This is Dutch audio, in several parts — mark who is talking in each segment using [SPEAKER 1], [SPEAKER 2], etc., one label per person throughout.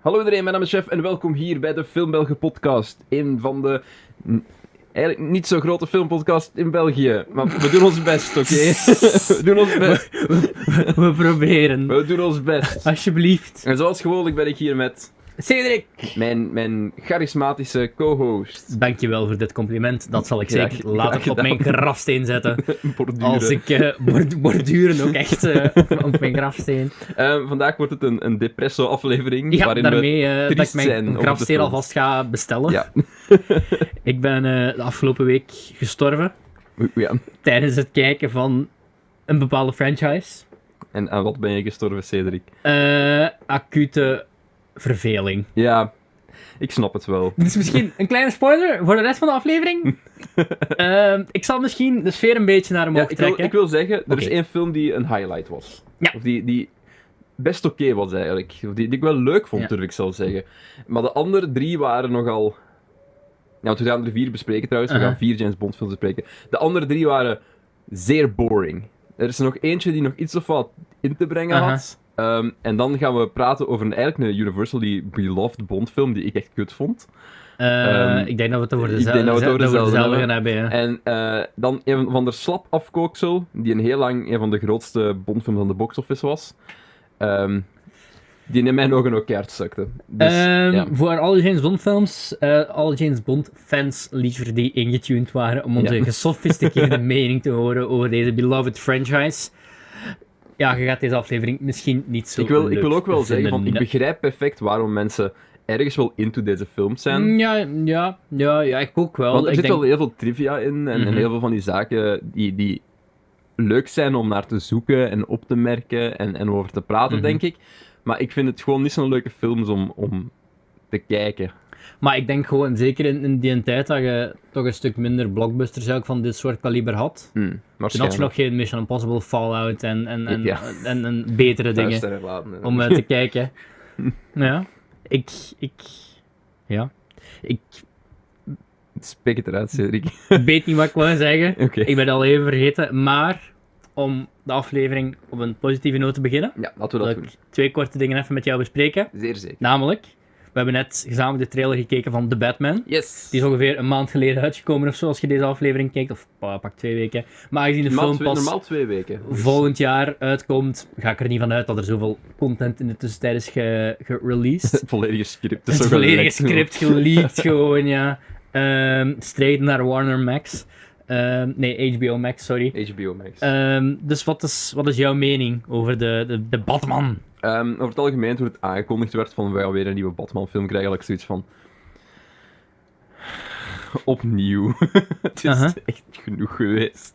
[SPEAKER 1] Hallo iedereen, mijn naam is Chef en welkom hier bij de Filmbelgen podcast. Een van de mm, eigenlijk niet zo grote filmpodcast in België. Maar we doen ons best, oké? we doen ons best.
[SPEAKER 2] We proberen.
[SPEAKER 1] We doen ons best.
[SPEAKER 2] Alsjeblieft.
[SPEAKER 1] En zoals gewoonlijk ben ik hier met
[SPEAKER 2] Cedric!
[SPEAKER 1] mijn, mijn charismatische co-host.
[SPEAKER 2] Dankjewel voor dit compliment. Dat zal ik
[SPEAKER 1] Graag-
[SPEAKER 2] zeker
[SPEAKER 1] graag
[SPEAKER 2] later op
[SPEAKER 1] gedaan.
[SPEAKER 2] mijn grafsteen zetten.
[SPEAKER 1] Borduren.
[SPEAKER 2] Als ik eh, bord- borduren ook echt eh, op- op mijn grafsteen.
[SPEAKER 1] Eh, vandaag wordt het een, een depresso-aflevering.
[SPEAKER 2] Ja,
[SPEAKER 1] waarin
[SPEAKER 2] daarmee eh, dat ik
[SPEAKER 1] triest zijn
[SPEAKER 2] mijn
[SPEAKER 1] over de
[SPEAKER 2] grafsteen
[SPEAKER 1] film.
[SPEAKER 2] alvast ga bestellen.
[SPEAKER 1] Ja.
[SPEAKER 2] Ik ben eh, de afgelopen week gestorven
[SPEAKER 1] we... Ja.
[SPEAKER 2] tijdens het kijken van een bepaalde franchise.
[SPEAKER 1] En aan wat ben je gestorven, Cedric?
[SPEAKER 2] Eh, acute verveling.
[SPEAKER 1] Ja, ik snap het wel.
[SPEAKER 2] Dit is misschien een kleine spoiler voor de rest van de aflevering. Ehm, ik zal misschien de sfeer een beetje naar omhoog
[SPEAKER 1] Ja, ik, wil,
[SPEAKER 2] trekken.
[SPEAKER 1] ik wil zeggen, er is
[SPEAKER 2] Oké.
[SPEAKER 1] één film die een highlight was.
[SPEAKER 2] Ja.
[SPEAKER 1] Of die, die best oké was eigenlijk. Of die, die ik wel leuk vond,
[SPEAKER 2] Ja.
[SPEAKER 1] durf ik zelf zeggen. Maar de andere drie waren nogal. Ja, want we gaan er vier bespreken trouwens. We
[SPEAKER 2] Uh-huh.
[SPEAKER 1] gaan vier James Bond films bespreken. De andere drie waren zeer boring. Er is er nog eentje die nog iets of wat in te brengen
[SPEAKER 2] Uh-huh.
[SPEAKER 1] had. Ehm, en dan gaan we praten over een, eigenlijk een Universally beloved Bond film die ik echt kut vond.
[SPEAKER 2] Eh,
[SPEAKER 1] Ehm,
[SPEAKER 2] ik denk dat we het over
[SPEAKER 1] ik denk
[SPEAKER 2] dezelfde,
[SPEAKER 1] dat we het
[SPEAKER 2] dat
[SPEAKER 1] over
[SPEAKER 2] we
[SPEAKER 1] dezelfde
[SPEAKER 2] dezelfde gaan
[SPEAKER 1] hebben.
[SPEAKER 2] hebben. ja.
[SPEAKER 1] En eh, dan een van de slap afkooksel, die een heel lang een van de grootste Bondfilms aan de box-office was. Ehm, die in mijn ogen ook keihard sukte. Dus,
[SPEAKER 2] Ehm,
[SPEAKER 1] ja.
[SPEAKER 2] Voor alle James Bond films, eh, alle James Bond fans liever die ingetuned waren om onze
[SPEAKER 1] Ja.
[SPEAKER 2] gesofisticeerde mening te horen over deze beloved franchise. Ja, je gaat deze aflevering misschien niet zo
[SPEAKER 1] ik, wil, ik
[SPEAKER 2] leuk
[SPEAKER 1] wil ook wel zeggen,
[SPEAKER 2] vinden.
[SPEAKER 1] van, ik begrijp perfect waarom mensen ergens wel into deze films zijn.
[SPEAKER 2] Mm, Ja, ja, ja, ja, ik ook wel.
[SPEAKER 1] want er
[SPEAKER 2] ik
[SPEAKER 1] zit
[SPEAKER 2] denk-
[SPEAKER 1] wel heel veel trivia in en, en
[SPEAKER 2] Mhm.
[SPEAKER 1] heel veel van die zaken die, die leuk zijn om naar te zoeken en op te merken en, en over te praten,
[SPEAKER 2] Mhm.
[SPEAKER 1] denk ik. Maar ik vind het gewoon niet zo'n leuke films om, om te kijken.
[SPEAKER 2] Maar ik denk gewoon, zeker in, in die tijd, dat je toch een stuk minder blockbusters ook van dit soort kaliber had.
[SPEAKER 1] Hm,
[SPEAKER 2] Toen had
[SPEAKER 1] waarschijnlijk.
[SPEAKER 2] je nog geen Mission Impossible, Fallout en, en, en,
[SPEAKER 1] Ja.
[SPEAKER 2] en, en, betere dingen.
[SPEAKER 1] Thuis te laten, hè.
[SPEAKER 2] om eh, te kijken. Ja, ik, ik, ja, ik
[SPEAKER 1] eh, Spreek het eruit, Cedric.
[SPEAKER 2] weet niet wat ik wil zeggen.
[SPEAKER 1] Oké.
[SPEAKER 2] Ik ben het al even vergeten, maar om de aflevering op een positieve noot te beginnen,
[SPEAKER 1] Ja, laten we
[SPEAKER 2] wil
[SPEAKER 1] dat doen.
[SPEAKER 2] ik twee korte dingen even met jou bespreken.
[SPEAKER 1] Zeer zeker.
[SPEAKER 2] Namelijk, we hebben net gezamenlijk de trailer gekeken van The Batman.
[SPEAKER 1] Yes!
[SPEAKER 2] Die is ongeveer een maand geleden uitgekomen of zo, als je deze aflevering kijkt, of pa- pak twee weken. Maar aangezien de
[SPEAKER 1] normaal,
[SPEAKER 2] film
[SPEAKER 1] twee,
[SPEAKER 2] pas
[SPEAKER 1] normaal twee weken. Dus-
[SPEAKER 2] volgend jaar uitkomt, ga ik er niet van uit dat er zoveel content in de tussentijd is ge- gereleased.
[SPEAKER 1] Het volledige script. is
[SPEAKER 2] Het
[SPEAKER 1] ook
[SPEAKER 2] volledige
[SPEAKER 1] gelekt,
[SPEAKER 2] script geleakt gewoon, ja. Ehm straight naar Warner Max. Ehm, nee, HBO Max, sorry.
[SPEAKER 1] joh. HBO Max.
[SPEAKER 2] Ehm, dus wat is, wat is jouw mening over de, de, de Batman?
[SPEAKER 1] Ehm, over het algemeen, toen het aangekondigd werd van we gaan weer een nieuwe Batman-film krijgen, had ik zoiets van. Opnieuw. het is
[SPEAKER 2] Aha.
[SPEAKER 1] echt genoeg geweest.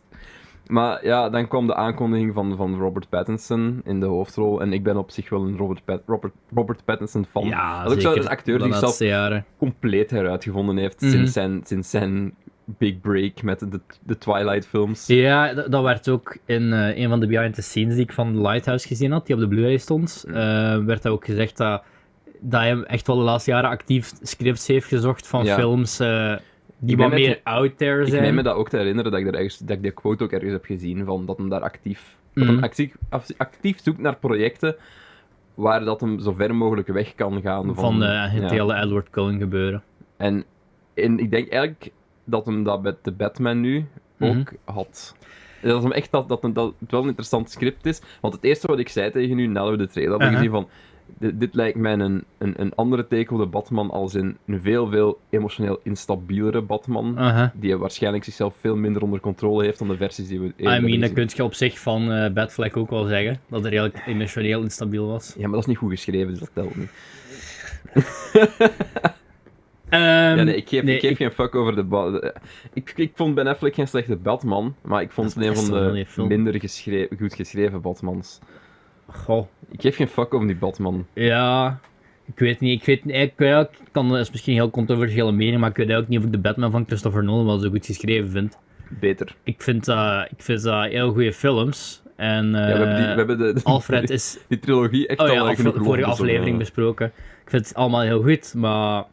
[SPEAKER 1] Maar ja, dan kwam de aankondiging van, van Robert Pattinson in de hoofdrol. En ik ben op zich wel een Robert, Pat- Robert, Robert Pattinson fan.
[SPEAKER 2] ja,
[SPEAKER 1] dat is ook
[SPEAKER 2] zeker.
[SPEAKER 1] zo'n acteur
[SPEAKER 2] de
[SPEAKER 1] die zelf
[SPEAKER 2] laatste jaren.
[SPEAKER 1] compleet heruitgevonden heeft
[SPEAKER 2] Mhm.
[SPEAKER 1] sinds, zijn, sinds zijn big break met de, de Twilight films.
[SPEAKER 2] Ja, d- dat werd ook in eh, een van de behind the scenes die ik van Lighthouse gezien had, die op de Blu-ray stond,
[SPEAKER 1] Mm.
[SPEAKER 2] eh, werd ook gezegd dat, dat hij echt wel de laatste jaren actief scripts heeft gezocht van
[SPEAKER 1] Ja.
[SPEAKER 2] films eh, die
[SPEAKER 1] Ik
[SPEAKER 2] wat
[SPEAKER 1] ben met-
[SPEAKER 2] meer out there
[SPEAKER 1] Ik
[SPEAKER 2] zijn.
[SPEAKER 1] meen me dat ook te herinneren dat ik, er ergens, dat ik die quote ook ergens heb gezien van dat hem daar actief, dat
[SPEAKER 2] Mhm.
[SPEAKER 1] hem actief, af- actief zoekt naar projecten waar dat hem zo ver mogelijk weg kan gaan van,
[SPEAKER 2] van eh, het
[SPEAKER 1] ja.
[SPEAKER 2] hele Edward Cullen gebeuren.
[SPEAKER 1] En, en ik denk eigenlijk dat hem dat met de Batman nu ook
[SPEAKER 2] Mhm.
[SPEAKER 1] had. Dat, hem echt dat, dat, hem- dat het wel een interessant script is. Want het eerste wat ik zei tegen u nadat we de trailer hadden
[SPEAKER 2] Aha.
[SPEAKER 1] gezien van... Dit, dit lijkt mij een, een, een andere teken op de Batman als in een veel, veel emotioneel instabielere Batman.
[SPEAKER 2] Aha.
[SPEAKER 1] Die waarschijnlijk zichzelf veel minder onder controle heeft dan de versies die we eerder
[SPEAKER 2] I
[SPEAKER 1] hebben
[SPEAKER 2] mean, dat
[SPEAKER 1] gezien.
[SPEAKER 2] kun je op zich van eh Batfleck ook wel zeggen. Dat hij redelijk emotioneel instabiel was.
[SPEAKER 1] Ja, maar dat is niet goed geschreven, dus dat telt niet.
[SPEAKER 2] Ehm,
[SPEAKER 1] ja, nee, ik geef, ik geef geen fuck over de... ba- de- Ik, ik vond Ben Affleck geen slechte Batman, maar ik vond
[SPEAKER 2] Dat
[SPEAKER 1] het
[SPEAKER 2] is
[SPEAKER 1] een
[SPEAKER 2] best wel een
[SPEAKER 1] van de
[SPEAKER 2] goeie film.
[SPEAKER 1] minder geschreven, goed geschreven Batmans.
[SPEAKER 2] Goh,
[SPEAKER 1] Ik geef geen fuck om die Batman.
[SPEAKER 2] ja. Ik weet niet. Ik weet, ik, weet ook- ik kan, dat is misschien een heel controversiële mening, maar ik weet ook niet of ik de Batman van Christopher Nolan wel zo goed geschreven vind.
[SPEAKER 1] Beter.
[SPEAKER 2] Ik vind dat ik vind dat heel goede films. En
[SPEAKER 1] ja, we hebben, die,
[SPEAKER 2] eh,
[SPEAKER 1] we hebben de, de-
[SPEAKER 2] Alfred
[SPEAKER 1] die,
[SPEAKER 2] is
[SPEAKER 1] trilogie echt
[SPEAKER 2] Oh
[SPEAKER 1] al
[SPEAKER 2] ja,
[SPEAKER 1] eh,
[SPEAKER 2] af-
[SPEAKER 1] genoeg
[SPEAKER 2] vorige
[SPEAKER 1] lof
[SPEAKER 2] aflevering
[SPEAKER 1] bezongen.
[SPEAKER 2] besproken. Ik vind het allemaal heel goed, maar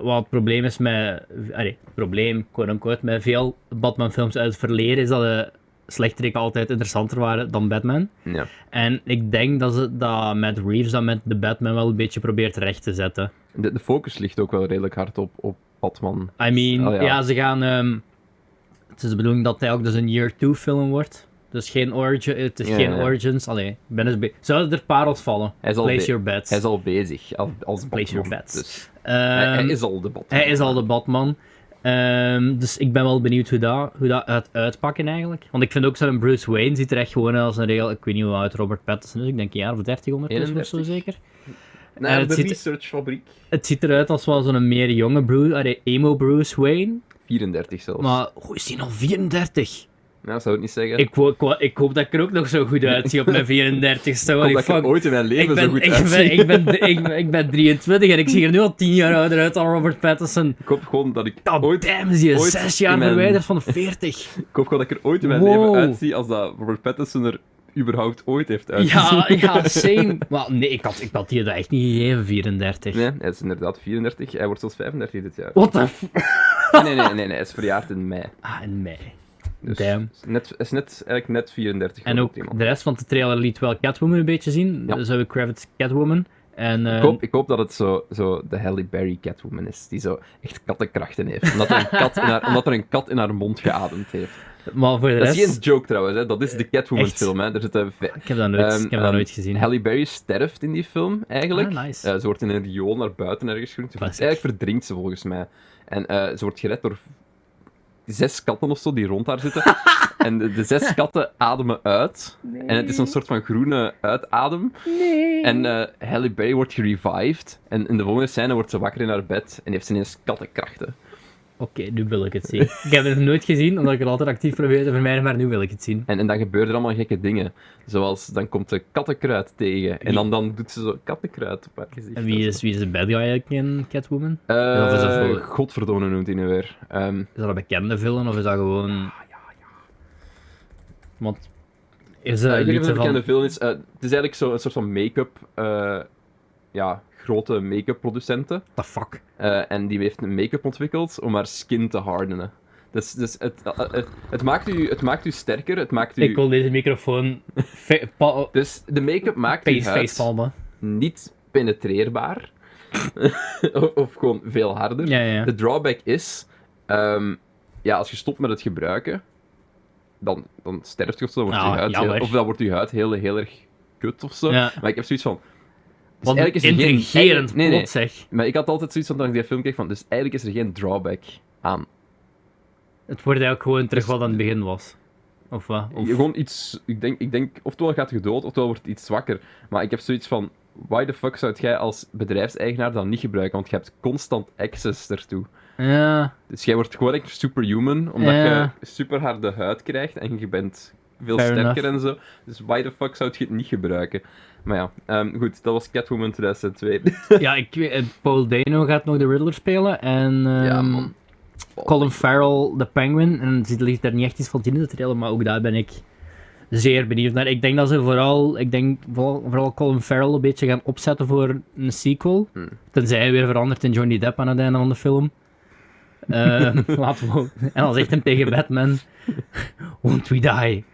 [SPEAKER 2] wat het probleem is met... Allee, het probleem, quote-unquote, met veel Batman-films uit het verleden is dat de slechteriken altijd interessanter waren dan Batman.
[SPEAKER 1] Ja.
[SPEAKER 2] En ik denk dat, ze, dat Matt Reeves dat met de Batman wel een beetje probeert recht te zetten.
[SPEAKER 1] De, de focus ligt ook wel redelijk hard op, op Batman.
[SPEAKER 2] I mean,
[SPEAKER 1] Oh, ja.
[SPEAKER 2] ja. ze gaan... ehm, het is de bedoeling dat hij ook dus een Year 2 film wordt. Dus geen, origin, het is
[SPEAKER 1] Ja,
[SPEAKER 2] geen
[SPEAKER 1] ja.
[SPEAKER 2] Origins. Allee, ik ben eens be- Zouden er parels vallen?
[SPEAKER 1] Hij is al
[SPEAKER 2] Place
[SPEAKER 1] be-
[SPEAKER 2] your bets.
[SPEAKER 1] Hij is al bezig als, als Batman.
[SPEAKER 2] Place your bets.
[SPEAKER 1] Dus hij,
[SPEAKER 2] Ehm,
[SPEAKER 1] hij is al de Batman.
[SPEAKER 2] Hij is al de Batman. Ehm, dus ik ben wel benieuwd hoe dat, hoe dat gaat uitpakken eigenlijk. Want ik vind ook zo'n Bruce Wayne ziet er echt gewoon uit als een regel. Ik weet niet hoe oud Robert Pattinson is. Ik denk een jaar of 13 ondertussen of zo
[SPEAKER 1] 31.
[SPEAKER 2] zeker.
[SPEAKER 1] Naar
[SPEAKER 2] het
[SPEAKER 1] de
[SPEAKER 2] ziet-
[SPEAKER 1] researchfabriek.
[SPEAKER 2] Het ziet eruit als wel zo'n meer jonge Bruce, allee, emo Bruce Wayne.
[SPEAKER 1] 34 zelfs.
[SPEAKER 2] Maar hoe is hij nog 34?
[SPEAKER 1] Nou, zou het niet zeggen.
[SPEAKER 2] Ik, wo- ik, wo- ik hoop dat ik er ook nog zo goed uitzie op mijn 34ste.
[SPEAKER 1] hoop
[SPEAKER 2] holy
[SPEAKER 1] dat ik er
[SPEAKER 2] fuck.
[SPEAKER 1] ooit in mijn
[SPEAKER 2] Ik
[SPEAKER 1] leven
[SPEAKER 2] ben,
[SPEAKER 1] zo goed
[SPEAKER 2] ik,
[SPEAKER 1] uitzie.
[SPEAKER 2] ben, ik, ben, ik, ben, ik ben 23 en ik zie er nu al 10 jaar ouder uit dan Robert Pattinson.
[SPEAKER 1] Ik hoop gewoon dat ik
[SPEAKER 2] God
[SPEAKER 1] ooit...
[SPEAKER 2] damn, is die
[SPEAKER 1] ooit
[SPEAKER 2] 6 jaar
[SPEAKER 1] in mijn-
[SPEAKER 2] verwijderd van de 40.
[SPEAKER 1] Ik hoop gewoon dat ik er ooit in mijn
[SPEAKER 2] Wow.
[SPEAKER 1] leven uitzie als dat Robert Pattinson er überhaupt ooit heeft uitgezien.
[SPEAKER 2] Ja, ja, same. Maar nee, ik had, ik had die dat echt niet gegeven, 34.
[SPEAKER 1] Nee, hij is inderdaad 34. Hij wordt zelfs 35 dit jaar.
[SPEAKER 2] What the f...
[SPEAKER 1] Nee, nee, nee, nee, nee, hij is verjaard in mei.
[SPEAKER 2] Ah, in mei.
[SPEAKER 1] Dus
[SPEAKER 2] Damn.
[SPEAKER 1] is Net, is net, eigenlijk net 34.
[SPEAKER 2] En
[SPEAKER 1] geworden,
[SPEAKER 2] ook
[SPEAKER 1] iemand.
[SPEAKER 2] de rest van de trailer liet wel Catwoman een beetje zien.
[SPEAKER 1] Ja.
[SPEAKER 2] Dus hebben we Kravitz Catwoman. En, eh,
[SPEAKER 1] Ik hoop, ik hoop dat het zo, zo de Halle Berry Catwoman is, die zo echt kattenkrachten heeft. Omdat er een kat in haar, omdat er een kat in haar mond geademd heeft.
[SPEAKER 2] Maar voor de
[SPEAKER 1] Dat is
[SPEAKER 2] rest...
[SPEAKER 1] geen joke trouwens, hè. dat is de Catwoman
[SPEAKER 2] echt?
[SPEAKER 1] film. Hè. Er zitten ve-
[SPEAKER 2] Ik heb dat nooit,
[SPEAKER 1] Ehm,
[SPEAKER 2] ik heb dat
[SPEAKER 1] ehm,
[SPEAKER 2] nooit gezien.
[SPEAKER 1] Halle Berry sterft in die film, eigenlijk.
[SPEAKER 2] Ah, nice.
[SPEAKER 1] Eh, ze wordt in een riool naar buiten ergens geroeid. Ze ver-
[SPEAKER 2] Classic.
[SPEAKER 1] Eigenlijk verdrinkt ze volgens mij. En eh, ze wordt gered door zes katten of zo die rond haar zitten. en de, de zes katten ademen uit. En het is een soort van groene uitadem. En eh Halle Berry wordt gerevived. En in de volgende scène wordt ze wakker in haar bed en heeft ze ineens kattenkrachten.
[SPEAKER 2] Oké, nu wil ik het zien. ik heb het nog nooit gezien, omdat ik het altijd actief probeer te vermijden, maar nu wil ik het zien.
[SPEAKER 1] En, en dan gebeuren er allemaal gekke dingen. Zoals, dan komt ze kattenkruid tegen. En dan, dan doet ze zo kattenkruid op haar gezicht.
[SPEAKER 2] En wie is, wie is de bad guy eigenlijk in Catwoman?
[SPEAKER 1] Eh,
[SPEAKER 2] Of is dat voor-
[SPEAKER 1] Godverdomme noemt hij nu weer. Ehm,
[SPEAKER 2] Is dat een bekende villain of is dat gewoon...
[SPEAKER 1] Ah,
[SPEAKER 2] Want... Is er
[SPEAKER 1] ik
[SPEAKER 2] een
[SPEAKER 1] weet niet of het
[SPEAKER 2] liedje
[SPEAKER 1] een eh, bekende
[SPEAKER 2] van...
[SPEAKER 1] film is. Eh, het is eigenlijk zo'n soort van make-up... eh, ja, grote make-up producenten.
[SPEAKER 2] The fuck?
[SPEAKER 1] Eh, en die heeft een make-up ontwikkeld om haar skin te hardenen. Dus, dus het, eh, eh, het, maakt u, het maakt u sterker, het maakt u...
[SPEAKER 2] Ik wil deze microfoon fa- pa-
[SPEAKER 1] Dus de make-up maakt uw
[SPEAKER 2] face,
[SPEAKER 1] huid
[SPEAKER 2] facepalmen.
[SPEAKER 1] niet penetreerbaar. of, of gewoon veel harder.
[SPEAKER 2] Ja, ja, ja.
[SPEAKER 1] De drawback is, ehm, ja, als je stopt met het gebruiken, dan, dan sterft je of zo, dan wordt
[SPEAKER 2] Ah,
[SPEAKER 1] je huid heel,
[SPEAKER 2] jammer.
[SPEAKER 1] of dan wordt je huid heel, heel erg kut of zo.
[SPEAKER 2] Ja.
[SPEAKER 1] Maar ik heb zoiets van... dus
[SPEAKER 2] Want
[SPEAKER 1] eigenlijk is er geen-
[SPEAKER 2] intrigerend
[SPEAKER 1] nee, nee.
[SPEAKER 2] plot, zeg.
[SPEAKER 1] Maar ik had altijd zoiets van, dat ik die film keek van, dus eigenlijk is er geen drawback aan.
[SPEAKER 2] Het wordt eigenlijk gewoon terug wat aan het begin was. Of wat? Of...
[SPEAKER 1] Dus Je- Gewoon iets, ik denk, ik denk, oftewel gaat je dood, oftewel wordt iets zwakker. Maar ik heb zoiets van, why the fuck zou jij als bedrijfseigenaar dat niet gebruiken? Want je hebt constant access ertoe.
[SPEAKER 2] Ja,
[SPEAKER 1] Dus jij wordt gewoon echt superhuman, omdat
[SPEAKER 2] Ja.
[SPEAKER 1] je super harde huid krijgt en je bent veel
[SPEAKER 2] Fair
[SPEAKER 1] sterker en zo. Dus why the fuck zou je het niet gebruiken? Maar ja, ehm, goed, dat was Catwoman 2002.
[SPEAKER 2] ja ik weet, eh, Paul Dano gaat nog de Riddler spelen en ehm,
[SPEAKER 1] Ja, man.
[SPEAKER 2] Colin Farrell de Penguin. En er ligt daar niet echt iets van in de trailer, maar ook daar ben ik zeer benieuwd naar. Ik denk dat ze vooral, ik denk vooral, vooral Colin Farrell een beetje gaan opzetten voor een sequel.
[SPEAKER 1] Hmm.
[SPEAKER 2] Tenzij hij weer verandert in Johnny Depp aan het einde van de film. Ehm, laten we, en dan zegt hem tegen Batman: Won't we die?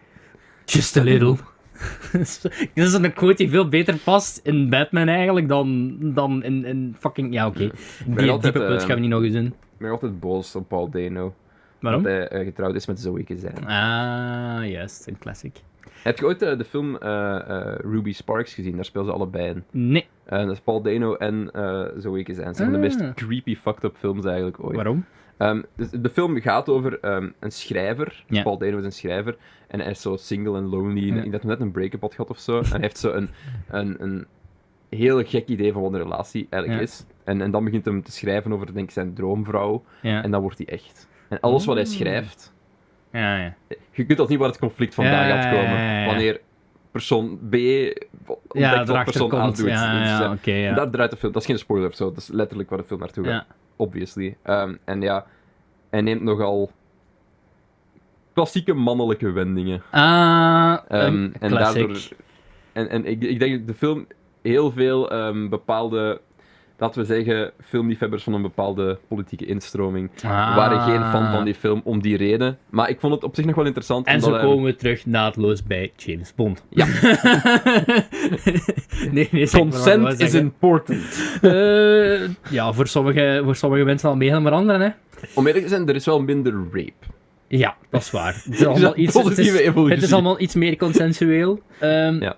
[SPEAKER 2] Just a little. Dit is een quote die veel beter past in Batman eigenlijk dan, dan in, in fucking. Ja, oké. Die
[SPEAKER 1] altijd,
[SPEAKER 2] diepe punt
[SPEAKER 1] eh,
[SPEAKER 2] gaan we niet nog eens in.
[SPEAKER 1] Ik ben altijd boos op Paul Dano.
[SPEAKER 2] Waarom?
[SPEAKER 1] Dat hij eh, getrouwd is met Zoe Kazan.
[SPEAKER 2] Ah, juist, een classic.
[SPEAKER 1] Heb je ooit eh, de film eh, eh, Ruby Sparks gezien? Daar spelen ze allebei in.
[SPEAKER 2] Nee,
[SPEAKER 1] Eh, dat is Paul Dano en eh, Zoe Kazan. Dat zijn de
[SPEAKER 2] Ah.
[SPEAKER 1] meest creepy, fucked up films eigenlijk ooit.
[SPEAKER 2] waarom?
[SPEAKER 1] Ehm, dus de film gaat over ehm, een schrijver.
[SPEAKER 2] Ja.
[SPEAKER 1] Paul Dano is een schrijver. En hij is zo single en lonely. En
[SPEAKER 2] Ja.
[SPEAKER 1] Ik dacht net een break-up had gehad of zo. en hij heeft zo een, een, een heel gek idee van wat een relatie eigenlijk
[SPEAKER 2] Ja.
[SPEAKER 1] is. En, en dan begint hem te schrijven over denk ik, zijn droomvrouw.
[SPEAKER 2] Ja,
[SPEAKER 1] En dan wordt hij echt. En alles wat hij
[SPEAKER 2] Mm.
[SPEAKER 1] schrijft.
[SPEAKER 2] ja, ja.
[SPEAKER 1] Je kunt al niet waar het conflict vandaan
[SPEAKER 2] Ja,
[SPEAKER 1] gaat
[SPEAKER 2] ja, ja,
[SPEAKER 1] komen.
[SPEAKER 2] ja, ja.
[SPEAKER 1] Wanneer persoon B ontdekt
[SPEAKER 2] Ja,
[SPEAKER 1] wat
[SPEAKER 2] erachter
[SPEAKER 1] persoon A
[SPEAKER 2] komt.
[SPEAKER 1] doet.
[SPEAKER 2] Ja,
[SPEAKER 1] Dus,
[SPEAKER 2] ja,
[SPEAKER 1] eh,
[SPEAKER 2] oké, ja.
[SPEAKER 1] Daar draait de film. Dat is geen spoiler of zo. Dat is letterlijk waar de film naartoe gaat
[SPEAKER 2] ja.
[SPEAKER 1] obviously. Ehm, en ja, hij neemt nogal klassieke mannelijke wendingen.
[SPEAKER 2] Ah,
[SPEAKER 1] Ehm,
[SPEAKER 2] een
[SPEAKER 1] en
[SPEAKER 2] classic.
[SPEAKER 1] daardoor. En, en ik, ik denk dat de film heel veel ehm, bepaalde laten we zeggen, filmliefhebbers van een bepaalde politieke instroming
[SPEAKER 2] Ah.
[SPEAKER 1] waren geen fan van die film om die reden. Maar ik vond het op zich nog wel interessant.
[SPEAKER 2] En zo
[SPEAKER 1] omdat, eh,
[SPEAKER 2] komen we terug naadloos bij James Bond.
[SPEAKER 1] Ja.
[SPEAKER 2] nee, nee, zeg maar wat ik wou
[SPEAKER 1] Consent is
[SPEAKER 2] zeggen.
[SPEAKER 1] important.
[SPEAKER 2] Eh, ja, voor sommige, voor sommige mensen al meer dan voor anderen, hè.
[SPEAKER 1] Om eerlijk te zijn, er is wel minder rape.
[SPEAKER 2] Ja, dat is waar. Het is
[SPEAKER 1] Is dat
[SPEAKER 2] allemaal iets, het,
[SPEAKER 1] positieve
[SPEAKER 2] is,
[SPEAKER 1] evolutie?
[SPEAKER 2] het is allemaal iets meer consensueel. Ehm
[SPEAKER 1] Ja.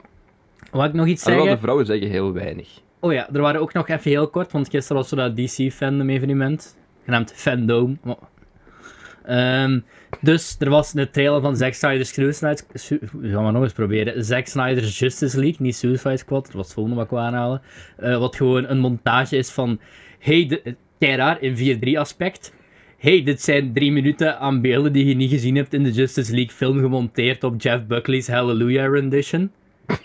[SPEAKER 2] Wou ik nog iets
[SPEAKER 1] Alhoewel,
[SPEAKER 2] zeggen?
[SPEAKER 1] de vrouwen zeggen heel weinig.
[SPEAKER 2] Oh ja, er waren ook nog even heel kort, want gisteren was er dat DC-fandom-evenement, genaamd Fandom. Oh. Ehm, dus er was een trailer van Zack Snyder's Suicide Squad. Gaan we nog eens proberen. Zack Snyder's Justice League, niet Suicide Squad, dat was het volgende wat ik wou aanhalen. Eh, wat gewoon een montage is van. Hey, de- keiraar in 4-3 aspect. Hey, dit zijn drie minuten aan beelden die je niet gezien hebt in de Justice League film gemonteerd op Jeff Buckley's Hallelujah rendition.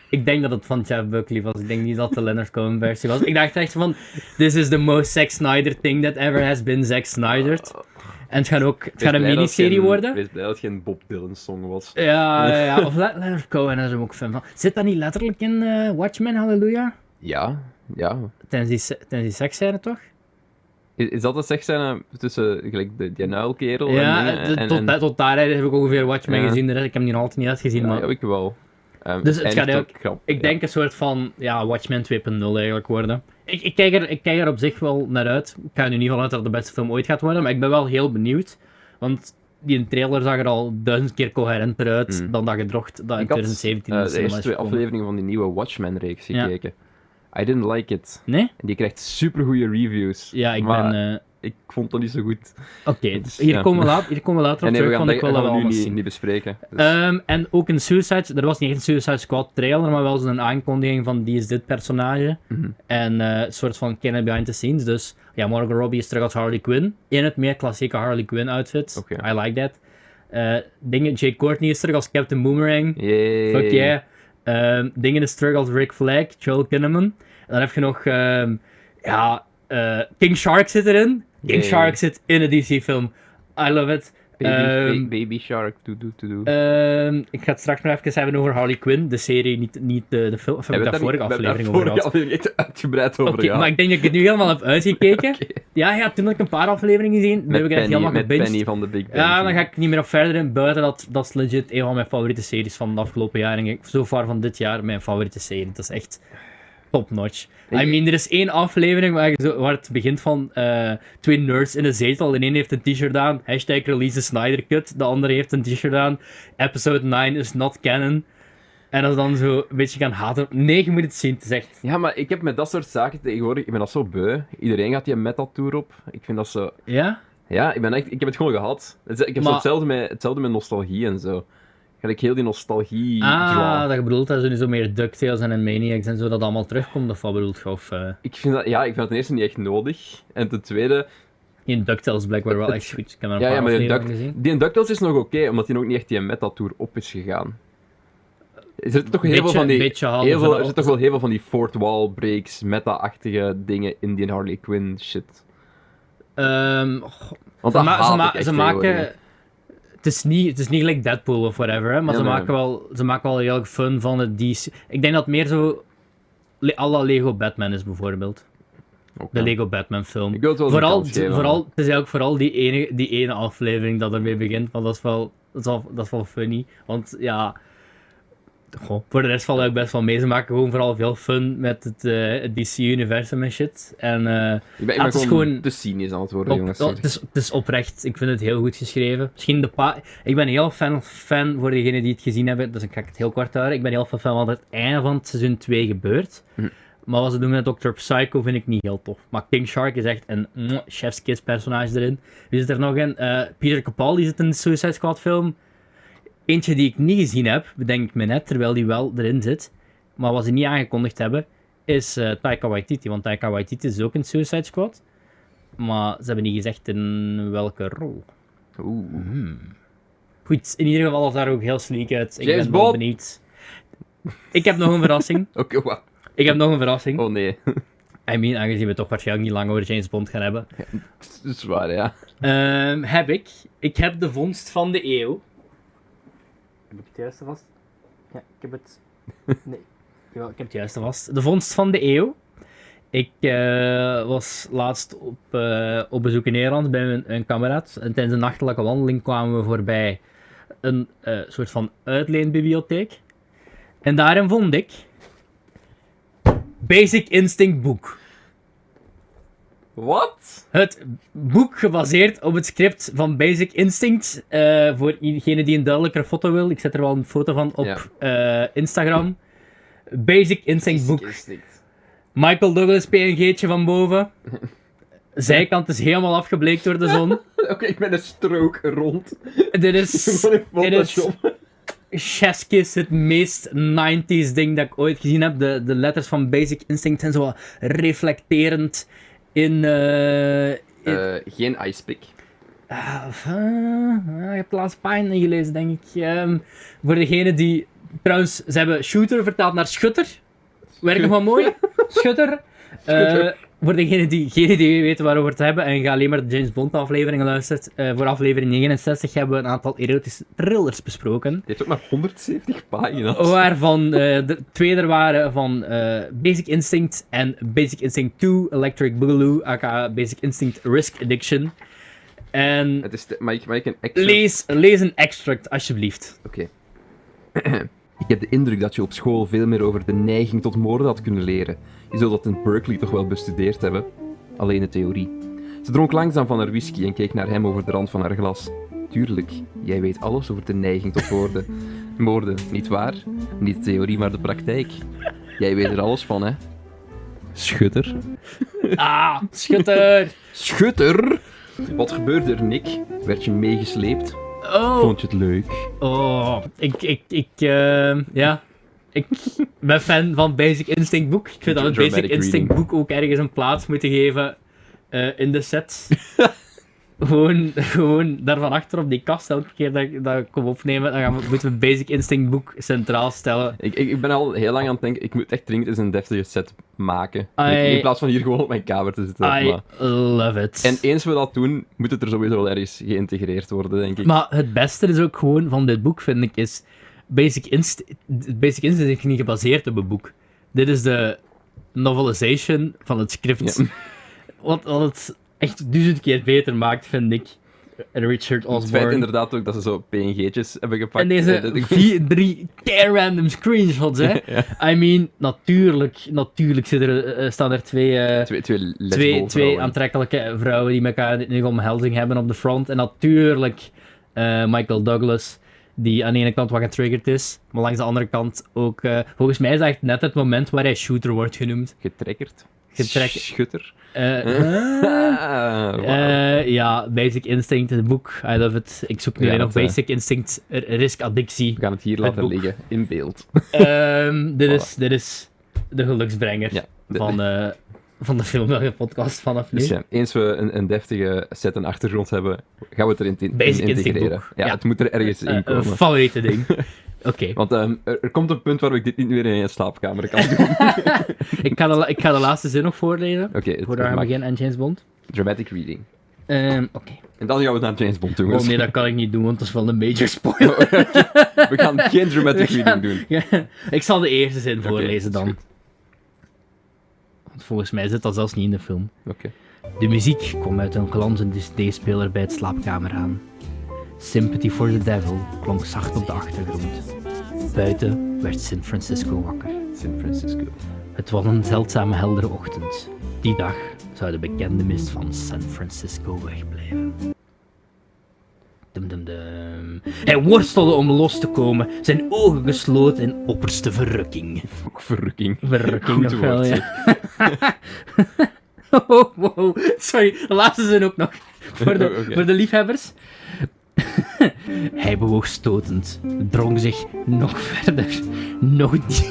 [SPEAKER 2] Ik denk dat het van Jeff Buckley was. Ik denk niet dat de Leonard Cohen versie was. Ik dacht echt van, this is the most Zack Snyder thing that ever has been Zack Snyder. En het gaat ook het gaat
[SPEAKER 1] Wees blij
[SPEAKER 2] een
[SPEAKER 1] dat
[SPEAKER 2] miniserie
[SPEAKER 1] geen-
[SPEAKER 2] worden.
[SPEAKER 1] Wees blij dat het geen Bob Dylan song was.
[SPEAKER 2] Ja, ja, ja. of Le- Leonard Cohen is er ook fan van. Zit dat niet letterlijk in eh, Watchmen, Hallelujah?
[SPEAKER 1] Ja, ja.
[SPEAKER 2] Tenzij, se- tenzij seks zijn het toch?
[SPEAKER 1] Is, is dat een seksscène tussen gelijk de, die nuilkerel
[SPEAKER 2] ja,
[SPEAKER 1] Oh,
[SPEAKER 2] eh,
[SPEAKER 1] en... dingen?
[SPEAKER 2] de-
[SPEAKER 1] en,
[SPEAKER 2] tot,
[SPEAKER 1] en-
[SPEAKER 2] da- tot daar heb ik ongeveer Watchmen
[SPEAKER 1] Ja.
[SPEAKER 2] gezien. De rest- Ik heb die nog altijd niet uitgezien,
[SPEAKER 1] Ah, Ja,
[SPEAKER 2] maar
[SPEAKER 1] ja, ik wel. Ehm,
[SPEAKER 2] Dus het
[SPEAKER 1] eindigt
[SPEAKER 2] gaat ook-
[SPEAKER 1] grap-
[SPEAKER 2] ik
[SPEAKER 1] ja.
[SPEAKER 2] denk een soort van ja, Watchmen 2.0 eigenlijk worden. Ik, ik, kijk er, ik kijk er op zich wel naar uit. Ik ga er nu niet vanuit dat het de beste film ooit gaat worden, maar ik ben wel heel benieuwd. Want die trailer zag er al duizend keer coherenter uit
[SPEAKER 1] Mm.
[SPEAKER 2] dan dat gedrocht dat in
[SPEAKER 1] Ik had,
[SPEAKER 2] 2017
[SPEAKER 1] eh,
[SPEAKER 2] in de
[SPEAKER 1] de
[SPEAKER 2] cinema
[SPEAKER 1] eerste
[SPEAKER 2] is
[SPEAKER 1] twee
[SPEAKER 2] gekomen.
[SPEAKER 1] afleveringen van die nieuwe Watchmen-reeks
[SPEAKER 2] Ja.
[SPEAKER 1] gekeken. I didn't like it.
[SPEAKER 2] Nee?
[SPEAKER 1] En die krijgt supergoeie reviews.
[SPEAKER 2] Ja, ik
[SPEAKER 1] maar
[SPEAKER 2] ben... eh,
[SPEAKER 1] ik vond dat niet zo goed.
[SPEAKER 2] Oké,
[SPEAKER 1] Dus,
[SPEAKER 2] hier,
[SPEAKER 1] ja.
[SPEAKER 2] komen we laat- hier komen we later
[SPEAKER 1] en
[SPEAKER 2] op
[SPEAKER 1] nee, we gaan
[SPEAKER 2] terug, want
[SPEAKER 1] dat
[SPEAKER 2] ik wil dat
[SPEAKER 1] gaan we
[SPEAKER 2] wel
[SPEAKER 1] nu
[SPEAKER 2] allemaal
[SPEAKER 1] niet,
[SPEAKER 2] zien.
[SPEAKER 1] niet bespreken. Dus,
[SPEAKER 2] Ehm, en ook een Suicide... Er was niet echt een Suicide Squad trailer, maar wel zo'n aankondiging van die is dit personage.
[SPEAKER 1] mhm.
[SPEAKER 2] En eh, een soort van kennen behind the scenes. Dus ja, Margot Robbie is terug als Harley Quinn. In het meer klassieke Harley Quinn outfit.
[SPEAKER 1] Oké.
[SPEAKER 2] I like that. Eh, dingen, Jake Courtney is terug als Captain Boomerang.
[SPEAKER 1] Dus- Yay.
[SPEAKER 2] Fuck yeah. Ehm, dingen is terug als Rick Flag, Joel Kinnaman. En dan heb je nog... ehm, ja, eh, King Shark zit erin. King
[SPEAKER 1] Yay.
[SPEAKER 2] Shark zit in een DC-film. I love it.
[SPEAKER 1] Baby,
[SPEAKER 2] Ehm,
[SPEAKER 1] ba- baby Shark, to do, to do.
[SPEAKER 2] Ehm, ik ga het straks nog even hebben over Harley Quinn, de serie, niet, niet de, de film. Of heb ik daar vorige aflevering over gehad?
[SPEAKER 1] echt uitgebreid over
[SPEAKER 2] Oké, maar ik denk dat ik het nu helemaal heb uitgekeken. Ja, ja, toen had ik een paar afleveringen gezien, dan heb
[SPEAKER 1] Met,
[SPEAKER 2] ik het echt
[SPEAKER 1] Penny,
[SPEAKER 2] helemaal
[SPEAKER 1] met
[SPEAKER 2] gebinged.
[SPEAKER 1] Penny van de Big Bang.
[SPEAKER 2] Ja, dan ga ik niet meer op verder in. Buiten dat, dat is legit een van mijn favoriete series van de afgelopen jaar. En ik- zo ver van dit jaar mijn favoriete serie. Dat is echt top notch. I
[SPEAKER 1] Ik-
[SPEAKER 2] mean, er is één aflevering waar, je zo- waar het begint van eh, twee nerds in een zetel. De een heeft een t-shirt aan, hashtag release the Snyder Cut. De andere heeft een t-shirt aan, episode 9 is not canon. En dat ze dan zo een beetje gaan haten. Nee, je moet het zien, het is echt...
[SPEAKER 1] Ja, maar ik heb met dat soort zaken tegenwoordig, ik ben dat zo beu. Iedereen gaat die met dat tour op. Ik vind dat zo...
[SPEAKER 2] Ja?
[SPEAKER 1] Ja, ik, ben echt, ik heb het gewoon gehad. Het is- Ik heb zo
[SPEAKER 2] Maar-
[SPEAKER 1] hetzelfde, met, hetzelfde met nostalgie en zo. Gelijk heel die nostalgie draw.
[SPEAKER 2] Ah, dat je bedoelt dat ze nu zo meer DuckTales en Maniacs en zo dat allemaal terugkomt, of wat bedoelt je? Of... eh,
[SPEAKER 1] Ik vind dat, ja, ik vind dat ten eerste niet echt nodig. En ten tweede,
[SPEAKER 2] In DuckTales blijkbaar wel echt goed. Ik heb er een
[SPEAKER 1] ja,
[SPEAKER 2] paar
[SPEAKER 1] ja, maar die,
[SPEAKER 2] afleveringen
[SPEAKER 1] Duck-
[SPEAKER 2] gezien.
[SPEAKER 1] die in DuckTales is nog oké, omdat die ook niet echt die met dat tour op is gegaan. Er zitten toch heel veel
[SPEAKER 2] Beetje-
[SPEAKER 1] van die...
[SPEAKER 2] beetje halen
[SPEAKER 1] Heel
[SPEAKER 2] van
[SPEAKER 1] veel,
[SPEAKER 2] de-
[SPEAKER 1] er zitten toch wel heel veel van die fourth wall breaks, meta-achtige dingen in die Harley Quinn shit.
[SPEAKER 2] Ehm, goh,
[SPEAKER 1] Want
[SPEAKER 2] ze,
[SPEAKER 1] dat
[SPEAKER 2] ma-
[SPEAKER 1] haat
[SPEAKER 2] ze,
[SPEAKER 1] ik
[SPEAKER 2] ma-
[SPEAKER 1] echt
[SPEAKER 2] ze
[SPEAKER 1] tegenwoordig, hè.
[SPEAKER 2] maken... Het is niet, het is niet gelijk Deadpool of whatever, hè, maar
[SPEAKER 1] Ja,
[SPEAKER 2] ze,
[SPEAKER 1] nee.
[SPEAKER 2] maken wel, ze maken wel heel erg fun van het DC. Ik denk dat het meer zo... Le- à la Lego Batman is bijvoorbeeld.
[SPEAKER 1] Ook,
[SPEAKER 2] De
[SPEAKER 1] ja.
[SPEAKER 2] Lego Batman film.
[SPEAKER 1] Ik wil het wel eens een
[SPEAKER 2] vooral,
[SPEAKER 1] kans geven,
[SPEAKER 2] vooral,
[SPEAKER 1] maar-
[SPEAKER 2] het is eigenlijk vooral die ene, die ene aflevering dat ermee begint, want dat is wel, dat is wel, dat is wel funny. Want ja, goh, voor de rest valt ik best wel mee. Ze maken gewoon vooral veel fun met het, eh, het DC-universum en shit. En eh,
[SPEAKER 1] Ik ben, ik
[SPEAKER 2] Ah,
[SPEAKER 1] ben
[SPEAKER 2] het is
[SPEAKER 1] gewoon,
[SPEAKER 2] gewoon-
[SPEAKER 1] te cynisch aan het worden,
[SPEAKER 2] op-
[SPEAKER 1] jongens.
[SPEAKER 2] oh, het, is, het is oprecht, ik vind het heel goed geschreven. Misschien de pa ik ben heel fan, fan voor degenen die het gezien hebben, dus ik ga het heel kort houden. Ik ben heel veel fan van wat het einde van het seizoen 2 gebeurt.
[SPEAKER 1] Hm.
[SPEAKER 2] Maar wat ze doen met Dr. Psycho vind ik niet heel tof. Maar King Shark is echt een mwah, chef's kiss personage erin. Wie zit er nog in? Eh, Peter Capaldi zit in de Suicide Squad film. Eentje die ik niet gezien heb, bedenk ik me net, terwijl die wel erin zit. Maar wat ze niet aangekondigd hebben, is eh, Taika Waititi. Want Taika Waititi is ook in Suicide Squad. Maar ze hebben niet gezegd in welke rol.
[SPEAKER 1] Oeh.
[SPEAKER 2] Goed, in ieder geval zag daar ook heel sleek uit. Ik
[SPEAKER 1] James
[SPEAKER 2] ben wel
[SPEAKER 1] Bond.
[SPEAKER 2] benieuwd. Ik heb nog een verrassing.
[SPEAKER 1] Oké, wat?
[SPEAKER 2] Ik heb nog een verrassing.
[SPEAKER 1] Oh nee,
[SPEAKER 2] I mean, aangezien we toch waarschijnlijk niet lang over James Bond gaan hebben.
[SPEAKER 1] dat is waar, ja.
[SPEAKER 2] Ehm, heb ik. Ik heb de vondst van de eeuw. Heb ik het juiste vast? Ja, ik heb het. Nee. Jawel, ik heb het juiste vast. De vondst van de eeuw Ik eh, was laatst op, eh, op bezoek in Nederland bij mijn, mijn kameraad. En tijdens een nachtelijke wandeling kwamen we voorbij een eh, soort van uitleenbibliotheek. En daarin vond ik Basic Instinct boek.
[SPEAKER 1] Wat?
[SPEAKER 2] Het boek gebaseerd op het script van Basic Instinct. Eh, voor degene die een duidelijkere foto wil, ik zet er wel een foto van op eh, Instagram. Basic Instinct boek. Michael Douglas PNG'tje van boven. Zijkant is helemaal afgebleekt door de zon.
[SPEAKER 1] Oké, ik ben een strook rond.
[SPEAKER 2] Dit is
[SPEAKER 1] Gewoon in
[SPEAKER 2] is-
[SPEAKER 1] Photoshop.
[SPEAKER 2] Cheskis, het meest 90s ding dat ik ooit gezien heb. De, de letters van Basic Instinct zijn zo wat reflecterend in. eh, in-
[SPEAKER 1] Eh, geen icepick.
[SPEAKER 2] Ah, of, eh, ah, ik heb de laatste pagina gelezen, denk ik. Ehm, voor degene die. Trouwens, ze hebben shooter vertaald naar schutter. Werkt nog wel mooi. Schutter. Eh,
[SPEAKER 1] Schutter.
[SPEAKER 2] voor degene die geen idee weten waarover het hebben en ga alleen maar de James Bond afleveringen luistert. eh, voor aflevering 69 hebben we een aantal erotische thrillers besproken.
[SPEAKER 1] Die heeft ook maar 170 pagina's.
[SPEAKER 2] Oh, Waarvan eh, de twee er waren van eh, Basic Instinct en Basic Instinct 2, Electric Boogaloo, aka Basic Instinct Risk Addiction. En
[SPEAKER 1] Het is te- mag, ik, mag ik een extra...
[SPEAKER 2] lees, lees een extract, alsjeblieft.
[SPEAKER 1] Oké. ik heb de indruk dat je op school veel meer over de neiging tot moorden had kunnen leren. Je zult dat in Berkeley toch wel bestudeerd hebben? Alleen de theorie. Ze dronk langzaam van haar whisky en keek naar hem over de rand van haar glas. Tuurlijk, jij weet alles over de neiging tot moorden. moorden, niet waar? Niet de theorie, maar de praktijk. Jij weet er alles van, hè? Schutter.
[SPEAKER 2] Ah, schutter!
[SPEAKER 1] Schutter! Wat gebeurde er, Nick? Werd je meegesleept?
[SPEAKER 2] Oh,
[SPEAKER 1] Vond je het leuk?
[SPEAKER 2] oh. ik, ik, ik, eh, ja. Ik ben fan van Basic Instinct boek. Ik vind dat het
[SPEAKER 1] Dramatic
[SPEAKER 2] Basic Instinct
[SPEAKER 1] reading.
[SPEAKER 2] boek ook ergens een plaats moeten geven eh, in de set. gewoon, gewoon daarvan achter op die kast, elke keer dat, ik- dat ik kom opnemen, dan gaan we, moeten we Basic Instinct boek centraal stellen.
[SPEAKER 1] Ik, ik, ik ben al heel lang aan het denken, ik moet echt dringend eens een deftige set maken.
[SPEAKER 2] Ai.
[SPEAKER 1] Ik- In plaats van hier gewoon op mijn kamer te zitten.
[SPEAKER 2] I
[SPEAKER 1] maar-
[SPEAKER 2] love it.
[SPEAKER 1] En eens we dat doen, moet het er sowieso wel ergens geïntegreerd worden, denk ik.
[SPEAKER 2] Maar het beste is ook gewoon van dit boek, vind ik, is Basic Instinct. Basic Instinct is niet gebaseerd op een boek. Dit is de novelization van het script.
[SPEAKER 1] Ja.
[SPEAKER 2] Wat, wat het echt duizend keer beter maakt, vind ik. En Richard
[SPEAKER 1] het feit
[SPEAKER 2] Osborne.
[SPEAKER 1] inderdaad ook dat ze zo PNG'tjes hebben gepakt.
[SPEAKER 2] En
[SPEAKER 1] eh, dat
[SPEAKER 2] deze
[SPEAKER 1] ik-
[SPEAKER 2] vier, drie keer random screenshots, hè. I mean, natuurlijk, natuurlijk zitten er, eh, staan er twee... eh,
[SPEAKER 1] twee twee, lesbo
[SPEAKER 2] twee, twee
[SPEAKER 1] vrouwen.
[SPEAKER 2] aantrekkelijke vrouwen die elkaar nu omhelzing hebben op de front. En natuurlijk eh, Michael Douglas, die aan de ene kant wat getriggerd is, maar langs de andere kant ook. eh, volgens mij is dat echt net het moment waar hij shooter wordt genoemd.
[SPEAKER 1] Getrekkerd.
[SPEAKER 2] Getrekkerd.
[SPEAKER 1] Schutter.
[SPEAKER 2] Eh,
[SPEAKER 1] Ah, wauw.
[SPEAKER 2] eh, ja, Basic Instinct, het boek. I love it. Ik zoek nu
[SPEAKER 1] Ja,
[SPEAKER 2] alleen nog
[SPEAKER 1] dat, eh,
[SPEAKER 2] Basic Instinct eh, Risk Addictie.
[SPEAKER 1] we gaan het hier laten
[SPEAKER 2] boek.
[SPEAKER 1] liggen, in beeld.
[SPEAKER 2] Ehm, dit, is, dit is de geluksbrenger
[SPEAKER 1] Ja, de-
[SPEAKER 2] van, eh, van de film en de podcast vanaf nu.
[SPEAKER 1] Dus ja, eens we een, een deftige set en achtergrond hebben, gaan we het erin in,
[SPEAKER 2] Basic Instinct
[SPEAKER 1] integreren.
[SPEAKER 2] boek.
[SPEAKER 1] Ja,
[SPEAKER 2] Ja.
[SPEAKER 1] het moet er ergens
[SPEAKER 2] Eh,
[SPEAKER 1] in
[SPEAKER 2] een
[SPEAKER 1] komen.
[SPEAKER 2] favoriete ding. Oké.
[SPEAKER 1] Want ehm, er, er komt een punt waar ik dit niet meer in je slaapkamer kan doen. Oké,
[SPEAKER 2] ik, ga de, la- ik ga de laatste zin nog voorlezen.
[SPEAKER 1] het- het
[SPEAKER 2] Voordat we
[SPEAKER 1] mag.
[SPEAKER 2] beginnen aan James Bond.
[SPEAKER 1] Dramatic reading.
[SPEAKER 2] Ehm, Oké.
[SPEAKER 1] En dan gaan we naar James Bond, jongens.
[SPEAKER 2] Oh nee, dat kan ik niet doen, want dat is wel een major spoiler.
[SPEAKER 1] We gaan geen dramatic reading doen.
[SPEAKER 2] Ja, ik zal de eerste zin voorlezen
[SPEAKER 1] is
[SPEAKER 2] dan.
[SPEAKER 1] goed.
[SPEAKER 2] Want volgens mij zit dat zelfs niet in de film.
[SPEAKER 1] Oké.
[SPEAKER 2] De muziek kwam uit een glanzende CD-speler bij het slaapkamer aan. Sympathy for the Devil klonk zacht op de achtergrond. Buiten werd San Francisco wakker.
[SPEAKER 1] San Francisco.
[SPEAKER 2] Het was een zeldzame heldere ochtend. Die dag zou de bekende mist van San Francisco wegblijven. Dum dum dum. Hij worstelde om los te komen, zijn ogen gesloten in opperste verrukking.
[SPEAKER 1] Ook verrukking.
[SPEAKER 2] Verrukking
[SPEAKER 1] Goed
[SPEAKER 2] nog wel,
[SPEAKER 1] woord,
[SPEAKER 2] ja. Oh, wow. Sorry, de laatste zin ook nog. Voor de,
[SPEAKER 1] Oh, oké.
[SPEAKER 2] voor de liefhebbers. Hij bewoog stotend, drong zich nog verder, nog, die-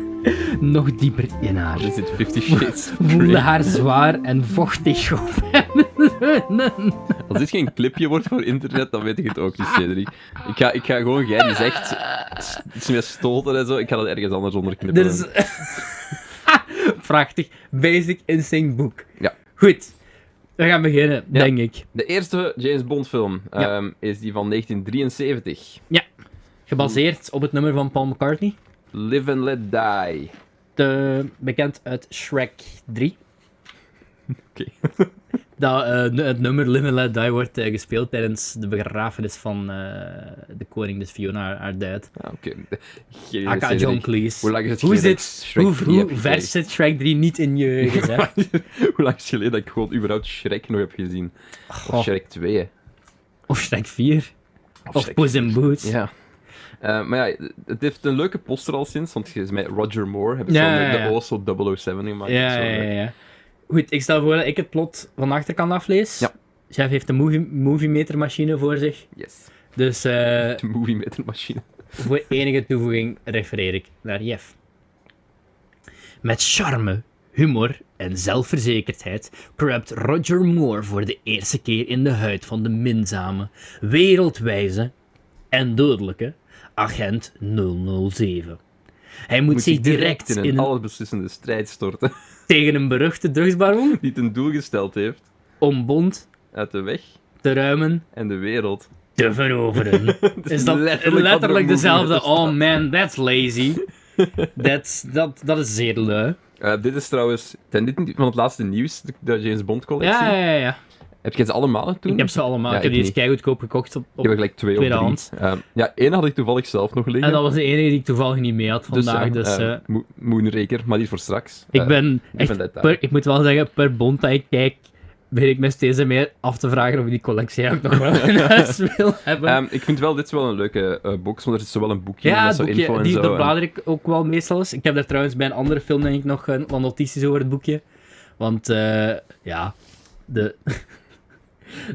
[SPEAKER 2] nog dieper in haar
[SPEAKER 1] Is dit Fifty Shades of
[SPEAKER 2] voelde
[SPEAKER 1] Grey?
[SPEAKER 2] haar zwaar en vochtig op hem.
[SPEAKER 1] Als dit geen clipje wordt voor internet, dan weet ik het ook niet, Cedric. Ik ga, ik ga gewoon, jij die zegt, s- iets meer stoten en zo, ik ga dat ergens anders onder knippen.
[SPEAKER 2] Dit is... Prachtig. Basic Instinct boek.
[SPEAKER 1] Ja.
[SPEAKER 2] Goed. We gaan beginnen,
[SPEAKER 1] Ja.
[SPEAKER 2] denk ik.
[SPEAKER 1] De eerste James Bond film
[SPEAKER 2] Ja.
[SPEAKER 1] ehm, is die van 1973.
[SPEAKER 2] Gebaseerd op het nummer van Paul McCartney.
[SPEAKER 1] Live and Let Die.
[SPEAKER 2] eh, bekend uit Shrek 3.
[SPEAKER 1] Oké.
[SPEAKER 2] Dat eh, nu- het nummer Live and Let Die wordt eh, gespeeld tijdens de begrafenis van eh, de koning, dus Fiona, haar- haar dead.
[SPEAKER 1] Ah, oké. Geen
[SPEAKER 2] Aka
[SPEAKER 1] idee.
[SPEAKER 2] John Cleese.
[SPEAKER 1] Hoe lang is het
[SPEAKER 2] Hoe,
[SPEAKER 1] geleden
[SPEAKER 2] zit,
[SPEAKER 1] dat ik Shrek
[SPEAKER 2] hoe,
[SPEAKER 1] 3 heb
[SPEAKER 2] hoe
[SPEAKER 1] gekeken?
[SPEAKER 2] vers zit Shrek 3 niet in je geheugen? hè?
[SPEAKER 1] Hoe lang is het geleden dat ik gewoon überhaupt Shrek nog heb gezien? Of
[SPEAKER 2] Goh.
[SPEAKER 1] Shrek 2. hè.
[SPEAKER 2] Of Shrek 4. Of
[SPEAKER 1] Shrek
[SPEAKER 2] Puss in Boots.
[SPEAKER 1] Ja. Eh, maar ja, het heeft een leuke poster al sinds, want je- met Roger Moore hebben ze
[SPEAKER 2] Ja,
[SPEAKER 1] zo
[SPEAKER 2] ja,
[SPEAKER 1] de,
[SPEAKER 2] ja.
[SPEAKER 1] de OSO 007 gemaakt.
[SPEAKER 2] Ja,
[SPEAKER 1] Zo,
[SPEAKER 2] ja,
[SPEAKER 1] eh,
[SPEAKER 2] ja, ja. Goed, ik stel voor dat ik het plot van de achterkant aflees.
[SPEAKER 1] Ja.
[SPEAKER 2] Chef heeft een movie, moviemetermachine voor zich.
[SPEAKER 1] Yes.
[SPEAKER 2] Dus eh,
[SPEAKER 1] De movie met een machine.
[SPEAKER 2] voor enige toevoeging refereer ik naar Jeff. Met charme, humor en zelfverzekerdheid kruipt Roger Moore voor de eerste keer in de huid van de minzame, wereldwijze en dodelijke agent 007. Hij moet, zich direct,
[SPEAKER 1] in een, allesbeslissende strijd storten
[SPEAKER 2] tegen een beruchte drugsbaron
[SPEAKER 1] die ten doel gesteld heeft
[SPEAKER 2] om Bond
[SPEAKER 1] uit de weg
[SPEAKER 2] te ruimen
[SPEAKER 1] en de wereld.
[SPEAKER 2] te veroveren. is dat
[SPEAKER 1] letterlijk wat
[SPEAKER 2] letterlijk,
[SPEAKER 1] er op de
[SPEAKER 2] dezelfde?
[SPEAKER 1] movie
[SPEAKER 2] Oh man, that's lazy. That's, dat, dat is zeer lui.
[SPEAKER 1] Eh, dit is trouwens ten, dit niet van het laatste nieuws, de, de James Bond collectie.
[SPEAKER 2] Ja, ja, ja, ja.
[SPEAKER 1] Heb jij ze allemaal toen?
[SPEAKER 2] Ik heb ze allemaal.
[SPEAKER 1] Ja,
[SPEAKER 2] ik
[SPEAKER 1] ik
[SPEAKER 2] heb die eens
[SPEAKER 1] niet.
[SPEAKER 2] keigoedkoop gekocht. Op, op-
[SPEAKER 1] Ik heb er gelijk twee of
[SPEAKER 2] Tweedehands.
[SPEAKER 1] drie. Eh, ja, één had ik toevallig zelf nog liggen.
[SPEAKER 2] En dat was de enige die ik toevallig niet mee had
[SPEAKER 1] Dus,
[SPEAKER 2] vandaag.
[SPEAKER 1] eh,
[SPEAKER 2] Dus,
[SPEAKER 1] eh,
[SPEAKER 2] eh,
[SPEAKER 1] Mo- Moonraker, maar die voor straks.
[SPEAKER 2] ik
[SPEAKER 1] Eh,
[SPEAKER 2] ben echt...
[SPEAKER 1] ben dat daar.
[SPEAKER 2] per, ik moet wel zeggen, per bond dat ik kijk, begin ik me steeds meer af te vragen of ik die collectie eigenlijk nog wel in huis wil hebben.
[SPEAKER 1] Ehm, ik vind wel, dit is wel een leuke eh, box, want er zit zowel een boekje in
[SPEAKER 2] ja,
[SPEAKER 1] met
[SPEAKER 2] het
[SPEAKER 1] zo
[SPEAKER 2] boekje,
[SPEAKER 1] info en
[SPEAKER 2] die,
[SPEAKER 1] zo.
[SPEAKER 2] dat
[SPEAKER 1] en-
[SPEAKER 2] blader ik ook wel meestal eens. Ik heb daar trouwens bij een andere film denk ik nog een, wat notities over het boekje. Want, eh, ja, de...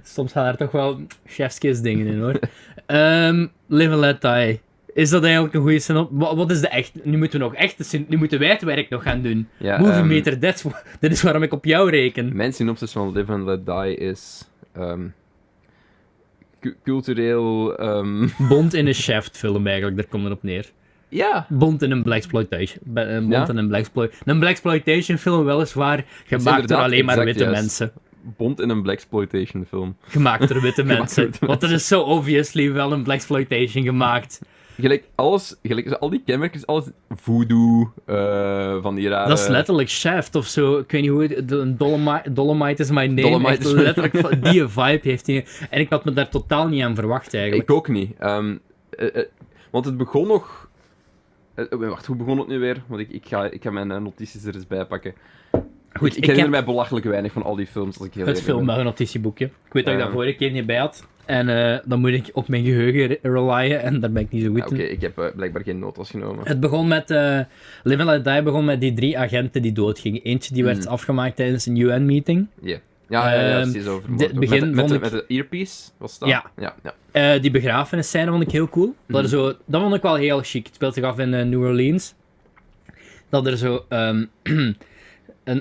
[SPEAKER 2] Soms gaan daar toch wel chefskis dingen in, hoor. Ehm, live and let die. Is dat eigenlijk een goede zin op? Wat, wat is de echt... Nu moeten we nog echt... de zin- Nu moeten wij het werk nog gaan doen.
[SPEAKER 1] Ja,
[SPEAKER 2] Movie
[SPEAKER 1] ehm,
[SPEAKER 2] meter, that's wha- dit is waarom ik op jou reken.
[SPEAKER 1] Mijn synopsis van Live and Let Die is... ehm, cu- cultureel... ehm,
[SPEAKER 2] Bond in een Shaft-film eigenlijk, daar komt het op neer.
[SPEAKER 1] ja,
[SPEAKER 2] Bond in een Blaxploitation. Be- eh, Bond
[SPEAKER 1] Ja?
[SPEAKER 2] in een Blaxploitation. Een Blaxploitation film weliswaar, gemaakt door
[SPEAKER 1] inderdaad
[SPEAKER 2] alleen maar
[SPEAKER 1] exact
[SPEAKER 2] witte
[SPEAKER 1] juist.
[SPEAKER 2] mensen.
[SPEAKER 1] Bond in een Blaxploitation film.
[SPEAKER 2] Gemaakt door witte mensen.
[SPEAKER 1] witte
[SPEAKER 2] Want er is zo obviously wel een Blaxploitation gemaakt.
[SPEAKER 1] Gelijk alles, gelijk al die kenmerken, alles voodoo, eh, van die rare...
[SPEAKER 2] dat is letterlijk Shaft of zo. Ik weet niet hoe het... de- een Dolomite, Dolomite is my name.
[SPEAKER 1] Dolomite
[SPEAKER 2] Echt
[SPEAKER 1] is my
[SPEAKER 2] letterlijk van- die vibe heeft hij. En ik had me daar totaal niet aan verwacht eigenlijk.
[SPEAKER 1] Ik ook niet. Ehm, eh, eh, want het begon nog... eh, eh, wacht, hoe begon het nu weer? Want ik, ik, ga, ik ga mijn eh, notities er eens bij pakken.
[SPEAKER 2] Goed,
[SPEAKER 1] Ik, herinner mij belachelijk weinig van al die films. Als ik heel
[SPEAKER 2] Het
[SPEAKER 1] eerlijk ben.
[SPEAKER 2] film eh, een notitieboekje. Ik weet dat ik dat
[SPEAKER 1] Ja.
[SPEAKER 2] vorige keer niet bij had. En eh, dan moet ik op mijn geheugen re- relyen. En daar ben ik niet zo goed
[SPEAKER 1] Ja, Oké,
[SPEAKER 2] in.
[SPEAKER 1] ik heb eh, blijkbaar geen notas genomen.
[SPEAKER 2] Het begon met. eh Live and Let Die begon met die drie agenten die doodgingen. Eentje die werd
[SPEAKER 1] Mm.
[SPEAKER 2] afgemaakt tijdens een UN-meeting.
[SPEAKER 1] Ja, ja, ja, ja,
[SPEAKER 2] Ehm,
[SPEAKER 1] precies over
[SPEAKER 2] de- begin
[SPEAKER 1] met, de- met,
[SPEAKER 2] vond
[SPEAKER 1] de-
[SPEAKER 2] ik-
[SPEAKER 1] met de earpiece, was dat?
[SPEAKER 2] Ja.
[SPEAKER 1] ja, ja.
[SPEAKER 2] Eh die begrafenisscène vond ik heel cool. Dat, er zo, dat vond ik wel heel chic. Het speelt zich af in eh, New Orleans. Dat er zo ehm, een,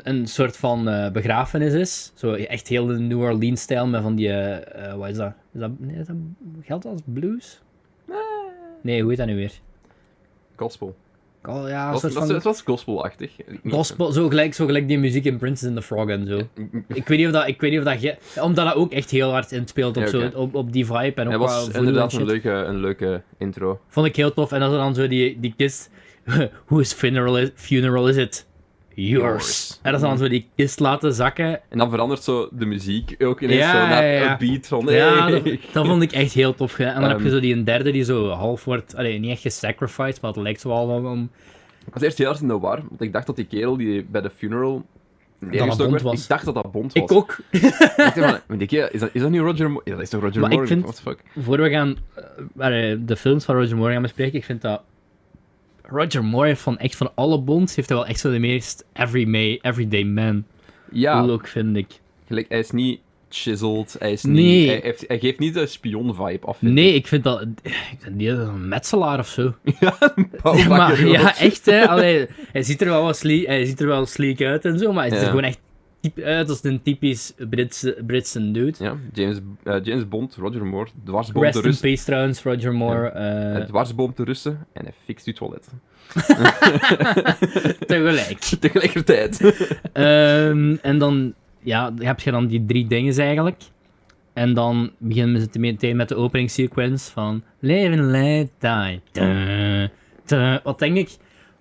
[SPEAKER 2] een soort van eh, begrafenis is. Zo echt heel de New Orleans-stijl met van die. eh, eh, wat is dat? Is dat, nee, is dat geldt dat als blues? Nee, hoe heet dat nu weer?
[SPEAKER 1] Gospel.
[SPEAKER 2] Oh, ja, een
[SPEAKER 1] Was,
[SPEAKER 2] soort
[SPEAKER 1] dat,
[SPEAKER 2] van.
[SPEAKER 1] het was gospelachtig. Ik-
[SPEAKER 2] Gospel, zo gelijk, zo gelijk die muziek in Princess and the Frog en zo.
[SPEAKER 1] Mm,
[SPEAKER 2] Ik weet niet of dat, ik weet niet of dat ge- omdat dat ook echt heel hard inspeelt op,
[SPEAKER 1] Ja, oké.
[SPEAKER 2] zo, op, op die vibe en
[SPEAKER 1] Het
[SPEAKER 2] op
[SPEAKER 1] was inderdaad een leuke, een leuke intro.
[SPEAKER 2] Vond ik heel tof. En als er dan zo die, die kist, whose funeral is, funeral is it? Yours.
[SPEAKER 1] Yours.
[SPEAKER 2] En als ze dan zo die kist laten zakken.
[SPEAKER 1] En dan verandert zo de muziek ook ineens
[SPEAKER 2] Ja,
[SPEAKER 1] zo naar
[SPEAKER 2] ja, ja.
[SPEAKER 1] een beat van...
[SPEAKER 2] Ja,
[SPEAKER 1] hey.
[SPEAKER 2] dat, dat vond ik echt heel tof. gedaan. En dan heb je
[SPEAKER 1] Ehm.
[SPEAKER 2] zo die een derde die zo half wordt, allee, niet echt gesacrificed, maar het lijkt zo al om, om
[SPEAKER 1] Ik was eerst heel erg in de war, want ik dacht dat die kerel die bij de funeral...
[SPEAKER 2] dat Bond
[SPEAKER 1] neergestoken werd,
[SPEAKER 2] was.
[SPEAKER 1] Ik dacht dat dat Bond was.
[SPEAKER 2] Ik ook.
[SPEAKER 1] Ik dacht van, maar die kerel, is, dat, is dat nu Roger Moore? Ja, dat is toch Roger
[SPEAKER 2] Maar ik
[SPEAKER 1] Moore?
[SPEAKER 2] vind-
[SPEAKER 1] What the fuck?
[SPEAKER 2] Voor we gaan eh, allee, de films van Roger Moore gaan bespreken, ik vind dat Roger Moore heeft van echt van alle bonds heeft hij wel echt zo de meest everyday, everyday man
[SPEAKER 1] Ja,
[SPEAKER 2] look vind ik.
[SPEAKER 1] Gelijk, hij is niet chiseled, hij, is
[SPEAKER 2] Nee.
[SPEAKER 1] niet, hij, heeft- hij geeft niet de spion-vibe af. vind
[SPEAKER 2] Nee, ik vind dat ik vind die een metselaar of zo.
[SPEAKER 1] ik. Ja, een bouwvakker
[SPEAKER 2] maar
[SPEAKER 1] ook.
[SPEAKER 2] ja, echt hè. Allee, hij ziet er wel wat sleek, hij ziet er wel sleek uit en zo, maar hij ziet er
[SPEAKER 1] Ja.
[SPEAKER 2] gewoon echt typ uit als een typisch Britse, Britse dude.
[SPEAKER 1] Ja, James, eh, James Bond, Roger Moore, dwarsboom
[SPEAKER 2] Rest
[SPEAKER 1] de
[SPEAKER 2] in
[SPEAKER 1] Russen.
[SPEAKER 2] peace trouwens, Roger Moore. eh,
[SPEAKER 1] Hij dwarsboomt de Russen en hij fixt uw toilet.
[SPEAKER 2] tegelijk.
[SPEAKER 1] Tegelijkertijd.
[SPEAKER 2] Ehm, en dan ja, heb je dan die drie dingen eigenlijk. En dan beginnen we te- meteen met de openingssequence van Leven, Let, Die. Duh, duh. wat denk ik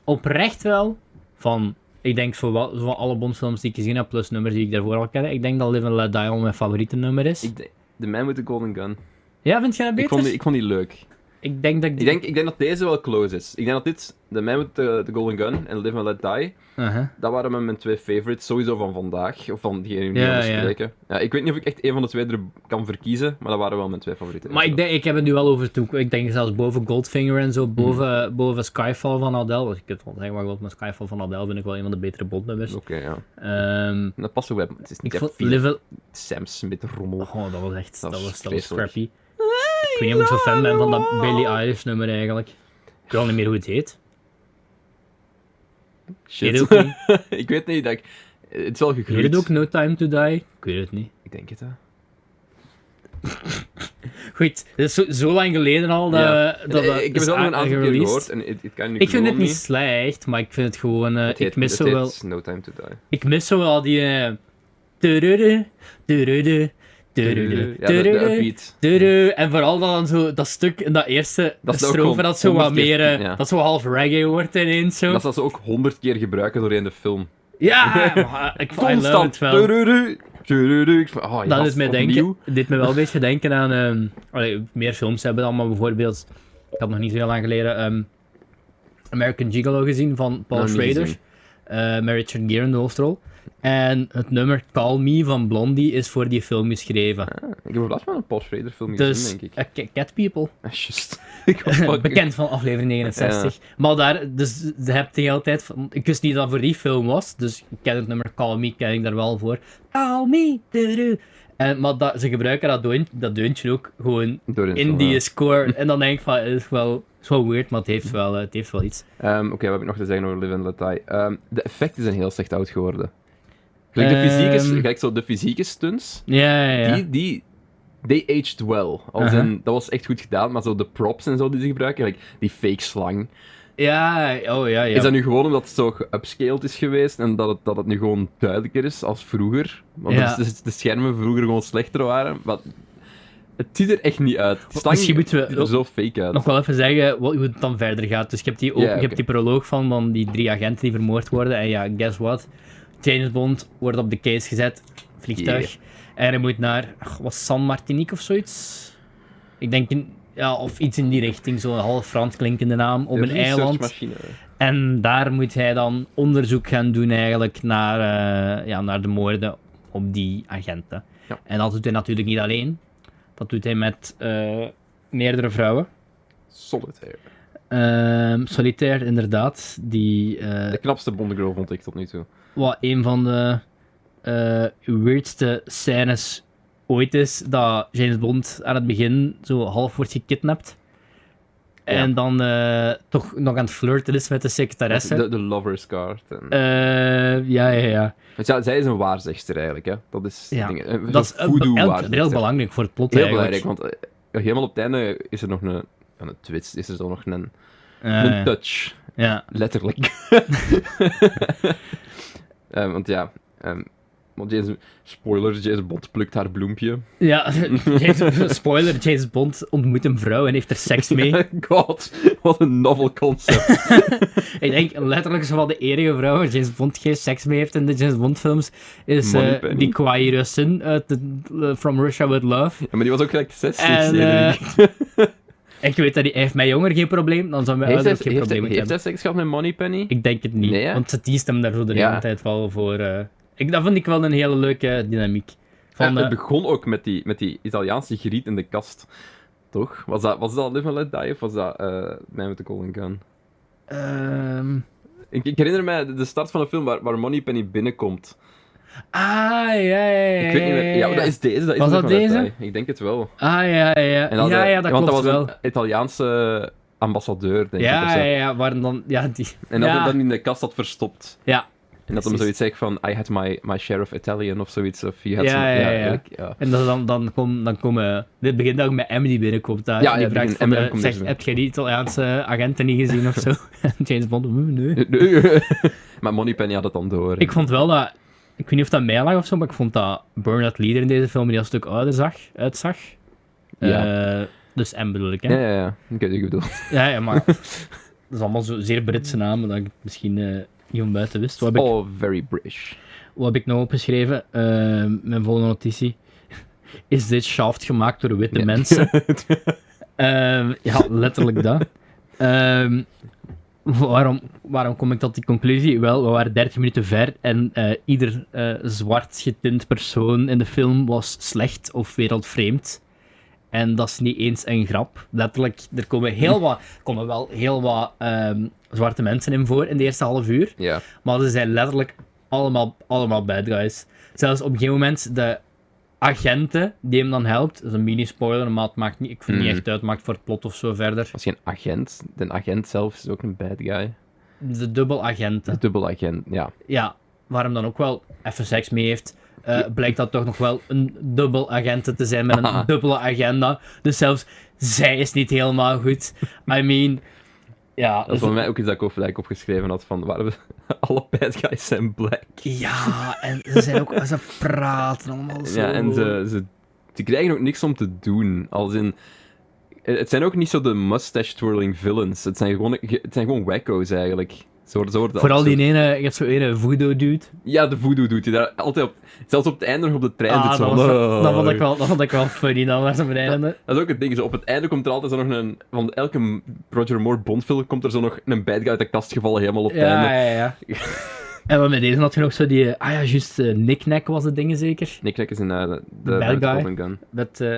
[SPEAKER 2] oprecht wel van, ik denk voor wat, van alle Bondfilms die ik gezien heb, plus nummers die ik daarvoor al ken, ik denk dat Live and Let Die al mijn favoriete nummer is.
[SPEAKER 1] Ik, de- de Man with the Golden Gun.
[SPEAKER 2] ja, vind jij dat
[SPEAKER 1] Ik
[SPEAKER 2] beter?
[SPEAKER 1] vond, die, ik vond die leuk.
[SPEAKER 2] Ik denk dat ik...
[SPEAKER 1] Ik denk, ik denk dat deze wel close is. Ik denk dat dit, The Man with the, the Golden Gun en Live and Let Die,
[SPEAKER 2] Uh-huh.
[SPEAKER 1] dat waren mijn- mijn twee favorites sowieso van vandaag. Of van diegene die we
[SPEAKER 2] Ja,
[SPEAKER 1] gaan
[SPEAKER 2] ja.
[SPEAKER 1] bespreken. Ja, ik weet niet of ik echt één van de twee er kan verkiezen, maar dat waren wel mijn twee favorieten.
[SPEAKER 2] Maar ik, denk, ik heb het nu wel over toe. Ik denk zelfs boven Goldfinger en
[SPEAKER 1] Hmm.
[SPEAKER 2] zo, boven, boven Skyfall van Adele. Dus ik kan het wel zeggen, maar ik wil- maar Skyfall van Adele vind ik wel een van de betere Bondnummers.
[SPEAKER 1] Oké, ja.
[SPEAKER 2] Ehm,
[SPEAKER 1] En dat past ook bij... Het is niet
[SPEAKER 2] ik
[SPEAKER 1] echt
[SPEAKER 2] vond
[SPEAKER 1] veel
[SPEAKER 2] Live and-
[SPEAKER 1] Sam Smith rommel.
[SPEAKER 2] Oh, dat was echt...
[SPEAKER 1] Dat
[SPEAKER 2] Dat,
[SPEAKER 1] was
[SPEAKER 2] was, dat was
[SPEAKER 1] vreselijk.
[SPEAKER 2] crappy. Ik weet niet of ik zo fan ben van dat Billie Eilish nummer eigenlijk. Ik weet al niet meer hoe het heet.
[SPEAKER 1] Shit.
[SPEAKER 2] Weet het
[SPEAKER 1] ik weet niet dat ik... Het is wel
[SPEAKER 2] Heet het
[SPEAKER 1] gegroeid.
[SPEAKER 2] ook No Time To Die? Ik weet het niet.
[SPEAKER 1] Ik denk het, hè.
[SPEAKER 2] Goed, het is zo, zo lang geleden al dat...
[SPEAKER 1] Ja.
[SPEAKER 2] eh, dat, dat
[SPEAKER 1] ik heb
[SPEAKER 2] is
[SPEAKER 1] het al nog een aantal keer
[SPEAKER 2] gereleased.
[SPEAKER 1] gehoord en het, het kan nu
[SPEAKER 2] Ik vind
[SPEAKER 1] gewoon
[SPEAKER 2] het niet slecht, maar ik vind het gewoon... eh,
[SPEAKER 1] Het heet-
[SPEAKER 2] ik mis
[SPEAKER 1] het
[SPEAKER 2] zo wel...
[SPEAKER 1] heet No Time To Die.
[SPEAKER 2] Ik mis zo wel die. eh, tururu, tururu, tururu,
[SPEAKER 1] Ja, de, de
[SPEAKER 2] tururu,
[SPEAKER 1] upbeat.
[SPEAKER 2] tururu. En vooral dan zo dat stuk in dat eerste
[SPEAKER 1] Dat is ook
[SPEAKER 2] strofe
[SPEAKER 1] gewoon
[SPEAKER 2] dat zo wat
[SPEAKER 1] 100 keer,
[SPEAKER 2] meer. eh,
[SPEAKER 1] ja.
[SPEAKER 2] Dat zo half reggae wordt ineens zo.
[SPEAKER 1] Dat zal ze ook honderd keer gebruiken doorheen de film.
[SPEAKER 2] Ja, maar ik I love
[SPEAKER 1] Constant.
[SPEAKER 2] het wel.
[SPEAKER 1] Tururu, tururu. Ik van, Oh,
[SPEAKER 2] Dat
[SPEAKER 1] jas,
[SPEAKER 2] doet mij denken,
[SPEAKER 1] opnieuw.
[SPEAKER 2] dit me wel een beetje denken aan. ehm, allee, meer films hebben dan, maar bijvoorbeeld. Ik had nog niet zo heel lang geleden. ehm, American Gigolo gezien van Paul
[SPEAKER 1] Nog niet
[SPEAKER 2] Schrader.
[SPEAKER 1] gezien.
[SPEAKER 2] eh met Richard Gere in de hoofdrol. En het nummer Call Me van Blondie is voor die film geschreven.
[SPEAKER 1] Ik heb laatst wel een Paul Schrader film
[SPEAKER 2] Dus
[SPEAKER 1] gezien, denk ik.
[SPEAKER 2] eh, Ca- Cat People,
[SPEAKER 1] Ah, Just. ik was fucking-
[SPEAKER 2] bekend van aflevering 69. Maar daar, dus je hebt de hele tijd. van- Ik wist niet dat het voor die film was, dus ik ken het nummer Call Me, ken ik daar wel voor. Call Me, tudu. En, maar dat, ze gebruiken dat, deunt, dat deuntje ook gewoon
[SPEAKER 1] Door in de
[SPEAKER 2] in
[SPEAKER 1] film,
[SPEAKER 2] die
[SPEAKER 1] ja.
[SPEAKER 2] score. En dan denk ik van, het is wel, het is wel weird, maar het heeft wel, eh, het heeft wel iets.
[SPEAKER 1] Ehm, Oké, wat heb ik nog te zeggen over Live and Let Die? Ehm, de effecten zijn heel slecht oud geworden. Gelijk de fysieke,
[SPEAKER 2] Ehm.
[SPEAKER 1] gelijk zo de fysieke stunts,
[SPEAKER 2] Ja, ja, Uh-huh. ja.
[SPEAKER 1] die, die, they aged well. Als
[SPEAKER 2] Aha.
[SPEAKER 1] in, dat was echt goed gedaan, maar zo de props en zo die ze gebruiken, like die fake slang.
[SPEAKER 2] Ja, oh ja, ja.
[SPEAKER 1] Is dat nu gewoon omdat het zo geupscaled is geweest en dat het, dat het nu gewoon duidelijker is als vroeger? Want
[SPEAKER 2] Ja.
[SPEAKER 1] de, de- de schermen vroeger gewoon slechter waren, maar het ziet er echt niet uit. De slang
[SPEAKER 2] Misschien moeten we-
[SPEAKER 1] ziet er zo fake uit.
[SPEAKER 2] nog wel even zeggen wat, hoe het dan verder gaat. Dus je hebt die, open,
[SPEAKER 1] Ja,
[SPEAKER 2] je
[SPEAKER 1] oké.
[SPEAKER 2] hebt die proloog van, van die drie agenten die vermoord worden. En ja, guess what? James Bond wordt op de case gezet, vliegtuig. En hij moet naar, ach, was San Martinique of zoiets? Ik denk, in, ja, of iets in die richting, zo'n half Frans klinkende naam, op
[SPEAKER 1] De
[SPEAKER 2] een eiland.
[SPEAKER 1] researchmachine.
[SPEAKER 2] En daar moet hij dan onderzoek gaan doen eigenlijk naar, eh, ja, naar de moorden op die agenten.
[SPEAKER 1] Ja.
[SPEAKER 2] En dat doet hij natuurlijk niet alleen. Dat doet hij met eh, meerdere vrouwen.
[SPEAKER 1] Solitaire.
[SPEAKER 2] Ehm, Solitaire, inderdaad. Die eh,
[SPEAKER 1] De knapste Bond girl vond ik tot nu toe.
[SPEAKER 2] wat een van de eh, weirdste scènes ooit is. Dat James Bond aan het begin zo half wordt gekidnapt. En dan eh, toch nog aan het flirten is met de secretaresse.
[SPEAKER 1] De, de lover's card. En...
[SPEAKER 2] Eh, ja, ja, ja.
[SPEAKER 1] Want ja, zij is een waarzegster eigenlijk. Hè. Dat is,
[SPEAKER 2] Ja.
[SPEAKER 1] ding, een-
[SPEAKER 2] Dat is
[SPEAKER 1] een
[SPEAKER 2] eh, be- elk-
[SPEAKER 1] voodoo-waarzegster.
[SPEAKER 2] heel belangrijk voor het plot
[SPEAKER 1] Heel belangrijk,
[SPEAKER 2] eigenlijk.
[SPEAKER 1] want eh, helemaal op het einde is er nog een... Aan het twist is er zo nog een,
[SPEAKER 2] Eh,
[SPEAKER 1] een touch.
[SPEAKER 2] ja.
[SPEAKER 1] Letterlijk. Eh, want ja, ehm, want James, spoiler, James Bond plukt haar bloempje.
[SPEAKER 2] ja, James- spoiler, James Bond ontmoet een vrouw en heeft er seks mee.
[SPEAKER 1] God, wat een novel concept.
[SPEAKER 2] Ik denk letterlijk zo van de enige vrouw waar James Bond geen seks mee heeft in de James Bond films, is eh,
[SPEAKER 1] Moneypenny.
[SPEAKER 2] die kwaai Russin uit de- eh, From Russia With Love.
[SPEAKER 1] Ja, maar die was ook gelijk 60.
[SPEAKER 2] En,
[SPEAKER 1] Cedric.
[SPEAKER 2] eh, ik weet dat hij, hij heeft mij jonger geen probleem, dan zou mijn
[SPEAKER 1] heeft,
[SPEAKER 2] ouder
[SPEAKER 1] hij,
[SPEAKER 2] ook geen
[SPEAKER 1] heeft, hij,
[SPEAKER 2] probleem moeten
[SPEAKER 1] heeft
[SPEAKER 2] hebben.
[SPEAKER 1] hij seks gehad met Moneypenny?
[SPEAKER 2] Ik denk het niet,
[SPEAKER 1] Nee, hè?
[SPEAKER 2] want ze teest hem daar zo de hele
[SPEAKER 1] Ja.
[SPEAKER 2] tijd wel voor. eh. ik, dat vond ik wel een hele leuke dynamiek. Van,
[SPEAKER 1] Penny?
[SPEAKER 2] eh,
[SPEAKER 1] het begon ook met die, met die Italiaanse griet in de kast. Toch? Was dat, was dat Live and Let Die of was dat eh Man with the Golden Gun?
[SPEAKER 2] ehm,
[SPEAKER 1] Ik, ik herinner mij de- de start van een film waar, waar Moneypenny binnenkomt.
[SPEAKER 2] Ah, ja, ja, ja.
[SPEAKER 1] Ik weet niet meer. Ja, maar dat is deze. Dat is
[SPEAKER 2] Was
[SPEAKER 1] niet
[SPEAKER 2] dat
[SPEAKER 1] van de
[SPEAKER 2] deze?
[SPEAKER 1] Thai. Ik denk het wel.
[SPEAKER 2] Ah, ja, ja, ja.
[SPEAKER 1] En dat
[SPEAKER 2] ja,
[SPEAKER 1] de-
[SPEAKER 2] ja, dat
[SPEAKER 1] want
[SPEAKER 2] klopt
[SPEAKER 1] dat was
[SPEAKER 2] wel.
[SPEAKER 1] een Italiaanse ambassadeur, denk ik. Of
[SPEAKER 2] Ja,
[SPEAKER 1] zo.
[SPEAKER 2] ja, ja, waarom dan... Ja, die...
[SPEAKER 1] En dat
[SPEAKER 2] ja.
[SPEAKER 1] hij dat in de kast had verstopt.
[SPEAKER 2] ja.
[SPEAKER 1] En dat hem
[SPEAKER 2] Precies.
[SPEAKER 1] zoiets zegt van, I had my, my share of Italian of zoiets. Of you had
[SPEAKER 2] Ja,
[SPEAKER 1] some-
[SPEAKER 2] ja, ja.
[SPEAKER 1] eigenlijk, ja.
[SPEAKER 2] En dan, dan, dan, kom, dan komen... Dit begint ook met M die binnenkomt daar.
[SPEAKER 1] Ja,
[SPEAKER 2] En die
[SPEAKER 1] ja,
[SPEAKER 2] vraagt
[SPEAKER 1] begin-
[SPEAKER 2] van...
[SPEAKER 1] M
[SPEAKER 2] eh,
[SPEAKER 1] komt
[SPEAKER 2] zegt,
[SPEAKER 1] dus-
[SPEAKER 2] heb jij die Italiaanse agenten niet gezien of zo? En James Bond, "Mm, nee.
[SPEAKER 1] maar Moneypenny had het dan door.
[SPEAKER 2] Ik vond wel dat... Ik weet niet of dat mij lag of zo, maar ik vond dat Bernard Leader in deze film die al een stuk ouder zag, uitzag.
[SPEAKER 1] Ja.
[SPEAKER 2] Eh, dus M bedoel ik, hè?
[SPEAKER 1] Ja, ja, ja. Ik weet wat je bedoelt.
[SPEAKER 2] Ja, ja, maar... Dat is allemaal zo zeer Britse namen dat ik het misschien eh, Jon buiten wist. Wat heb, ik,
[SPEAKER 1] Oh, very British.
[SPEAKER 2] wat heb ik nou opgeschreven? Eh, mijn volgende notitie. Is dit shaft gemaakt door witte
[SPEAKER 1] Ja.
[SPEAKER 2] mensen? Ehm, ja, letterlijk dat. Ehm, waarom, waarom kom ik tot die conclusie? Wel, we waren 30 minuten ver en eh, ieder eh, zwart getint persoon in de film was slecht of wereldvreemd. En dat is niet eens een grap. Letterlijk, er komen, heel wat, er komen wel heel wat ehm, zwarte mensen in voor in de eerste half uur.
[SPEAKER 1] ja.
[SPEAKER 2] Maar ze zijn letterlijk allemaal, allemaal bad guys. Zelfs op een gegeven moment de agenten die hem dan helpt. Dat is een mini-spoiler, maar het maakt niet, ik vind het
[SPEAKER 1] Mm.
[SPEAKER 2] niet echt uit. maakt voor het plot of zo verder.
[SPEAKER 1] Was geen agent. De agent zelf is ook een bad guy.
[SPEAKER 2] De dubbelagenten.
[SPEAKER 1] Een dubbel agent, ja.
[SPEAKER 2] Ja, waar hem dan ook wel even seks mee heeft. eh, blijkt dat toch nog wel een dubbelagenten te zijn met een
[SPEAKER 1] Haha.
[SPEAKER 2] dubbele agenda. Dus zelfs zij is niet helemaal goed. I mean, ja.
[SPEAKER 1] Dat is voor mij ook iets dat ik over- dat ik opgeschreven had, van waar we... Alle bad guys zijn black.
[SPEAKER 2] Ja, en ze zijn ook, ze praten allemaal zo.
[SPEAKER 1] Ja, en ze, ze, ze krijgen ook niks om te doen. Als in, eh, het zijn ook niet zo de mustache-twirling villains. Het zijn gewoon, het zijn gewoon wacko's eigenlijk. Zo, worden- zo worden
[SPEAKER 2] Vooral
[SPEAKER 1] altijd
[SPEAKER 2] die ene, je hebt zo'n ene voodoo-dude.
[SPEAKER 1] zo- Ja, de voodoo doet hij daar altijd op. Zelfs op het einde nog op de trein
[SPEAKER 2] Ah,
[SPEAKER 1] zit zo.
[SPEAKER 2] dat,
[SPEAKER 1] van,
[SPEAKER 2] was,
[SPEAKER 1] "Oh."
[SPEAKER 2] dat, vond ik wel, dat vond ik wel funny dan, waar ze op het einde.
[SPEAKER 1] Dat is ook het ding. Zo, op het einde komt er altijd zo nog een. Van elke Roger Moore Bondfilm komt er zo nog een bad guy uit de kast gevallen, helemaal op het
[SPEAKER 2] Ja,
[SPEAKER 1] einde.
[SPEAKER 2] ja, ja. En wat met deze had je nog zo die. eh, Ah ja, juist. eh, Knick-Knack was het ding zeker.
[SPEAKER 1] Nick Nack is een. eh, de, de-
[SPEAKER 2] bad
[SPEAKER 1] de
[SPEAKER 2] guy.
[SPEAKER 1] Golden Gun.
[SPEAKER 2] Met. eh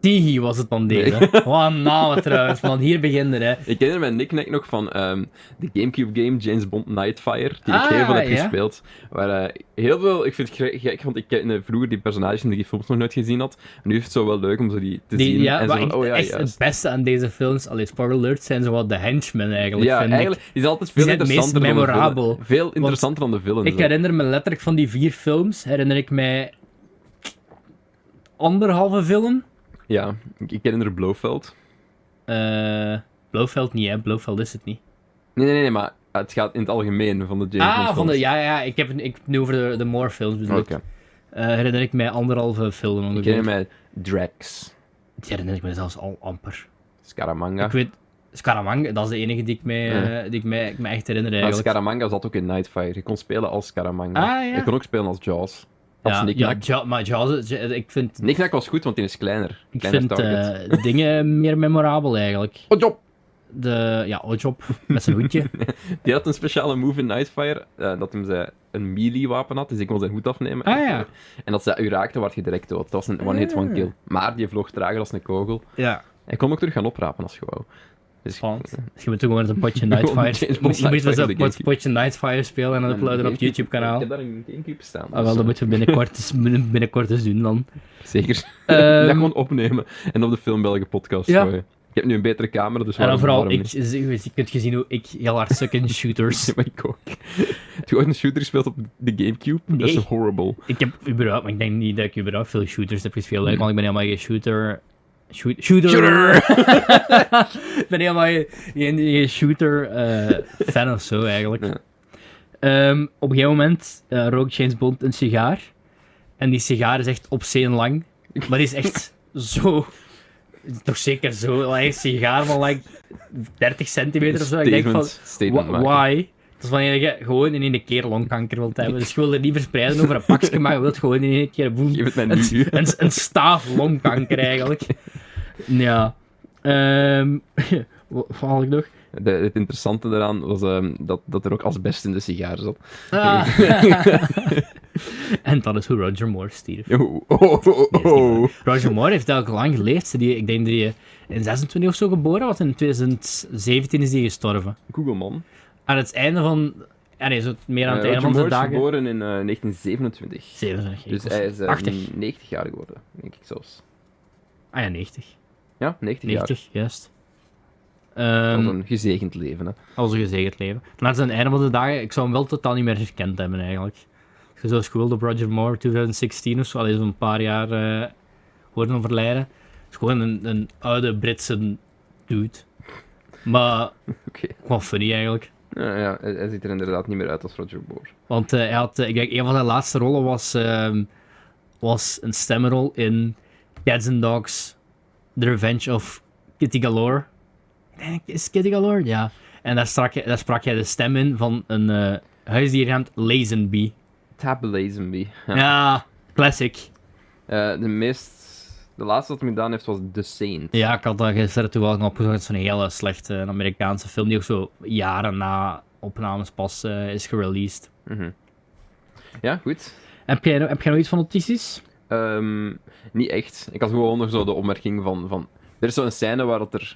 [SPEAKER 2] Tihi was het dan deze. Wat een naam trouwens, man. Hier begint er, hè.
[SPEAKER 1] Ik herinner me Nick Nack nog van ehm, de Gamecube game James Bond Nightfire, die
[SPEAKER 2] Ah,
[SPEAKER 1] ik heel veel heb
[SPEAKER 2] ja.
[SPEAKER 1] gespeeld. Waar eh, heel veel, ik vind het gek- gek, want ik kende vroeger die personages in die films nog nooit gezien had. En nu is het zo wel leuk om zo die te
[SPEAKER 2] Die,
[SPEAKER 1] zien.
[SPEAKER 2] ja,
[SPEAKER 1] en
[SPEAKER 2] maar
[SPEAKER 1] zo,
[SPEAKER 2] ik-
[SPEAKER 1] van, oh ja,
[SPEAKER 2] echt
[SPEAKER 1] juist.
[SPEAKER 2] het beste aan deze films, alleen spoiler alert, zijn zo wat de henchmen eigenlijk.
[SPEAKER 1] ja,
[SPEAKER 2] vind
[SPEAKER 1] eigenlijk is het altijd veel
[SPEAKER 2] die zijn het meest
[SPEAKER 1] interessanter dan de villain.
[SPEAKER 2] memorabel.
[SPEAKER 1] Veel interessanter dan de villains.
[SPEAKER 2] Ik. ik
[SPEAKER 1] hè.
[SPEAKER 2] herinner me letterlijk van die vier films, herinner ik mij. anderhalve film.
[SPEAKER 1] Ja, ik, ik herinner Blofeld.
[SPEAKER 2] Eh Blofeld niet, hè? Blofeld is het niet.
[SPEAKER 1] Nee, nee, nee, maar het gaat in het algemeen van de James Bond
[SPEAKER 2] Ah, van de,
[SPEAKER 1] films.
[SPEAKER 2] ja, ja, ik heb het ik, heb het nu over de, de Moore films bedoeld.
[SPEAKER 1] Oké.
[SPEAKER 2] Eh, herinner ik mij anderhalve film
[SPEAKER 1] Ik
[SPEAKER 2] ongeveer.
[SPEAKER 1] herinner mij Drax,
[SPEAKER 2] Die herinner ik mij zelfs al amper.
[SPEAKER 1] Scaramanga.
[SPEAKER 2] Ik weet, Scaramanga, dat is de enige die ik mij,
[SPEAKER 1] Ja.
[SPEAKER 2] eh, die ik mij, ik me echt herinner
[SPEAKER 1] Maar
[SPEAKER 2] eigenlijk.
[SPEAKER 1] Scaramanga zat ook in Nightfire. Je kon spelen als Scaramanga.
[SPEAKER 2] Ah, ja.
[SPEAKER 1] Je kon ook spelen als Jaws. Als
[SPEAKER 2] ja,
[SPEAKER 1] Nick
[SPEAKER 2] ja,
[SPEAKER 1] Nack.
[SPEAKER 2] Ja, maar Jaws, Ja, ik vind,
[SPEAKER 1] Nicknack was goed, want die is kleiner.
[SPEAKER 2] ik
[SPEAKER 1] Kleiner
[SPEAKER 2] vind
[SPEAKER 1] target.
[SPEAKER 2] eh, dingen meer memorabel eigenlijk.
[SPEAKER 1] Oh, job!
[SPEAKER 2] De, ja, Ojop met zijn hoedje.
[SPEAKER 1] Die had een speciale move in Nightfire, eh, dat hem ze een melee-wapen had, dus ik kon zijn hoed afnemen.
[SPEAKER 2] Ah, ja.
[SPEAKER 1] En als ze dat u raakte, werd je direct dood. Dat was een one-hit,
[SPEAKER 2] Ah.
[SPEAKER 1] one-kill. Maar die vloog trager als een kogel.
[SPEAKER 2] ja.
[SPEAKER 1] Hij kon hem ook terug gaan oprapen als je wou. Dus
[SPEAKER 2] Want je moet gewoon eens een potje
[SPEAKER 1] Gewoon
[SPEAKER 2] Nightfire.
[SPEAKER 1] James Bond
[SPEAKER 2] Moet je moet
[SPEAKER 1] Nightfire
[SPEAKER 2] eens
[SPEAKER 1] op de
[SPEAKER 2] een pot-
[SPEAKER 1] Gamecube.
[SPEAKER 2] potje Nightfire spelen en dan
[SPEAKER 1] En
[SPEAKER 2] uploaden op
[SPEAKER 1] Gamecube-
[SPEAKER 2] YouTube
[SPEAKER 1] Ik
[SPEAKER 2] kanaal.
[SPEAKER 1] heb daar een Gamecube staan.
[SPEAKER 2] Ah, wel,
[SPEAKER 1] dus,
[SPEAKER 2] dat
[SPEAKER 1] eh,
[SPEAKER 2] moeten we binnenkort eens, binnen- binnenkort eens doen dan.
[SPEAKER 1] Zeker.
[SPEAKER 2] Ehm,
[SPEAKER 1] dat gewoon opnemen en op de Film Belgen podcast
[SPEAKER 2] Ja.
[SPEAKER 1] gooien. Ik heb nu een betere camera, dus
[SPEAKER 2] En
[SPEAKER 1] waarom-
[SPEAKER 2] dan vooral,
[SPEAKER 1] waarom
[SPEAKER 2] ik,
[SPEAKER 1] niet?
[SPEAKER 2] je je kunt gezien hoe ik heel hard suk in shooters.
[SPEAKER 1] Ja, maar ik ook. Heb je ooit een shooter gespeeld op de Gamecube? Dat is
[SPEAKER 2] Nee.
[SPEAKER 1] horrible.
[SPEAKER 2] Ik heb überhaupt, maar ik denk niet dat ik überhaupt veel shooters heb gespeeld, hè, want ik ben helemaal geen shooter... Shoot, shooter! ik ben helemaal geen, geen, geen shooter eh, fan of zo, eigenlijk.
[SPEAKER 1] Ja.
[SPEAKER 2] Ehm, op een gegeven moment eh, rookt James Bond een sigaar. En die sigaar is echt obscene lang. Maar die is echt zo... Toch zeker zo. like, Een sigaar van like 30 centimeter of zo. Ik denk van...
[SPEAKER 1] Statement- statement
[SPEAKER 2] Wa-
[SPEAKER 1] maken.
[SPEAKER 2] Why? Dat is wanneer je gewoon in één keer longkanker wilt hebben. Dus je wil het niet verspreiden over een pakje, maar je wilt gewoon in één keer boem,
[SPEAKER 1] Geef het mij
[SPEAKER 2] een,
[SPEAKER 1] nu.
[SPEAKER 2] een, een staaf longkanker eigenlijk. Ja. Ehm wat wat had ik nog?
[SPEAKER 1] De- het interessante daaraan was ehm, dat, dat er ook asbest in de sigaar zat.
[SPEAKER 2] Ah. en dat is hoe Roger Moore stierf.
[SPEAKER 1] Oh, oh, oh, oh,
[SPEAKER 2] Nee, is niet
[SPEAKER 1] oh.
[SPEAKER 2] waar. Roger Moore heeft ook lang geleefd. Die, ik denk dat hij in 26 of zo geboren was. In 2017 is hij gestorven.
[SPEAKER 1] Google, man.
[SPEAKER 2] Aan het einde van... Ah nee, zo meer aan het
[SPEAKER 1] Eh,
[SPEAKER 2] einde
[SPEAKER 1] Roger
[SPEAKER 2] van zijn
[SPEAKER 1] Moore is
[SPEAKER 2] dagen.
[SPEAKER 1] geboren in eh, 1927.
[SPEAKER 2] 27.
[SPEAKER 1] Dus hij is eh,
[SPEAKER 2] 80.
[SPEAKER 1] 90 jaar geworden, denk ik zelfs.
[SPEAKER 2] Ah ja, 90.
[SPEAKER 1] Ja, 90, jaar.
[SPEAKER 2] 90, juist.
[SPEAKER 1] Dat
[SPEAKER 2] Ehm
[SPEAKER 1] was een gezegend leven, hè.
[SPEAKER 2] als een gezegend leven. Maar aan het einde van de dagen, ik zou hem wel totaal niet meer herkend hebben eigenlijk. Als je zoals gewild op Roger Moore 2016 of zo, allee, zo'n paar jaar eh horen overlijden. Het is gewoon een, een oude Britse dude. Maar
[SPEAKER 1] Oké.
[SPEAKER 2] gewoon funny eigenlijk.
[SPEAKER 1] Ja, Eh, ja, hij, hij ziet er inderdaad niet meer uit als Roger Moore.
[SPEAKER 2] Want eh, hij had, eh, ik denk, een van zijn laatste rollen was, ehm, was een stemrol in Cats and Dogs, The Revenge of Kitty Galore. Ik denk, Is het Kitty Galore? Ja. En daar sprak, je- daar sprak jij de stem in van een eh huisdier genaamd Lazenby.
[SPEAKER 1] Tab Lazenby. Ja.
[SPEAKER 2] Ja. classic.
[SPEAKER 1] Eh, de meest... De laatste wat hij gedaan heeft was The Saint.
[SPEAKER 2] Ja, ik had dat gisteren toevallig nog opgezocht. Het is een hele slechte eh, Amerikaanse film die ook zo jaren na opnames pas eh, is gereleased.
[SPEAKER 1] Mhm. Ja, goed.
[SPEAKER 2] Heb jij, heb jij nog iets van notities?
[SPEAKER 1] Ehm, niet echt. Ik had gewoon nog zo de opmerking van, van... Er is zo'n scène waar dat er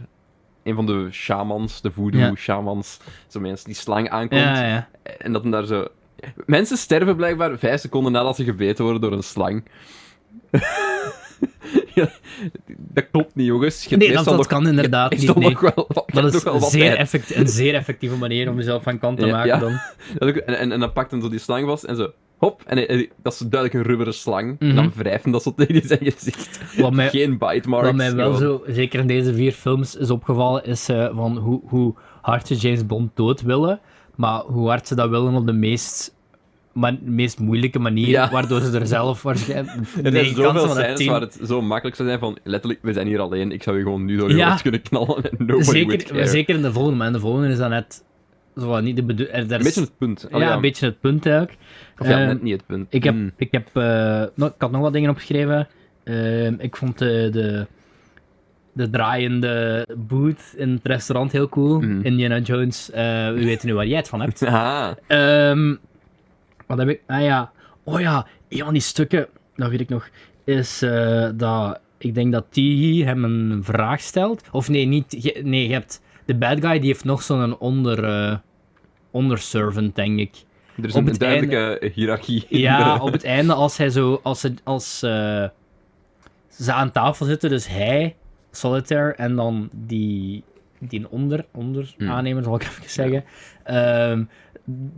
[SPEAKER 1] een van de shamans, de
[SPEAKER 2] Ja.
[SPEAKER 1] voodoo-shamans, zo mensen die slang aankomt.
[SPEAKER 2] Ja, ja.
[SPEAKER 1] En dat hem daar zo... Mensen sterven blijkbaar vijf seconden nadat ze gebeten worden door een slang. ja, dat klopt niet, jongens. Je hebt
[SPEAKER 2] Nee, dat,
[SPEAKER 1] meestal
[SPEAKER 2] dat
[SPEAKER 1] nog-
[SPEAKER 2] kan inderdaad
[SPEAKER 1] Is
[SPEAKER 2] niet.
[SPEAKER 1] dat
[SPEAKER 2] nee.
[SPEAKER 1] nog wel, wat-
[SPEAKER 2] Dat is
[SPEAKER 1] nog wel
[SPEAKER 2] een
[SPEAKER 1] wat
[SPEAKER 2] zeer,
[SPEAKER 1] tijd.
[SPEAKER 2] effect, een zeer effectieve manier om jezelf van kant te
[SPEAKER 1] Ja,
[SPEAKER 2] maken
[SPEAKER 1] ja.
[SPEAKER 2] dan.
[SPEAKER 1] Dat ook- en, en, en dan pakt hem zo die slang vast en zo... Hop, en hij- hij- dat is duidelijk een rubberen slang. En dan
[SPEAKER 2] Mhm.
[SPEAKER 1] wrijft hem dat zo tegen zijn gezicht.
[SPEAKER 2] Wat mij,
[SPEAKER 1] Geen bite marks.
[SPEAKER 2] wat mij wel
[SPEAKER 1] gewoon.
[SPEAKER 2] zo, zeker in deze vier films, is opgevallen, is eh, van hoe, hoe hard ze James Bond dood willen, maar hoe hard ze dat willen op de meest, man- meest moeilijke manier,
[SPEAKER 1] Ja.
[SPEAKER 2] waardoor ze er zelf waarschijnlijk
[SPEAKER 1] Er
[SPEAKER 2] nee,
[SPEAKER 1] zijn zoveel
[SPEAKER 2] van het
[SPEAKER 1] scènes
[SPEAKER 2] team.
[SPEAKER 1] waar het zo makkelijk zou zijn van... Letterlijk, we zijn hier alleen. Ik zou je gewoon nu door je
[SPEAKER 2] Ja.
[SPEAKER 1] hoofd kunnen knallen. En nobody would care.
[SPEAKER 2] zeker, zeker in de volgende, maar in de volgende is dat net zo wat niet de bedoeling.
[SPEAKER 1] Een beetje het punt.
[SPEAKER 2] ja,
[SPEAKER 1] Allee,
[SPEAKER 2] een beetje het punt eigenlijk.
[SPEAKER 1] Of ja,
[SPEAKER 2] Ehm,
[SPEAKER 1] net niet het punt.
[SPEAKER 2] Ik heb,
[SPEAKER 1] Mm.
[SPEAKER 2] ik, heb eh, nog, ik had nog wat dingen opgeschreven. Ehm, ik vond de, de, de draaiende booth in het restaurant heel cool.
[SPEAKER 1] Mhm.
[SPEAKER 2] Indiana Jones, eh, we weten nu waar jij het van hebt.
[SPEAKER 1] Ah,
[SPEAKER 2] Ehm, wat heb ik? Ah ja, oh ja, een van die stukken, dat weet ik nog, is eh, dat ik denk dat Tiggy hem een vraag stelt. Of nee, niet, je- nee, je hebt de bad guy, die heeft nog zo'n onder, eh, onderservant, denk ik.
[SPEAKER 1] er is
[SPEAKER 2] Op
[SPEAKER 1] een
[SPEAKER 2] het
[SPEAKER 1] duidelijke hiërarchie. in
[SPEAKER 2] Ja,
[SPEAKER 1] de-
[SPEAKER 2] op het einde, als hij zo. Als, ze, als eh, ze aan tafel zitten, dus hij, Solitaire, en dan die, die onder, onder
[SPEAKER 1] Hmm.
[SPEAKER 2] aannemer, zal ik even zeggen. Ehm,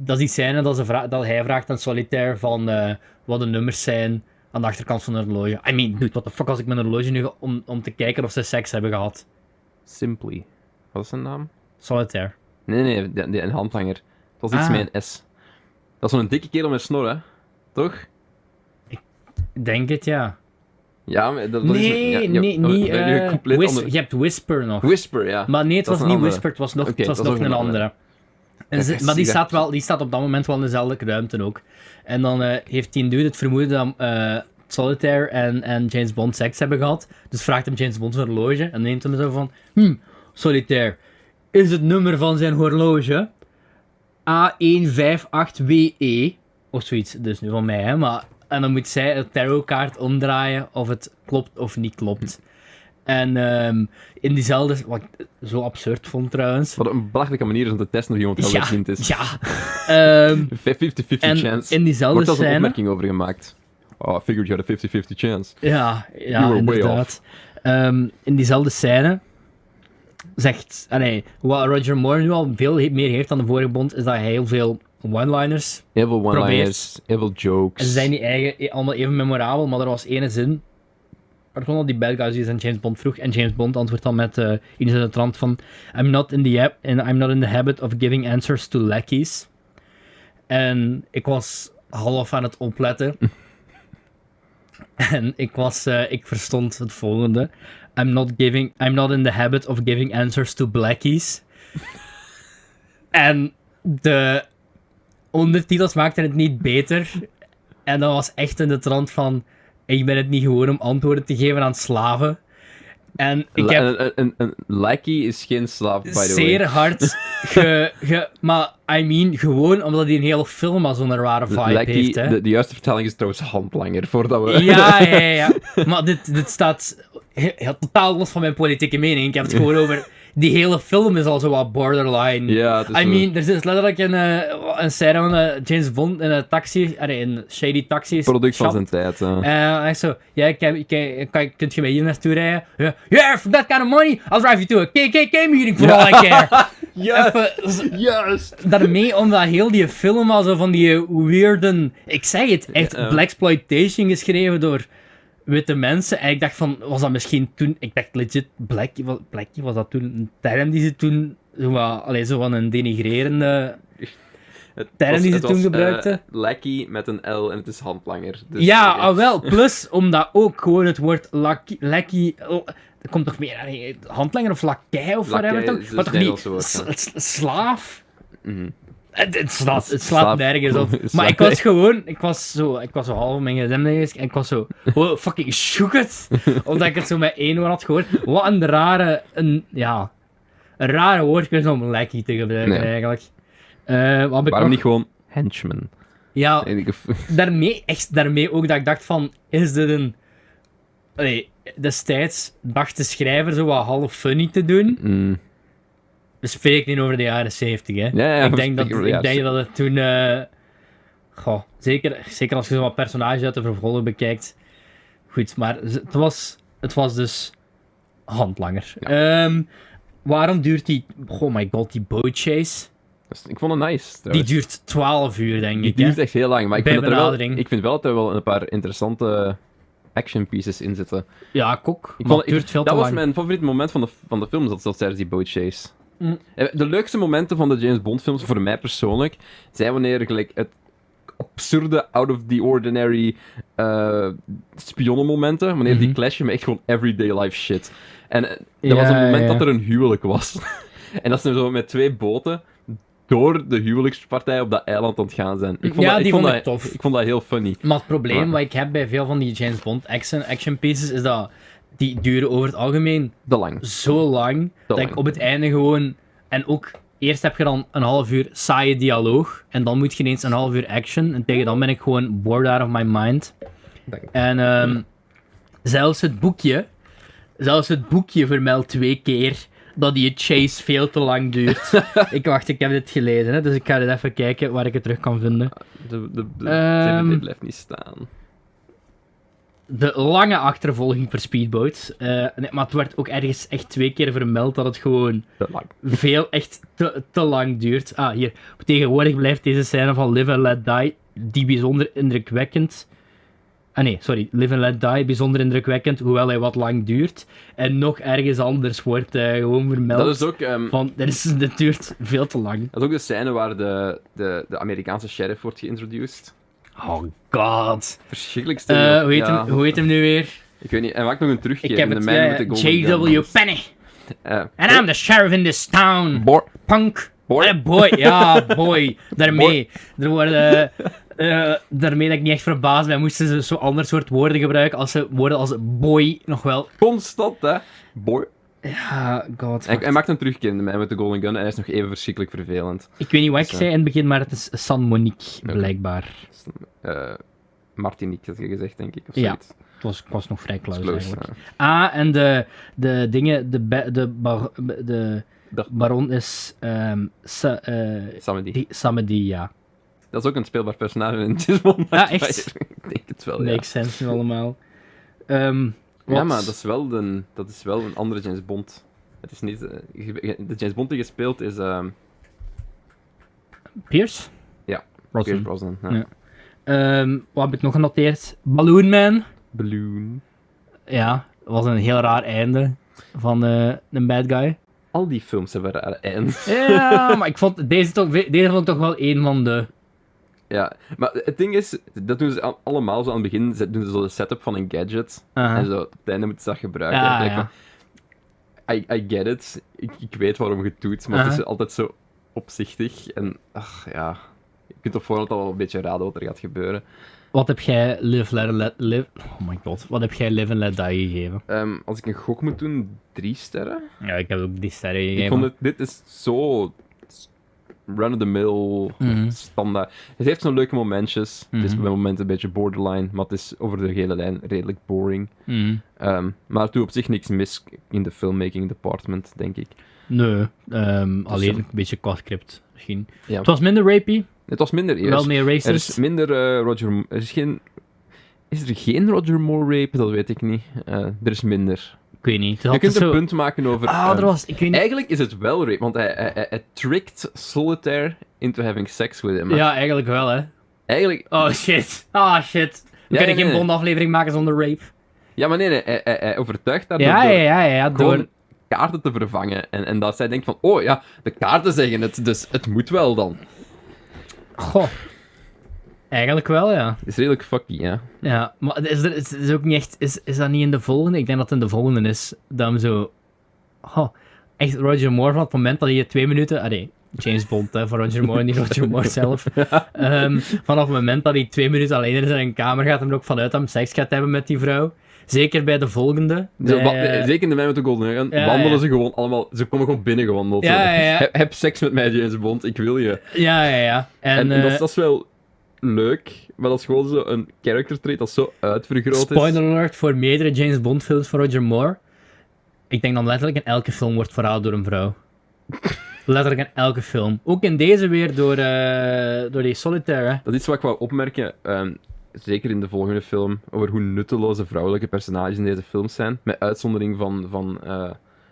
[SPEAKER 2] dat is die scène dat, ze vra- dat hij vraagt aan Solitaire van eh, wat de nummers zijn aan de achterkant van een horloge. I mean, dude, what the fuck als ik mijn horloge nu ge- om, om te kijken of ze seks hebben gehad.
[SPEAKER 1] Simply. Wat is zijn naam?
[SPEAKER 2] Solitaire.
[SPEAKER 1] Nee, nee, de- de- een handlanger. Dat was iets
[SPEAKER 2] Ah.
[SPEAKER 1] met een S. Dat is zo'n dikke kerel met snor, hè? Toch?
[SPEAKER 2] Ik Denk het, ja.
[SPEAKER 1] Ja, maar dat, dat is...
[SPEAKER 2] Nee,
[SPEAKER 1] ja, ja,
[SPEAKER 2] nee,
[SPEAKER 1] we- we-
[SPEAKER 2] niet.
[SPEAKER 1] we- nu
[SPEAKER 2] eh,
[SPEAKER 1] compleet
[SPEAKER 2] Whis-
[SPEAKER 1] ander-
[SPEAKER 2] Je hebt Whisper nog.
[SPEAKER 1] Whisper, ja.
[SPEAKER 2] Maar nee, het
[SPEAKER 1] Dat
[SPEAKER 2] was
[SPEAKER 1] is
[SPEAKER 2] niet
[SPEAKER 1] een andere.
[SPEAKER 2] Whisper, het was nog,
[SPEAKER 1] Oké,
[SPEAKER 2] het was
[SPEAKER 1] dat is
[SPEAKER 2] nog
[SPEAKER 1] ook
[SPEAKER 2] een
[SPEAKER 1] een
[SPEAKER 2] andere.
[SPEAKER 1] andere.
[SPEAKER 2] En ze-
[SPEAKER 1] Kijk,
[SPEAKER 2] maar die
[SPEAKER 1] zie
[SPEAKER 2] staat, wel, die staat op dat moment wel in dezelfde ruimte ook. En dan eh, heeft die dude het vermoeden dat eh, Solitaire en, en James Bond seks hebben gehad. Dus vraagt hem James Bond zijn horloge en neemt hem zo van... Hm, Solitaire, is het nummer van zijn horloge A158WE? E. Of zoiets, dus nu van mij, hè. Maar, en dan moet zij een tarotkaart omdraaien of het klopt of niet klopt. En ehm, in diezelfde... Wat ik zo absurd vond trouwens...
[SPEAKER 1] Wat een belachelijke manier is om te testen of iemand wel
[SPEAKER 2] Ja,
[SPEAKER 1] een vriend is.
[SPEAKER 2] ja. Ehm,
[SPEAKER 1] 50-50
[SPEAKER 2] en
[SPEAKER 1] chance.
[SPEAKER 2] in diezelfde
[SPEAKER 1] Wordt daar zo'n
[SPEAKER 2] scène...
[SPEAKER 1] opmerking over gemaakt? Oh, I figured you had a 50-50 chance.
[SPEAKER 2] Ja,
[SPEAKER 1] You
[SPEAKER 2] ja
[SPEAKER 1] were way
[SPEAKER 2] inderdaad. Ehm, in diezelfde scène zegt... ah, nee, wat Roger Moore nu al veel he- meer heeft dan de vorige Bond, is dat hij heel veel one-liners...
[SPEAKER 1] Heel veel
[SPEAKER 2] one-liners,
[SPEAKER 1] one-liners, heel veel jokes.
[SPEAKER 2] En ze zijn niet eigen, e- allemaal even memorabel, maar er was ene zin... Er stond al die bad guys die aan James Bond vroeg, en James Bond antwoordt dan met eh iets in de trant van... I'm not, in the hab- and I'm not in the habit of giving answers to lackeys. En ik was half aan het opletten. en ik, was, eh, ik verstond het volgende. I'm not, giving, I'm not in the habit of giving answers to blackies. en de ondertitels maakten het niet beter. En dat was echt in de trant van... Ik ben het niet gewoon om antwoorden te geven aan slaven. En ik
[SPEAKER 1] La-
[SPEAKER 2] heb
[SPEAKER 1] Een, een, een, een lackey is geen slaaf, by the
[SPEAKER 2] zeer
[SPEAKER 1] way.
[SPEAKER 2] hard. Ge, ge- maar, I mean, gewoon omdat hij een hele film al zo'n rare vibe
[SPEAKER 1] Lackey,
[SPEAKER 2] heeft, hè.
[SPEAKER 1] de, de juiste vertaling is trouwens handlanger, voordat we...
[SPEAKER 2] Ja, ja, ja. ja. Maar dit, dit staat he- he- totaal los van mijn politieke mening. Ik heb het gewoon over... Die hele film is al zo wat borderline.
[SPEAKER 1] Ja, het is
[SPEAKER 2] I
[SPEAKER 1] zo.
[SPEAKER 2] mean, er is letterlijk een, eh, een scène van eh, James Bond in een taxi... Allee, een shady taxi.
[SPEAKER 1] product van
[SPEAKER 2] shop.
[SPEAKER 1] zijn tijd. eh. hè.
[SPEAKER 2] En hij zo, ja, ik heb- ik heb- kan, kunt je mij hier naartoe rijden? Ja, yeah, for that kind of money, I'll drive you to a KKK meeting for all I care. Even z-
[SPEAKER 1] Juist!
[SPEAKER 2] daarmee, omdat heel die film al zo van die weirden, ik zeg het, echt
[SPEAKER 1] Ja.
[SPEAKER 2] blaxploitation geschreven door witte mensen. En ik dacht van, was dat misschien toen, ik dacht legit, blackie, was, blackie, was dat toen een term die ze toen, zo, wat- allee, zo van een denigrerende... term die ze toen gebruikten.
[SPEAKER 1] lackey eh, met een L en het is handlanger. Dus,
[SPEAKER 2] ja, ah,
[SPEAKER 1] oké.
[SPEAKER 2] al wel. Plus, omdat ook gewoon het woord lak- lekkie... l- oh, Er komt nog meer eh, handlanger of lakij of
[SPEAKER 1] Lakei
[SPEAKER 2] whatever.
[SPEAKER 1] is
[SPEAKER 2] Toch?
[SPEAKER 1] een
[SPEAKER 2] Maar toch niet
[SPEAKER 1] Nederlands
[SPEAKER 2] s-
[SPEAKER 1] woord,
[SPEAKER 2] s- slaaf?
[SPEAKER 1] Mhm.
[SPEAKER 2] Het, het slaat, het
[SPEAKER 1] Slaaf.
[SPEAKER 2] slaat nergens op. Maar
[SPEAKER 1] Slaaf.
[SPEAKER 2] ik was gewoon, ik was zo, ik was zo half op mijn gsm geweest en ik was zo, wow, fucking shooked. Omdat ik het zo met één woord had gehoord. Wat een rare, een, ja, een rare woordkeuze om lekkie te gebruiken
[SPEAKER 1] Nee.
[SPEAKER 2] eigenlijk. Eh, wat heb ik
[SPEAKER 1] Waarom
[SPEAKER 2] nog-
[SPEAKER 1] niet gewoon henchman?
[SPEAKER 2] Ja,
[SPEAKER 1] En ik-
[SPEAKER 2] daarmee, echt daarmee ook dat ik dacht van, is dit een... Allee, destijds dacht de schrijver zo wat half funny te doen.
[SPEAKER 1] Mm.
[SPEAKER 2] We spreken niet over de jaren 70 hè.
[SPEAKER 1] Ja, ja,
[SPEAKER 2] ik denk dat,
[SPEAKER 1] ja,
[SPEAKER 2] ik denk dat het toen... eh, goh, zeker, zeker als je zo'n personage uit de vervolgen bekijkt. Goed, maar z- het was, het was dus handlanger. Ehm, waarom duurt die... Oh my god, die bootchase.
[SPEAKER 1] dat is- Ik vond het nice.
[SPEAKER 2] Die
[SPEAKER 1] trouwens.
[SPEAKER 2] duurt 12 uur, denk
[SPEAKER 1] Die
[SPEAKER 2] ik. hè.
[SPEAKER 1] duurt echt heel lang, maar ik
[SPEAKER 2] Bij
[SPEAKER 1] vind, dat er wel,
[SPEAKER 2] benadering.
[SPEAKER 1] ik vind wel dat er wel een paar interessante action pieces in zitten. Ik
[SPEAKER 2] Ja, kok.
[SPEAKER 1] vond-
[SPEAKER 2] Het
[SPEAKER 1] ik-
[SPEAKER 2] duurt veel
[SPEAKER 1] dat
[SPEAKER 2] te
[SPEAKER 1] was
[SPEAKER 2] lang.
[SPEAKER 1] mijn favoriete moment van de, van de film, dat, dat tijdens die boat chase.
[SPEAKER 2] Mm.
[SPEAKER 1] Eh, De leukste momenten van de James Bond films, voor mij persoonlijk, zijn wanneer gelijk, het absurde, out of the ordinary eh spionnenmomenten, wanneer die
[SPEAKER 2] Mhm.
[SPEAKER 1] clashen met echt gewoon everyday life shit. En eh, er was
[SPEAKER 2] Ja,
[SPEAKER 1] een moment
[SPEAKER 2] ja.
[SPEAKER 1] dat er een huwelijk was. en dat ze zo met twee boten door de huwelijkspartij op dat eiland aan het gaan zijn. Ik vond
[SPEAKER 2] Ja,
[SPEAKER 1] dat, ik
[SPEAKER 2] die
[SPEAKER 1] vond
[SPEAKER 2] vond
[SPEAKER 1] dat,
[SPEAKER 2] ik tof.
[SPEAKER 1] Ik vond dat heel funny.
[SPEAKER 2] Maar het probleem
[SPEAKER 1] Maar-
[SPEAKER 2] wat ik heb bij veel van die James Bond action, action pieces is dat die duren over het algemeen
[SPEAKER 1] De lang.
[SPEAKER 2] zo lang dat
[SPEAKER 1] lang.
[SPEAKER 2] ik op het einde gewoon. En ook eerst heb je dan een half uur saaie dialoog en dan moet je ineens een half uur action. En tegen dan ben ik gewoon bored out of my mind.
[SPEAKER 1] Dank je.
[SPEAKER 2] En ehm, zelfs het boekje, zelfs het boekje vermeldt twee keer dat die chase veel te lang duurt. ik wacht, ik heb dit gelezen, hè, dus ik ga dit even kijken waar ik het terug kan vinden.
[SPEAKER 1] De, de, de
[SPEAKER 2] Ehm.
[SPEAKER 1] DVD blijft niet staan.
[SPEAKER 2] de lange achtervolging per speedboat. Eh, nee, maar het werd ook ergens echt twee keer vermeld dat het gewoon
[SPEAKER 1] De lang.
[SPEAKER 2] veel, echt te, te lang duurt. Ah, hier. Tegenwoordig blijft deze scène van Live and Let Die, die bijzonder indrukwekkend. Ah nee, sorry. Live and Let Die, bijzonder indrukwekkend, hoewel hij wat lang duurt. En nog ergens anders wordt eh, gewoon vermeld.
[SPEAKER 1] Dat is ook... ehm,
[SPEAKER 2] Van, dit, is, dit duurt veel te lang.
[SPEAKER 1] Dat is ook de scène waar de, de, de Amerikaanse sheriff wordt geïntroduced.
[SPEAKER 2] Oh god.
[SPEAKER 1] Verschrikkelijk stil.
[SPEAKER 2] Eh, hoe, heet
[SPEAKER 1] Ja,
[SPEAKER 2] hem, hoe heet hem nu weer?
[SPEAKER 1] Ik weet niet, hij maakt nog een terugkeer.
[SPEAKER 2] Ik heb
[SPEAKER 1] in
[SPEAKER 2] het.
[SPEAKER 1] de Man with the
[SPEAKER 2] eh,
[SPEAKER 1] Golden Gun.
[SPEAKER 2] J.W. Penny.
[SPEAKER 1] Eh,
[SPEAKER 2] And I'm the sheriff in this town.
[SPEAKER 1] Bor-
[SPEAKER 2] Punk.
[SPEAKER 1] Boy.
[SPEAKER 2] Eh, boy. Ja, boy. Daarmee. Er worden... eh, daarmee dat ik niet echt verbaasd ben, moesten ze zo'n ander soort woorden gebruiken als ze woorden als boy nog wel...
[SPEAKER 1] constant, hè. Boy.
[SPEAKER 2] Ja, god.
[SPEAKER 1] Hij,
[SPEAKER 2] wacht.
[SPEAKER 1] hij maakt een terugkeer in de Man with the Golden Gun en hij is nog even verschrikkelijk vervelend.
[SPEAKER 2] Ik weet niet wat ik
[SPEAKER 1] Zo.
[SPEAKER 2] zei in het begin, maar het is San Monique,
[SPEAKER 1] Oké.
[SPEAKER 2] blijkbaar.
[SPEAKER 1] Dus, eh, Martinique had je gezegd, denk ik. Of
[SPEAKER 2] Ja,
[SPEAKER 1] zoiets.
[SPEAKER 2] Het was, ik was nog vrij
[SPEAKER 1] Dat is
[SPEAKER 2] close,
[SPEAKER 1] close,
[SPEAKER 2] eigenlijk.
[SPEAKER 1] ja.
[SPEAKER 2] Ah, en de, de dingen... De, ba- de, bar- de
[SPEAKER 1] Dag.
[SPEAKER 2] baron is... ehm Sa, eh,
[SPEAKER 1] Samedi.
[SPEAKER 2] die, Samedi, ja.
[SPEAKER 1] Dat is ook een speelbaar personage in Disney.
[SPEAKER 2] Ja, echt?
[SPEAKER 1] ik denk het wel, Oh, ja.
[SPEAKER 2] Makes sense nu allemaal. Ehm,
[SPEAKER 1] Ja,
[SPEAKER 2] wat-
[SPEAKER 1] maar dat is, wel de, dat is wel een andere James Bond. Het is niet... eh, je- je- de James Bond die gespeeld is... ehm
[SPEAKER 2] Pierce?
[SPEAKER 1] Ja,
[SPEAKER 2] Brosnan.
[SPEAKER 1] Pierce Brosnan. ja.
[SPEAKER 2] Ja. Ehm, wat heb ik nog genoteerd? Balloon Man.
[SPEAKER 1] Balloon.
[SPEAKER 2] Ja, was een heel raar einde van eh, een bad guy.
[SPEAKER 1] Al die films hebben rare einds.
[SPEAKER 2] Ja, maar ik vond deze, toch, ve- deze vond ik toch wel een van de...
[SPEAKER 1] Ja, maar het ding is, dat doen ze al- allemaal zo aan het begin, ze- doen ze zo de setup van een gadget.
[SPEAKER 2] Aha.
[SPEAKER 1] En zo, op het einde moeten ze dat gebruiken.
[SPEAKER 2] Ja,
[SPEAKER 1] Like
[SPEAKER 2] Ah. ja.
[SPEAKER 1] van, I, I get it, ik, ik weet waarom je het doet, maar het
[SPEAKER 2] Aha.
[SPEAKER 1] is altijd zo opzichtig. En ach ja, je kunt op voorhand al wel een beetje raden wat er gaat gebeuren.
[SPEAKER 2] Wat heb jij Live, Let, Let- Live... Oh my god. Wat heb jij Live and Let Die gegeven?
[SPEAKER 1] Ehm, als ik een gok moet doen, drie sterren.
[SPEAKER 2] Ja, ik heb ook die sterren gegeven.
[SPEAKER 1] Ik vond het, dit is zo run-of-the-mill,
[SPEAKER 2] Mhm.
[SPEAKER 1] standaard. Het heeft zo'n leuke momentjes. Het is
[SPEAKER 2] Mhm.
[SPEAKER 1] bij momenten een beetje borderline, maar het is over de gele lijn redelijk boring.
[SPEAKER 2] Mhm.
[SPEAKER 1] Ehm, maar er doet op zich niks mis in de filmmaking department, denk ik.
[SPEAKER 2] Nee, ehm, alleen
[SPEAKER 1] zo.
[SPEAKER 2] een beetje qua script misschien.
[SPEAKER 1] Ja.
[SPEAKER 2] Het was minder rapey,
[SPEAKER 1] Het was minder eerst.
[SPEAKER 2] wel meer
[SPEAKER 1] er is
[SPEAKER 2] racist.
[SPEAKER 1] minder eh, Roger... Mo- Er is geen... Is er geen Roger Moore rape? Dat weet ik niet. Eh, er is minder.
[SPEAKER 2] Ik weet niet. Het had
[SPEAKER 1] Je kunt
[SPEAKER 2] zo-
[SPEAKER 1] een punt maken over...
[SPEAKER 2] Ah, er
[SPEAKER 1] ehm,
[SPEAKER 2] was... Ik weet niet...
[SPEAKER 1] Eigenlijk is het wel rape, want hij, hij, hij, hij tricked Solitaire into having sex with him.
[SPEAKER 2] Ja, eigenlijk wel, hè.
[SPEAKER 1] Eigenlijk...
[SPEAKER 2] Oh shit. Ah shit. We
[SPEAKER 1] Ja,
[SPEAKER 2] kunnen
[SPEAKER 1] nee,
[SPEAKER 2] geen
[SPEAKER 1] nee.
[SPEAKER 2] bondaflevering maken zonder rape.
[SPEAKER 1] Ja, maar nee, nee hij, hij, hij overtuigt daar
[SPEAKER 2] Ja,
[SPEAKER 1] door-
[SPEAKER 2] ja,
[SPEAKER 1] door
[SPEAKER 2] ja, ja.
[SPEAKER 1] gewoon
[SPEAKER 2] Door...
[SPEAKER 1] kaarten te vervangen. En, en dat zij denkt van, oh ja, de kaarten zeggen het, dus het moet wel dan.
[SPEAKER 2] Goh. Eigenlijk wel, ja.
[SPEAKER 1] Is redelijk fucky, ja.
[SPEAKER 2] Ja, maar is, er, is, is ook niet echt... Is, is dat niet in de volgende? Ik denk dat het in de volgende is. Dat hem zo... Oh, echt Roger Moore van het moment dat hij twee minuten... Allee, James Bond, hè, voor Roger Moore, niet Roger Moore zelf. Ehm, vanaf het moment dat hij twee minuten alleen in zijn kamer gaat en er ook vanuit dat hij seks gaat hebben met die vrouw. Zeker bij de volgende.
[SPEAKER 1] Zo,
[SPEAKER 2] bij,
[SPEAKER 1] wa-
[SPEAKER 2] eh,
[SPEAKER 1] zeker in de mij met de Golden Gun
[SPEAKER 2] ja,
[SPEAKER 1] wandelen
[SPEAKER 2] ja.
[SPEAKER 1] ze gewoon allemaal. Ze komen gewoon binnen gewandeld.
[SPEAKER 2] Ja, ja, ja.
[SPEAKER 1] Heb, heb seks met mij, James Bond, ik wil je.
[SPEAKER 2] Ja, ja, ja. En,
[SPEAKER 1] En, en dat,
[SPEAKER 2] eh,
[SPEAKER 1] is, dat is wel leuk, maar dat is gewoon zo een character trait dat zo uitvergroot is.
[SPEAKER 2] Spoiler alert voor meerdere James Bond films van Roger Moore. Ik denk dan letterlijk in elke film wordt verhaald door een vrouw. letterlijk in elke film. Ook in deze weer door, eh, door die solitaire. hè.
[SPEAKER 1] Dat is iets wat ik wou opmerken, ehm, zeker in de volgende film, over hoe nutteloze vrouwelijke personages in deze films zijn. Met uitzondering van, van eh,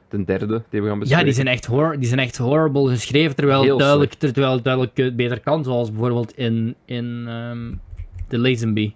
[SPEAKER 1] de derde die we gaan bespreken.
[SPEAKER 2] Ja, die zijn, echt horror, die zijn echt horrible geschreven, terwijl het
[SPEAKER 1] Heel
[SPEAKER 2] duidelijk, terwijl het duidelijk eh, beter kan. Zoals bijvoorbeeld in, in ehm The Lazenby.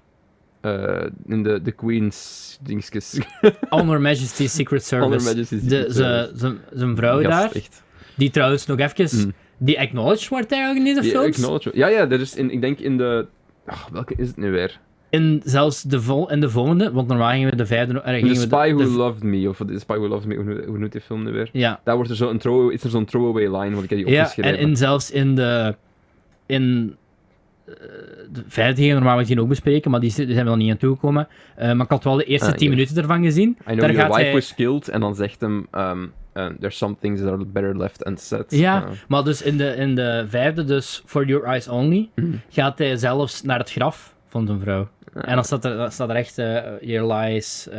[SPEAKER 1] Eh, in de, de Queen's dingetjes.
[SPEAKER 2] Honor Majesty's Secret Service.
[SPEAKER 1] Honor Majesty's
[SPEAKER 2] De-
[SPEAKER 1] Secret
[SPEAKER 2] ze-
[SPEAKER 1] Service.
[SPEAKER 2] ze- Zijn vrouw
[SPEAKER 1] Gast,
[SPEAKER 2] daar,
[SPEAKER 1] echt.
[SPEAKER 2] die trouwens nog even...
[SPEAKER 1] Mm.
[SPEAKER 2] Die acknowledged wordt eigenlijk in deze
[SPEAKER 1] Die
[SPEAKER 2] films.
[SPEAKER 1] acknowledge- Ja, ja, er is in, ik denk in de. ach, welke is het nu weer?
[SPEAKER 2] In zelfs de, vol in de volgende, want normaal gingen we de vijfde... eh,
[SPEAKER 1] The
[SPEAKER 2] gingen we de-
[SPEAKER 1] Spy Who
[SPEAKER 2] de-
[SPEAKER 1] Loved Me, of The Spy Who Loved Me, hoe, noemt- hoe noemt die film nu weer?
[SPEAKER 2] Ja,
[SPEAKER 1] Daar wordt er zo een throw, is er zo'n throwaway line, want ik heb die
[SPEAKER 2] ja en
[SPEAKER 1] opgeschreven.
[SPEAKER 2] in, zelfs in de... In eh, de vijfde gingen we normaal misschien ook bespreken, maar die zi- die zijn we nog niet aan toegekomen. Eh maar ik had wel de eerste
[SPEAKER 1] Ah,
[SPEAKER 2] tien
[SPEAKER 1] hier.
[SPEAKER 2] minuten ervan gezien.
[SPEAKER 1] I know
[SPEAKER 2] Daar
[SPEAKER 1] your
[SPEAKER 2] gaat
[SPEAKER 1] wife
[SPEAKER 2] hij...
[SPEAKER 1] was killed, en dan zegt hem, ehm, ehm, there's some things that are better left unsaid.
[SPEAKER 2] Ja,
[SPEAKER 1] Eh,
[SPEAKER 2] maar dus in de, in de vijfde, dus For Your Eyes Only,
[SPEAKER 1] Mhm.
[SPEAKER 2] gaat hij zelfs naar het graf van zijn vrouw. En dan staat er, dan staat er echt eh, Your Lies, eh,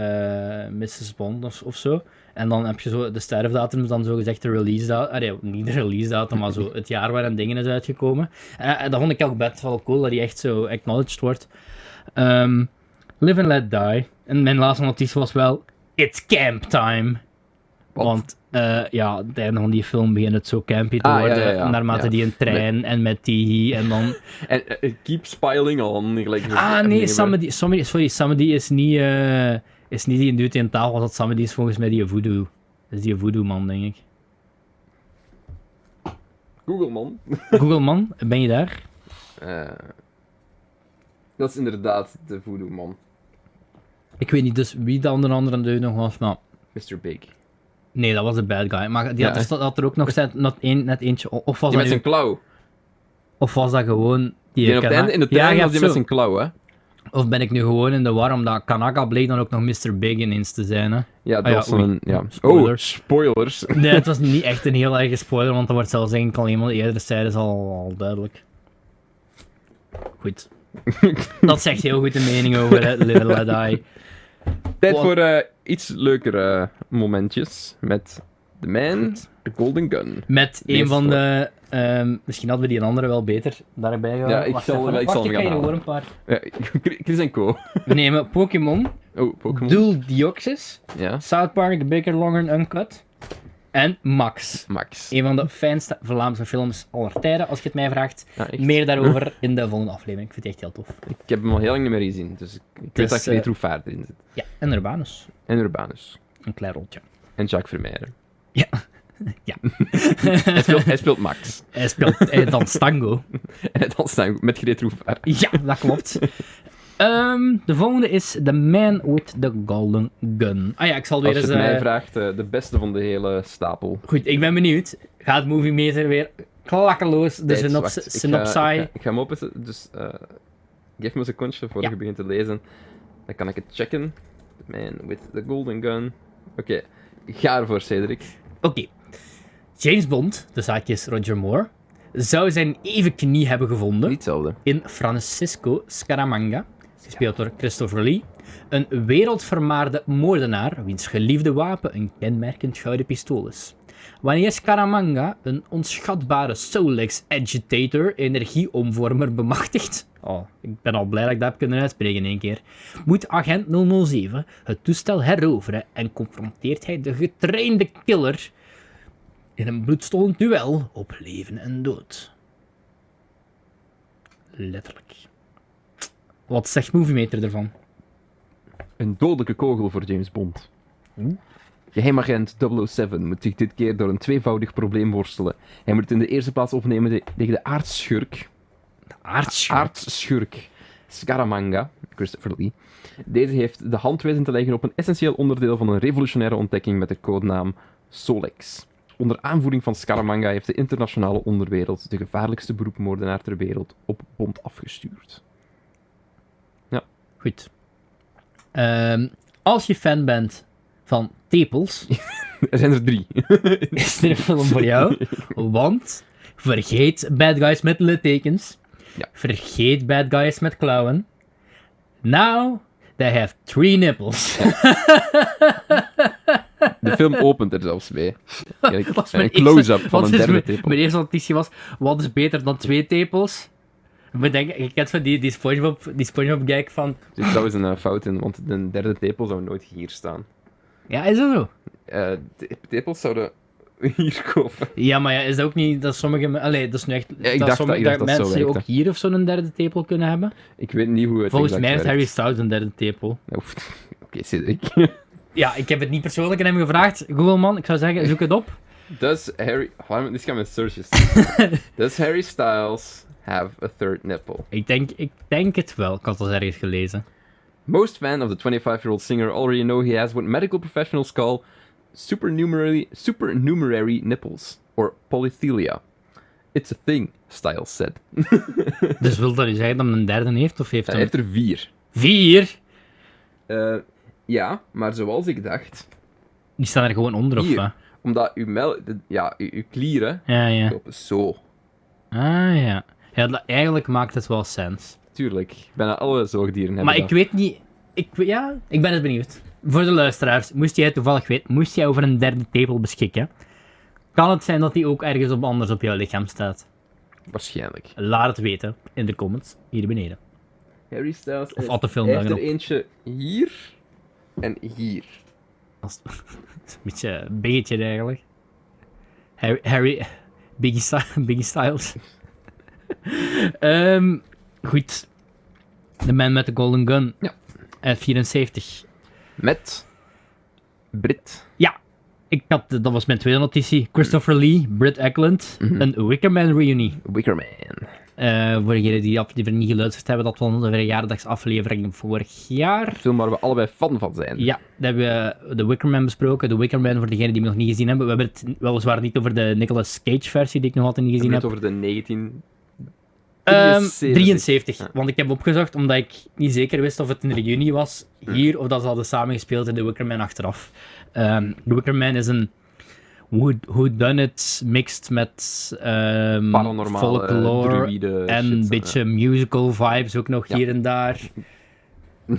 [SPEAKER 2] Mrs. Bond of, of zo. En dan heb je zo de sterfdatum, dan zo gezegd de release datum. Allee, niet de release datum, maar zo het jaar waarin dingen is uitgekomen. En, en dat vond ik ook best wel cool, dat die echt zo acknowledged wordt. Ehm, live and let die. En mijn laatste notitie was wel, it's camp time.
[SPEAKER 1] Wat?
[SPEAKER 2] Want eh, ja, het einde van die film begint het zo campy te
[SPEAKER 1] Ah, ja,
[SPEAKER 2] worden.
[SPEAKER 1] ja, ja.
[SPEAKER 2] Naarmate
[SPEAKER 1] Ja.
[SPEAKER 2] die een trein en met die en dan...
[SPEAKER 1] En eh, it keeps piling on. gelijk-
[SPEAKER 2] Ah
[SPEAKER 1] ik
[SPEAKER 2] nee,
[SPEAKER 1] weet niet meer.
[SPEAKER 2] Samedi, sorry, sorry Samedi is niet, eh, is niet die dude die aan tafel was. Dat Samedi is volgens mij die voodoo. Dat is die voodoo man, denk ik.
[SPEAKER 1] Google, man.
[SPEAKER 2] Google man, ben je daar?
[SPEAKER 1] Eh, dat is inderdaad de voodoo man.
[SPEAKER 2] Ik weet niet dus wie de onder andere dude nog was, maar
[SPEAKER 1] Mr. Big. Die
[SPEAKER 2] nee, dat was de bad guy. Maar die
[SPEAKER 1] Ja,
[SPEAKER 2] had, er,
[SPEAKER 1] hè?
[SPEAKER 2] stond- had er ook nog net, net, een, net eentje. o- Of was, dat,
[SPEAKER 1] met zijn
[SPEAKER 2] nu-
[SPEAKER 1] klauw.
[SPEAKER 2] of was dat gewoon die,
[SPEAKER 1] Die op het
[SPEAKER 2] Kana-
[SPEAKER 1] einde in de
[SPEAKER 2] Ja,
[SPEAKER 1] trein
[SPEAKER 2] je
[SPEAKER 1] was die
[SPEAKER 2] hebt
[SPEAKER 1] met zijn
[SPEAKER 2] zo.
[SPEAKER 1] klauw, hè?
[SPEAKER 2] Of ben ik nu gewoon in de war omdat Kanaka bleek dan ook nog Mr. Big ineens te zijn, hè?
[SPEAKER 1] Ja, dat
[SPEAKER 2] Ah ja,
[SPEAKER 1] was
[SPEAKER 2] oei.
[SPEAKER 1] een... Ja.
[SPEAKER 2] Spoilers.
[SPEAKER 1] Oh, spoilers.
[SPEAKER 2] Nee, het was niet echt een heel erge spoiler, want dat wordt zelfs eigenlijk al eenmaal eerder zijdes al, al duidelijk. Goed. Dat zegt heel goed de mening over het Little Let Die.
[SPEAKER 1] Tijd
[SPEAKER 2] Wat-
[SPEAKER 1] voor eh, iets leukere momentjes met The Man, The Golden Gun.
[SPEAKER 2] Met een
[SPEAKER 1] Meest
[SPEAKER 2] van de... ehm, misschien hadden we die een andere wel beter daarbij gehouden.
[SPEAKER 1] ik
[SPEAKER 2] Wacht
[SPEAKER 1] zal-
[SPEAKER 2] even,
[SPEAKER 1] ik
[SPEAKER 2] wacht,
[SPEAKER 1] zal
[SPEAKER 2] ik
[SPEAKER 1] hem
[SPEAKER 2] ga
[SPEAKER 1] gaan
[SPEAKER 2] hier gewoon een paar.
[SPEAKER 1] Ja, Eh, Chris en Co.
[SPEAKER 2] We nemen Pokémon,
[SPEAKER 1] Oh, Pokémon.
[SPEAKER 2] Duel Deoxys,
[SPEAKER 1] Ja,
[SPEAKER 2] South Park, Bigger, Longer and Uncut en Max.
[SPEAKER 1] Max.
[SPEAKER 2] Een van de fijnste Vlaamse films aller tijden, als je het mij vraagt.
[SPEAKER 1] Ja, echt.
[SPEAKER 2] Meer daarover in de volgende aflevering. Ik vind die echt heel tof.
[SPEAKER 1] Ik heb hem al heel lang niet meer gezien, dus ik, ik
[SPEAKER 2] Dus,
[SPEAKER 1] weet dat
[SPEAKER 2] eh,
[SPEAKER 1] Greet Roefaard erin zit.
[SPEAKER 2] Ja, en Urbanus.
[SPEAKER 1] En Urbanus.
[SPEAKER 2] Een klein rolletje.
[SPEAKER 1] En Jacques Vermeijeren.
[SPEAKER 2] Ja. Ja.
[SPEAKER 1] hij, speelt, hij speelt Max.
[SPEAKER 2] Hij speelt eh, dan tango.
[SPEAKER 1] En dan staan we met Greet Roefaard.
[SPEAKER 2] Ja, dat klopt. Ehm, de volgende is The Man with the Golden Gun. Ah ja, ik zal
[SPEAKER 1] Als
[SPEAKER 2] weer
[SPEAKER 1] je
[SPEAKER 2] eens...
[SPEAKER 1] het mij
[SPEAKER 2] eh,
[SPEAKER 1] vraagt, eh, de beste van de hele stapel.
[SPEAKER 2] Goed, ik ben benieuwd. Gaat Movie Meter weer klakkeloos de
[SPEAKER 1] Tijd, wacht,
[SPEAKER 2] synops
[SPEAKER 1] ik ga- Ik,
[SPEAKER 2] synopsi...
[SPEAKER 1] ga- ik ga hem openzetten, dus eh geef me een secondje voordat
[SPEAKER 2] Ja.
[SPEAKER 1] je begint te lezen. Dan kan ik het checken. The Man with the Golden Gun. Oké, ga ervoor, Cedric.
[SPEAKER 2] Oké. James Bond, de zaakjes Roger Moore, zou zijn even knie hebben gevonden...
[SPEAKER 1] Niet hetzelfde.
[SPEAKER 2] in Francisco Scaramanga, gespeeld door Christopher Lee. Een wereldvermaarde moordenaar wiens geliefde wapen een kenmerkend gouden pistool is. Wanneer Scaramanga een onschatbare Solex Agitator energieomvormer bemachtigt, oh, ik ben al blij dat ik dat heb kunnen uitspreken in één keer, moet agent 007 het toestel heroveren en confronteert hij de getrainde killer in een bloedstollend duel op leven en dood. Letterlijk. Wat zegt Moviemeter ervan?
[SPEAKER 1] Een dodelijke kogel voor James Bond. Geheimagent 007 moet zich dit keer door een tweevoudig probleem worstelen. Hij moet het in de eerste plaats opnemen te- tegen de aardsschurk.
[SPEAKER 2] De aardschurk.
[SPEAKER 1] Aardsschurk. Scaramanga, Christopher Lee. Deze heeft de hand weten te leggen op een essentieel onderdeel van een revolutionaire ontdekking met de codenaam Solex. Onder aanvoering van Scaramanga heeft de internationale onderwereld de gevaarlijkste beroepmoordenaar ter wereld op bond afgestuurd.
[SPEAKER 2] Goed. Ehm, als je fan bent van tepels,
[SPEAKER 1] Er zijn er drie.
[SPEAKER 2] is dit een film voor jou. Want vergeet bad guys met littekens.
[SPEAKER 1] Ja.
[SPEAKER 2] Vergeet bad guys met klauwen. Now, they have three nipples.
[SPEAKER 1] De film opent er zelfs mee. Kijk,
[SPEAKER 2] Dat was
[SPEAKER 1] een
[SPEAKER 2] mijn
[SPEAKER 1] close-up
[SPEAKER 2] eerste-
[SPEAKER 1] van
[SPEAKER 2] wat
[SPEAKER 1] een
[SPEAKER 2] is
[SPEAKER 1] derde
[SPEAKER 2] mijn-
[SPEAKER 1] tepel.
[SPEAKER 2] Mijn eerste notitie was, wat is beter dan twee tepels? Ik denk, je kent van die, die Spongebob, die Spongebob gag van,
[SPEAKER 1] Er zit trouwens een eh, fout in, want de derde tepel zou nooit hier staan.
[SPEAKER 2] ja, is dat zo?
[SPEAKER 1] Eh, de tepels zouden hier komen.
[SPEAKER 2] Ja, maar ja, is dat ook niet dat sommige... me- Allee, dat is nu echt...
[SPEAKER 1] ik dacht dat-
[SPEAKER 2] sommige,
[SPEAKER 1] ik dacht dat zo
[SPEAKER 2] mensen
[SPEAKER 1] werkte.
[SPEAKER 2] ook hier of zo een derde tepel kunnen hebben.
[SPEAKER 1] Ik weet niet hoe het
[SPEAKER 2] Volgens
[SPEAKER 1] exact
[SPEAKER 2] mij heeft
[SPEAKER 1] werkt.
[SPEAKER 2] Harry Styles een derde tepel.
[SPEAKER 1] Oef, Oké, Cedric.
[SPEAKER 2] Ja, ik heb het niet persoonlijk aan hem gevraagd. Google man, ik zou zeggen, zoek het op.
[SPEAKER 1] Does Harry... Why am I- This guy is searches. Does Harry Styles have a third nipple?
[SPEAKER 2] Ik denk, ik denk het wel. Ik had het al ergens gelezen.
[SPEAKER 1] Most fans of the 25-year-old singer already know he has what medical professionals call supernumerary, supernumerary nipples, or polythelia. It's a thing, Styles said.
[SPEAKER 2] Dus wil dat nu zeggen dat hij een derde heeft of heeft
[SPEAKER 1] Hij
[SPEAKER 2] hij
[SPEAKER 1] heeft er vier.
[SPEAKER 2] vier?
[SPEAKER 1] Eh, ja, maar zoals ik dacht,
[SPEAKER 2] Die staan er gewoon onder of
[SPEAKER 1] Hier.
[SPEAKER 2] wat?
[SPEAKER 1] omdat uw, mel de- ja, uw, uw klieren
[SPEAKER 2] Ja, ja.
[SPEAKER 1] lopen zo.
[SPEAKER 2] Ah, ja. Ja, dat, eigenlijk maakt het wel sens.
[SPEAKER 1] Tuurlijk, bijna alle zoogdieren hebben
[SPEAKER 2] Maar ik
[SPEAKER 1] dat.
[SPEAKER 2] weet niet... Ik, we- ja, ik ben het benieuwd. Voor de luisteraars, moest jij toevallig weten, moest jij over een derde tepel beschikken, kan het zijn dat die ook ergens op anders op jouw lichaam staat?
[SPEAKER 1] Waarschijnlijk.
[SPEAKER 2] Laat het weten in de comments, hier beneden.
[SPEAKER 1] Harry Styles
[SPEAKER 2] Of
[SPEAKER 1] is-
[SPEAKER 2] had de film
[SPEAKER 1] hij
[SPEAKER 2] daar
[SPEAKER 1] heeft er
[SPEAKER 2] nog-
[SPEAKER 1] eentje hier en hier.
[SPEAKER 2] Als- Het is een beetje een biggetje eigenlijk. Harry, Harry Biggie, Sty- Biggie Styles. Ehm, goed. De man met de golden gun.
[SPEAKER 1] Ja.
[SPEAKER 2] Uit 74.
[SPEAKER 1] Met Brit.
[SPEAKER 2] Ja, ik had, dat was mijn tweede notitie.
[SPEAKER 1] Mm.
[SPEAKER 2] Christopher Lee, Britt Eklund,
[SPEAKER 1] Mhm.
[SPEAKER 2] een Wickerman reunie.
[SPEAKER 1] Wickerman.
[SPEAKER 2] Eh voor degenen die die aflevering niet geluisterd hebben, dat was onze verjaardagsaflevering vorig jaar.
[SPEAKER 1] Een film waar we allebei fan van zijn.
[SPEAKER 2] Ja, daar hebben we de Wickerman besproken. De Wickerman, voor degenen die hem nog niet gezien hebben. We hebben het weliswaar niet over de Nicolas Cage versie, die ik nog altijd niet
[SPEAKER 1] We hebben
[SPEAKER 2] gezien
[SPEAKER 1] het
[SPEAKER 2] heb.
[SPEAKER 1] over de 19...
[SPEAKER 2] Ehm,
[SPEAKER 1] 73.
[SPEAKER 2] 73.
[SPEAKER 1] Ja.
[SPEAKER 2] Want ik heb opgezocht, omdat ik niet zeker wist of het in juni was hier, of dat ze hadden samengespeeld in The Wickerman achteraf. Ehm The Wickerman is een whodunit mixed met ehm
[SPEAKER 1] Paranormale, eh,
[SPEAKER 2] folklore
[SPEAKER 1] druïde
[SPEAKER 2] en
[SPEAKER 1] shit,
[SPEAKER 2] een
[SPEAKER 1] eh.
[SPEAKER 2] beetje musical vibes ook nog
[SPEAKER 1] Ja.
[SPEAKER 2] hier en daar.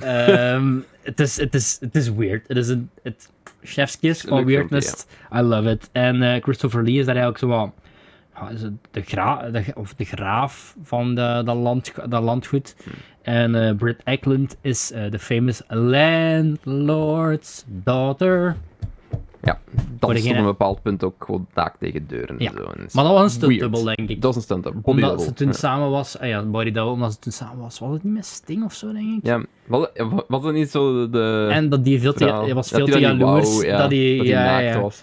[SPEAKER 2] Ehm, Het is, het is, het is weird. Het is een... Het, Chef's kiss
[SPEAKER 1] Leuk
[SPEAKER 2] van
[SPEAKER 1] filmpje,
[SPEAKER 2] weirdness. I love it. En eh, Christopher Lee is daar eigenlijk zo wel... ja, is het de, gra de, of de graaf van de, dat, land, dat landgoed.
[SPEAKER 1] Hmm.
[SPEAKER 2] En eh, Britt Eklund is eh, de famous landlord's daughter.
[SPEAKER 1] Ja,
[SPEAKER 2] Voor
[SPEAKER 1] dan
[SPEAKER 2] degene-
[SPEAKER 1] stond een bepaald punt ook gewoon daak tegen deuren.
[SPEAKER 2] Ja,
[SPEAKER 1] En zo. En is
[SPEAKER 2] Maar dat was een stunt
[SPEAKER 1] weird.
[SPEAKER 2] double, denk ik.
[SPEAKER 1] Dat is een stunt-up. Body
[SPEAKER 2] omdat
[SPEAKER 1] double.
[SPEAKER 2] ze toen
[SPEAKER 1] Ja.
[SPEAKER 2] samen was... ah ja, body double. Omdat ze toen samen was. Was het niet met Sting of zo, denk ik?
[SPEAKER 1] Ja, wat, wat dan niet zo de- de...
[SPEAKER 2] En dat die veel te,
[SPEAKER 1] vrouw-
[SPEAKER 2] hij was
[SPEAKER 1] dat
[SPEAKER 2] veel
[SPEAKER 1] die
[SPEAKER 2] te
[SPEAKER 1] dat niet
[SPEAKER 2] jaloers.
[SPEAKER 1] wou, ja,
[SPEAKER 2] dat die,
[SPEAKER 1] die
[SPEAKER 2] ja,
[SPEAKER 1] naakt
[SPEAKER 2] ja.
[SPEAKER 1] was.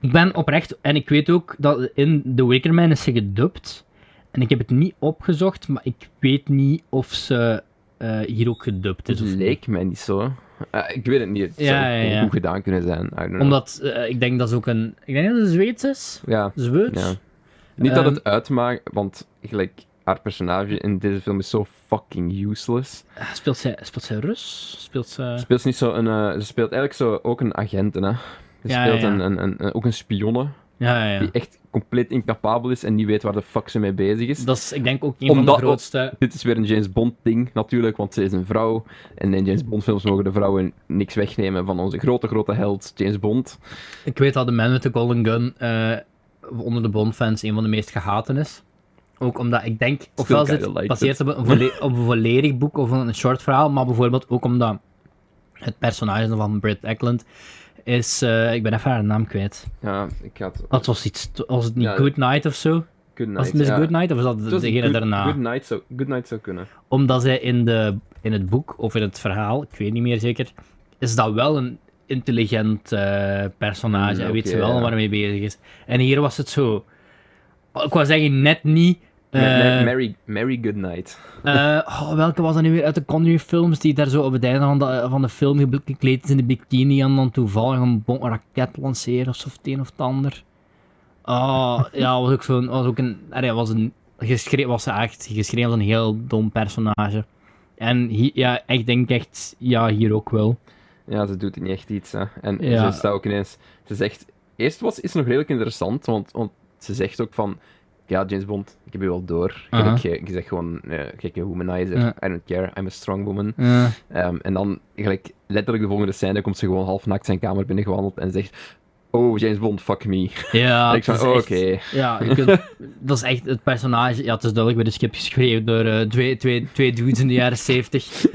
[SPEAKER 2] Ik ben oprecht, en ik weet ook dat in The Wickerman is ze gedubt. En ik heb het niet opgezocht, maar ik weet niet of ze eh, hier ook gedubt is.
[SPEAKER 1] Het
[SPEAKER 2] Of niet.
[SPEAKER 1] Dus leek mij niet zo. Eh, ik weet het niet. Het
[SPEAKER 2] Ja,
[SPEAKER 1] zou
[SPEAKER 2] ja, ja.
[SPEAKER 1] goed gedaan kunnen zijn. I don't know.
[SPEAKER 2] Omdat eh, ik denk dat ze ook een. Ik denk dat ze Zweeds is.
[SPEAKER 1] Ja,
[SPEAKER 2] Zweeds.
[SPEAKER 1] ja. Niet dat
[SPEAKER 2] Ehm,
[SPEAKER 1] het uitmaakt, want gelijk haar personage in deze film is zo fucking useless.
[SPEAKER 2] Ah, Speelt, zij, speelt zij Rus? Speelt
[SPEAKER 1] Ze
[SPEAKER 2] ze.
[SPEAKER 1] speelt niet zo een, eh, ze speelt eigenlijk zo ook een agent, hè. Ze
[SPEAKER 2] Ja,
[SPEAKER 1] speelt
[SPEAKER 2] ja, ja.
[SPEAKER 1] Een, een, een- een- ook een spionne
[SPEAKER 2] Ja, ja, ja.
[SPEAKER 1] die echt compleet incapabel is en niet weet waar de fuck ze mee bezig is.
[SPEAKER 2] Dat is, ik denk ook een
[SPEAKER 1] Omdat-
[SPEAKER 2] van de grootste.
[SPEAKER 1] Dit is weer een James Bond ding natuurlijk, want ze is een vrouw. En in James Bond films mogen de vrouwen niks wegnemen van onze grote, grote held James Bond.
[SPEAKER 2] Ik weet dat de Man with the Golden Gun eh, onder de Bond-fans een van de meest gehaten is. Ook omdat ik denk, ofwel
[SPEAKER 1] kinda
[SPEAKER 2] zit
[SPEAKER 1] liked
[SPEAKER 2] gebaseerd op, een volle- op een volledig boek of een short verhaal, maar bijvoorbeeld ook omdat het personage van Britt Eklund is, eh, ik ben even haar naam kwijt.
[SPEAKER 1] Ja, ik had
[SPEAKER 2] Dat was iets, was het niet
[SPEAKER 1] Ja.
[SPEAKER 2] Good Night of zo?
[SPEAKER 1] Good Night.
[SPEAKER 2] was het Miss
[SPEAKER 1] ja.
[SPEAKER 2] Good Night of was dat
[SPEAKER 1] Het was
[SPEAKER 2] degene
[SPEAKER 1] Good-
[SPEAKER 2] daarna?
[SPEAKER 1] Good Night zou, Good Night zou kunnen.
[SPEAKER 2] Omdat zij in, de, in het boek of in het verhaal, ik weet niet meer zeker, is dat wel een intelligent eh, personage.
[SPEAKER 1] Mm,
[SPEAKER 2] Hij weet
[SPEAKER 1] oké,
[SPEAKER 2] ze wel
[SPEAKER 1] ja.
[SPEAKER 2] waarmee bezig is. En hier was het zo. Ik wou zeggen, net niet
[SPEAKER 1] Ma- ma-
[SPEAKER 2] Eh,
[SPEAKER 1] Merry, Merry Goodnight.
[SPEAKER 2] eh, oh, welke was dat nu weer uit de Conjuring films die daar zo op het einde van de, van de film ge- gekleed is in de bikini en dan toevallig een bom een raket lanceren of zo, of het een of het ander. Oh, ja, was ook zo'n, was ook een, allee, was een, geschreven, was ze echt geschreven als een heel dom personage. En hi- ja, ik denk echt, ja, hier ook wel.
[SPEAKER 1] Ja, ze doet niet echt iets. Hè. En
[SPEAKER 2] Ja.
[SPEAKER 1] ze staat ook ineens. Ze zegt. Eerst was, is nog redelijk interessant, want, want ze zegt ook van. Ja, James Bond, ik heb je wel door. Je
[SPEAKER 2] Aha.
[SPEAKER 1] bent ge- je zegt gewoon, eh, gekke womanizer.
[SPEAKER 2] Ja.
[SPEAKER 1] I don't care, I'm a strong woman.
[SPEAKER 2] Eh,
[SPEAKER 1] Ehm, en dan, gelijk, letterlijk de volgende scène, komt ze gewoon halfnaakt zijn kamer binnengewandeld en zegt... Oh, James Bond, fuck me.
[SPEAKER 2] ja,
[SPEAKER 1] en ik van,
[SPEAKER 2] Ah, het is
[SPEAKER 1] oh, oké.
[SPEAKER 2] echt- Ja, je kunt, dat is echt het personage. Ja, het is duidelijk bij de skip geschreven door eh, twee, twee, twee dudes in de jaren 70.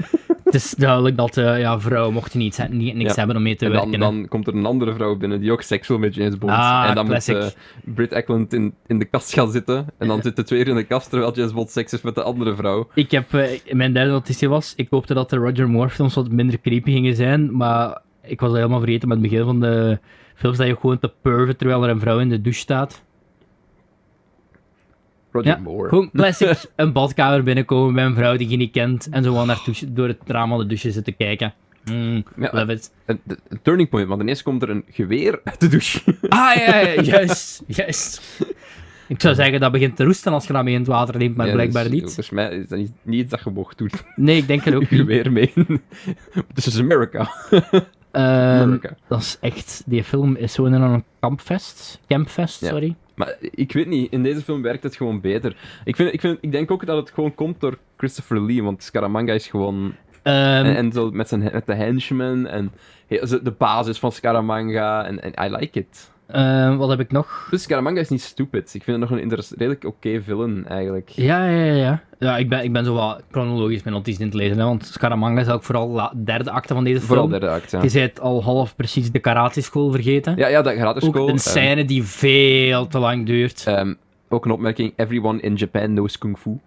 [SPEAKER 2] het is duidelijk dat eh, ja, vrouwen mochten niet, niet, niks
[SPEAKER 1] Ja.
[SPEAKER 2] hebben om mee te
[SPEAKER 1] En dan,
[SPEAKER 2] werken. hè.
[SPEAKER 1] dan komt er een andere vrouw binnen die ook seks wil met James Bond.
[SPEAKER 2] Ah,
[SPEAKER 1] en dan
[SPEAKER 2] classic.
[SPEAKER 1] moet eh, Britt Eklund in, in de kast gaan zitten. En dan zitten twee uur in de kast terwijl James Bond seks heeft met de andere vrouw.
[SPEAKER 2] Ik heb, eh, mijn derde notitie was, ik hoopte dat de Roger Moore films wat minder creepy gingen zijn, maar ik was al helemaal vergeten met het begin van de films dat je gewoon te purven terwijl er een vrouw in de douche staat.
[SPEAKER 1] Roger
[SPEAKER 2] Ja,
[SPEAKER 1] Moore.
[SPEAKER 2] Gewoon classic een badkamer binnenkomen bij een vrouw die je niet kent en zo wel naar douche- door het raam van de douche zitten kijken. Mm,
[SPEAKER 1] Ja.
[SPEAKER 2] love it.
[SPEAKER 1] Een, de- een turning point, want ineens komt er een geweer uit de douche.
[SPEAKER 2] Ah ja, ja, juist, juist. Ik zou zeggen, dat begint te roesten als je dat mee in het water neemt, maar
[SPEAKER 1] Ja,
[SPEAKER 2] blijkbaar
[SPEAKER 1] dus,
[SPEAKER 2] niet.
[SPEAKER 1] Volgens mij is dat niet, niet iets dat je mocht doen.
[SPEAKER 2] Nee, ik denk het ook
[SPEAKER 1] Een
[SPEAKER 2] niet.
[SPEAKER 1] geweer mee. This is America.
[SPEAKER 2] Ehm,
[SPEAKER 1] America.
[SPEAKER 2] dat is echt, die film is zo in een kampfest, campfest,
[SPEAKER 1] Ja.
[SPEAKER 2] sorry.
[SPEAKER 1] Maar ik weet niet, in deze film werkt het gewoon beter. Ik, vind, ik, vind, ik denk ook dat het gewoon komt door Christopher Lee, want Scaramanga is gewoon...
[SPEAKER 2] Ehm,
[SPEAKER 1] en, en zo met, zijn, met de henchmen en he- zo de basis van Scaramanga en, en I like it.
[SPEAKER 2] ehm, wat heb ik nog?
[SPEAKER 1] Dus Scaramanga is niet stupid. Ik vind het nog een interess- redelijk oké villain, eigenlijk.
[SPEAKER 2] Ja, ja, ja. ja. ja ik, ben, ik ben zo wat chronologisch mijn notities in het lezen, hè, want Scaramanga is ook vooral de derde acte van deze
[SPEAKER 1] Vooral
[SPEAKER 2] film.
[SPEAKER 1] derde act, ja.
[SPEAKER 2] Je zei het al half precies de karateschool vergeten.
[SPEAKER 1] Ja, ja, dat gratis
[SPEAKER 2] ook
[SPEAKER 1] school.
[SPEAKER 2] een
[SPEAKER 1] ehm,
[SPEAKER 2] scène die veel te lang duurt.
[SPEAKER 1] ehm, ook een opmerking, everyone in Japan knows kung fu.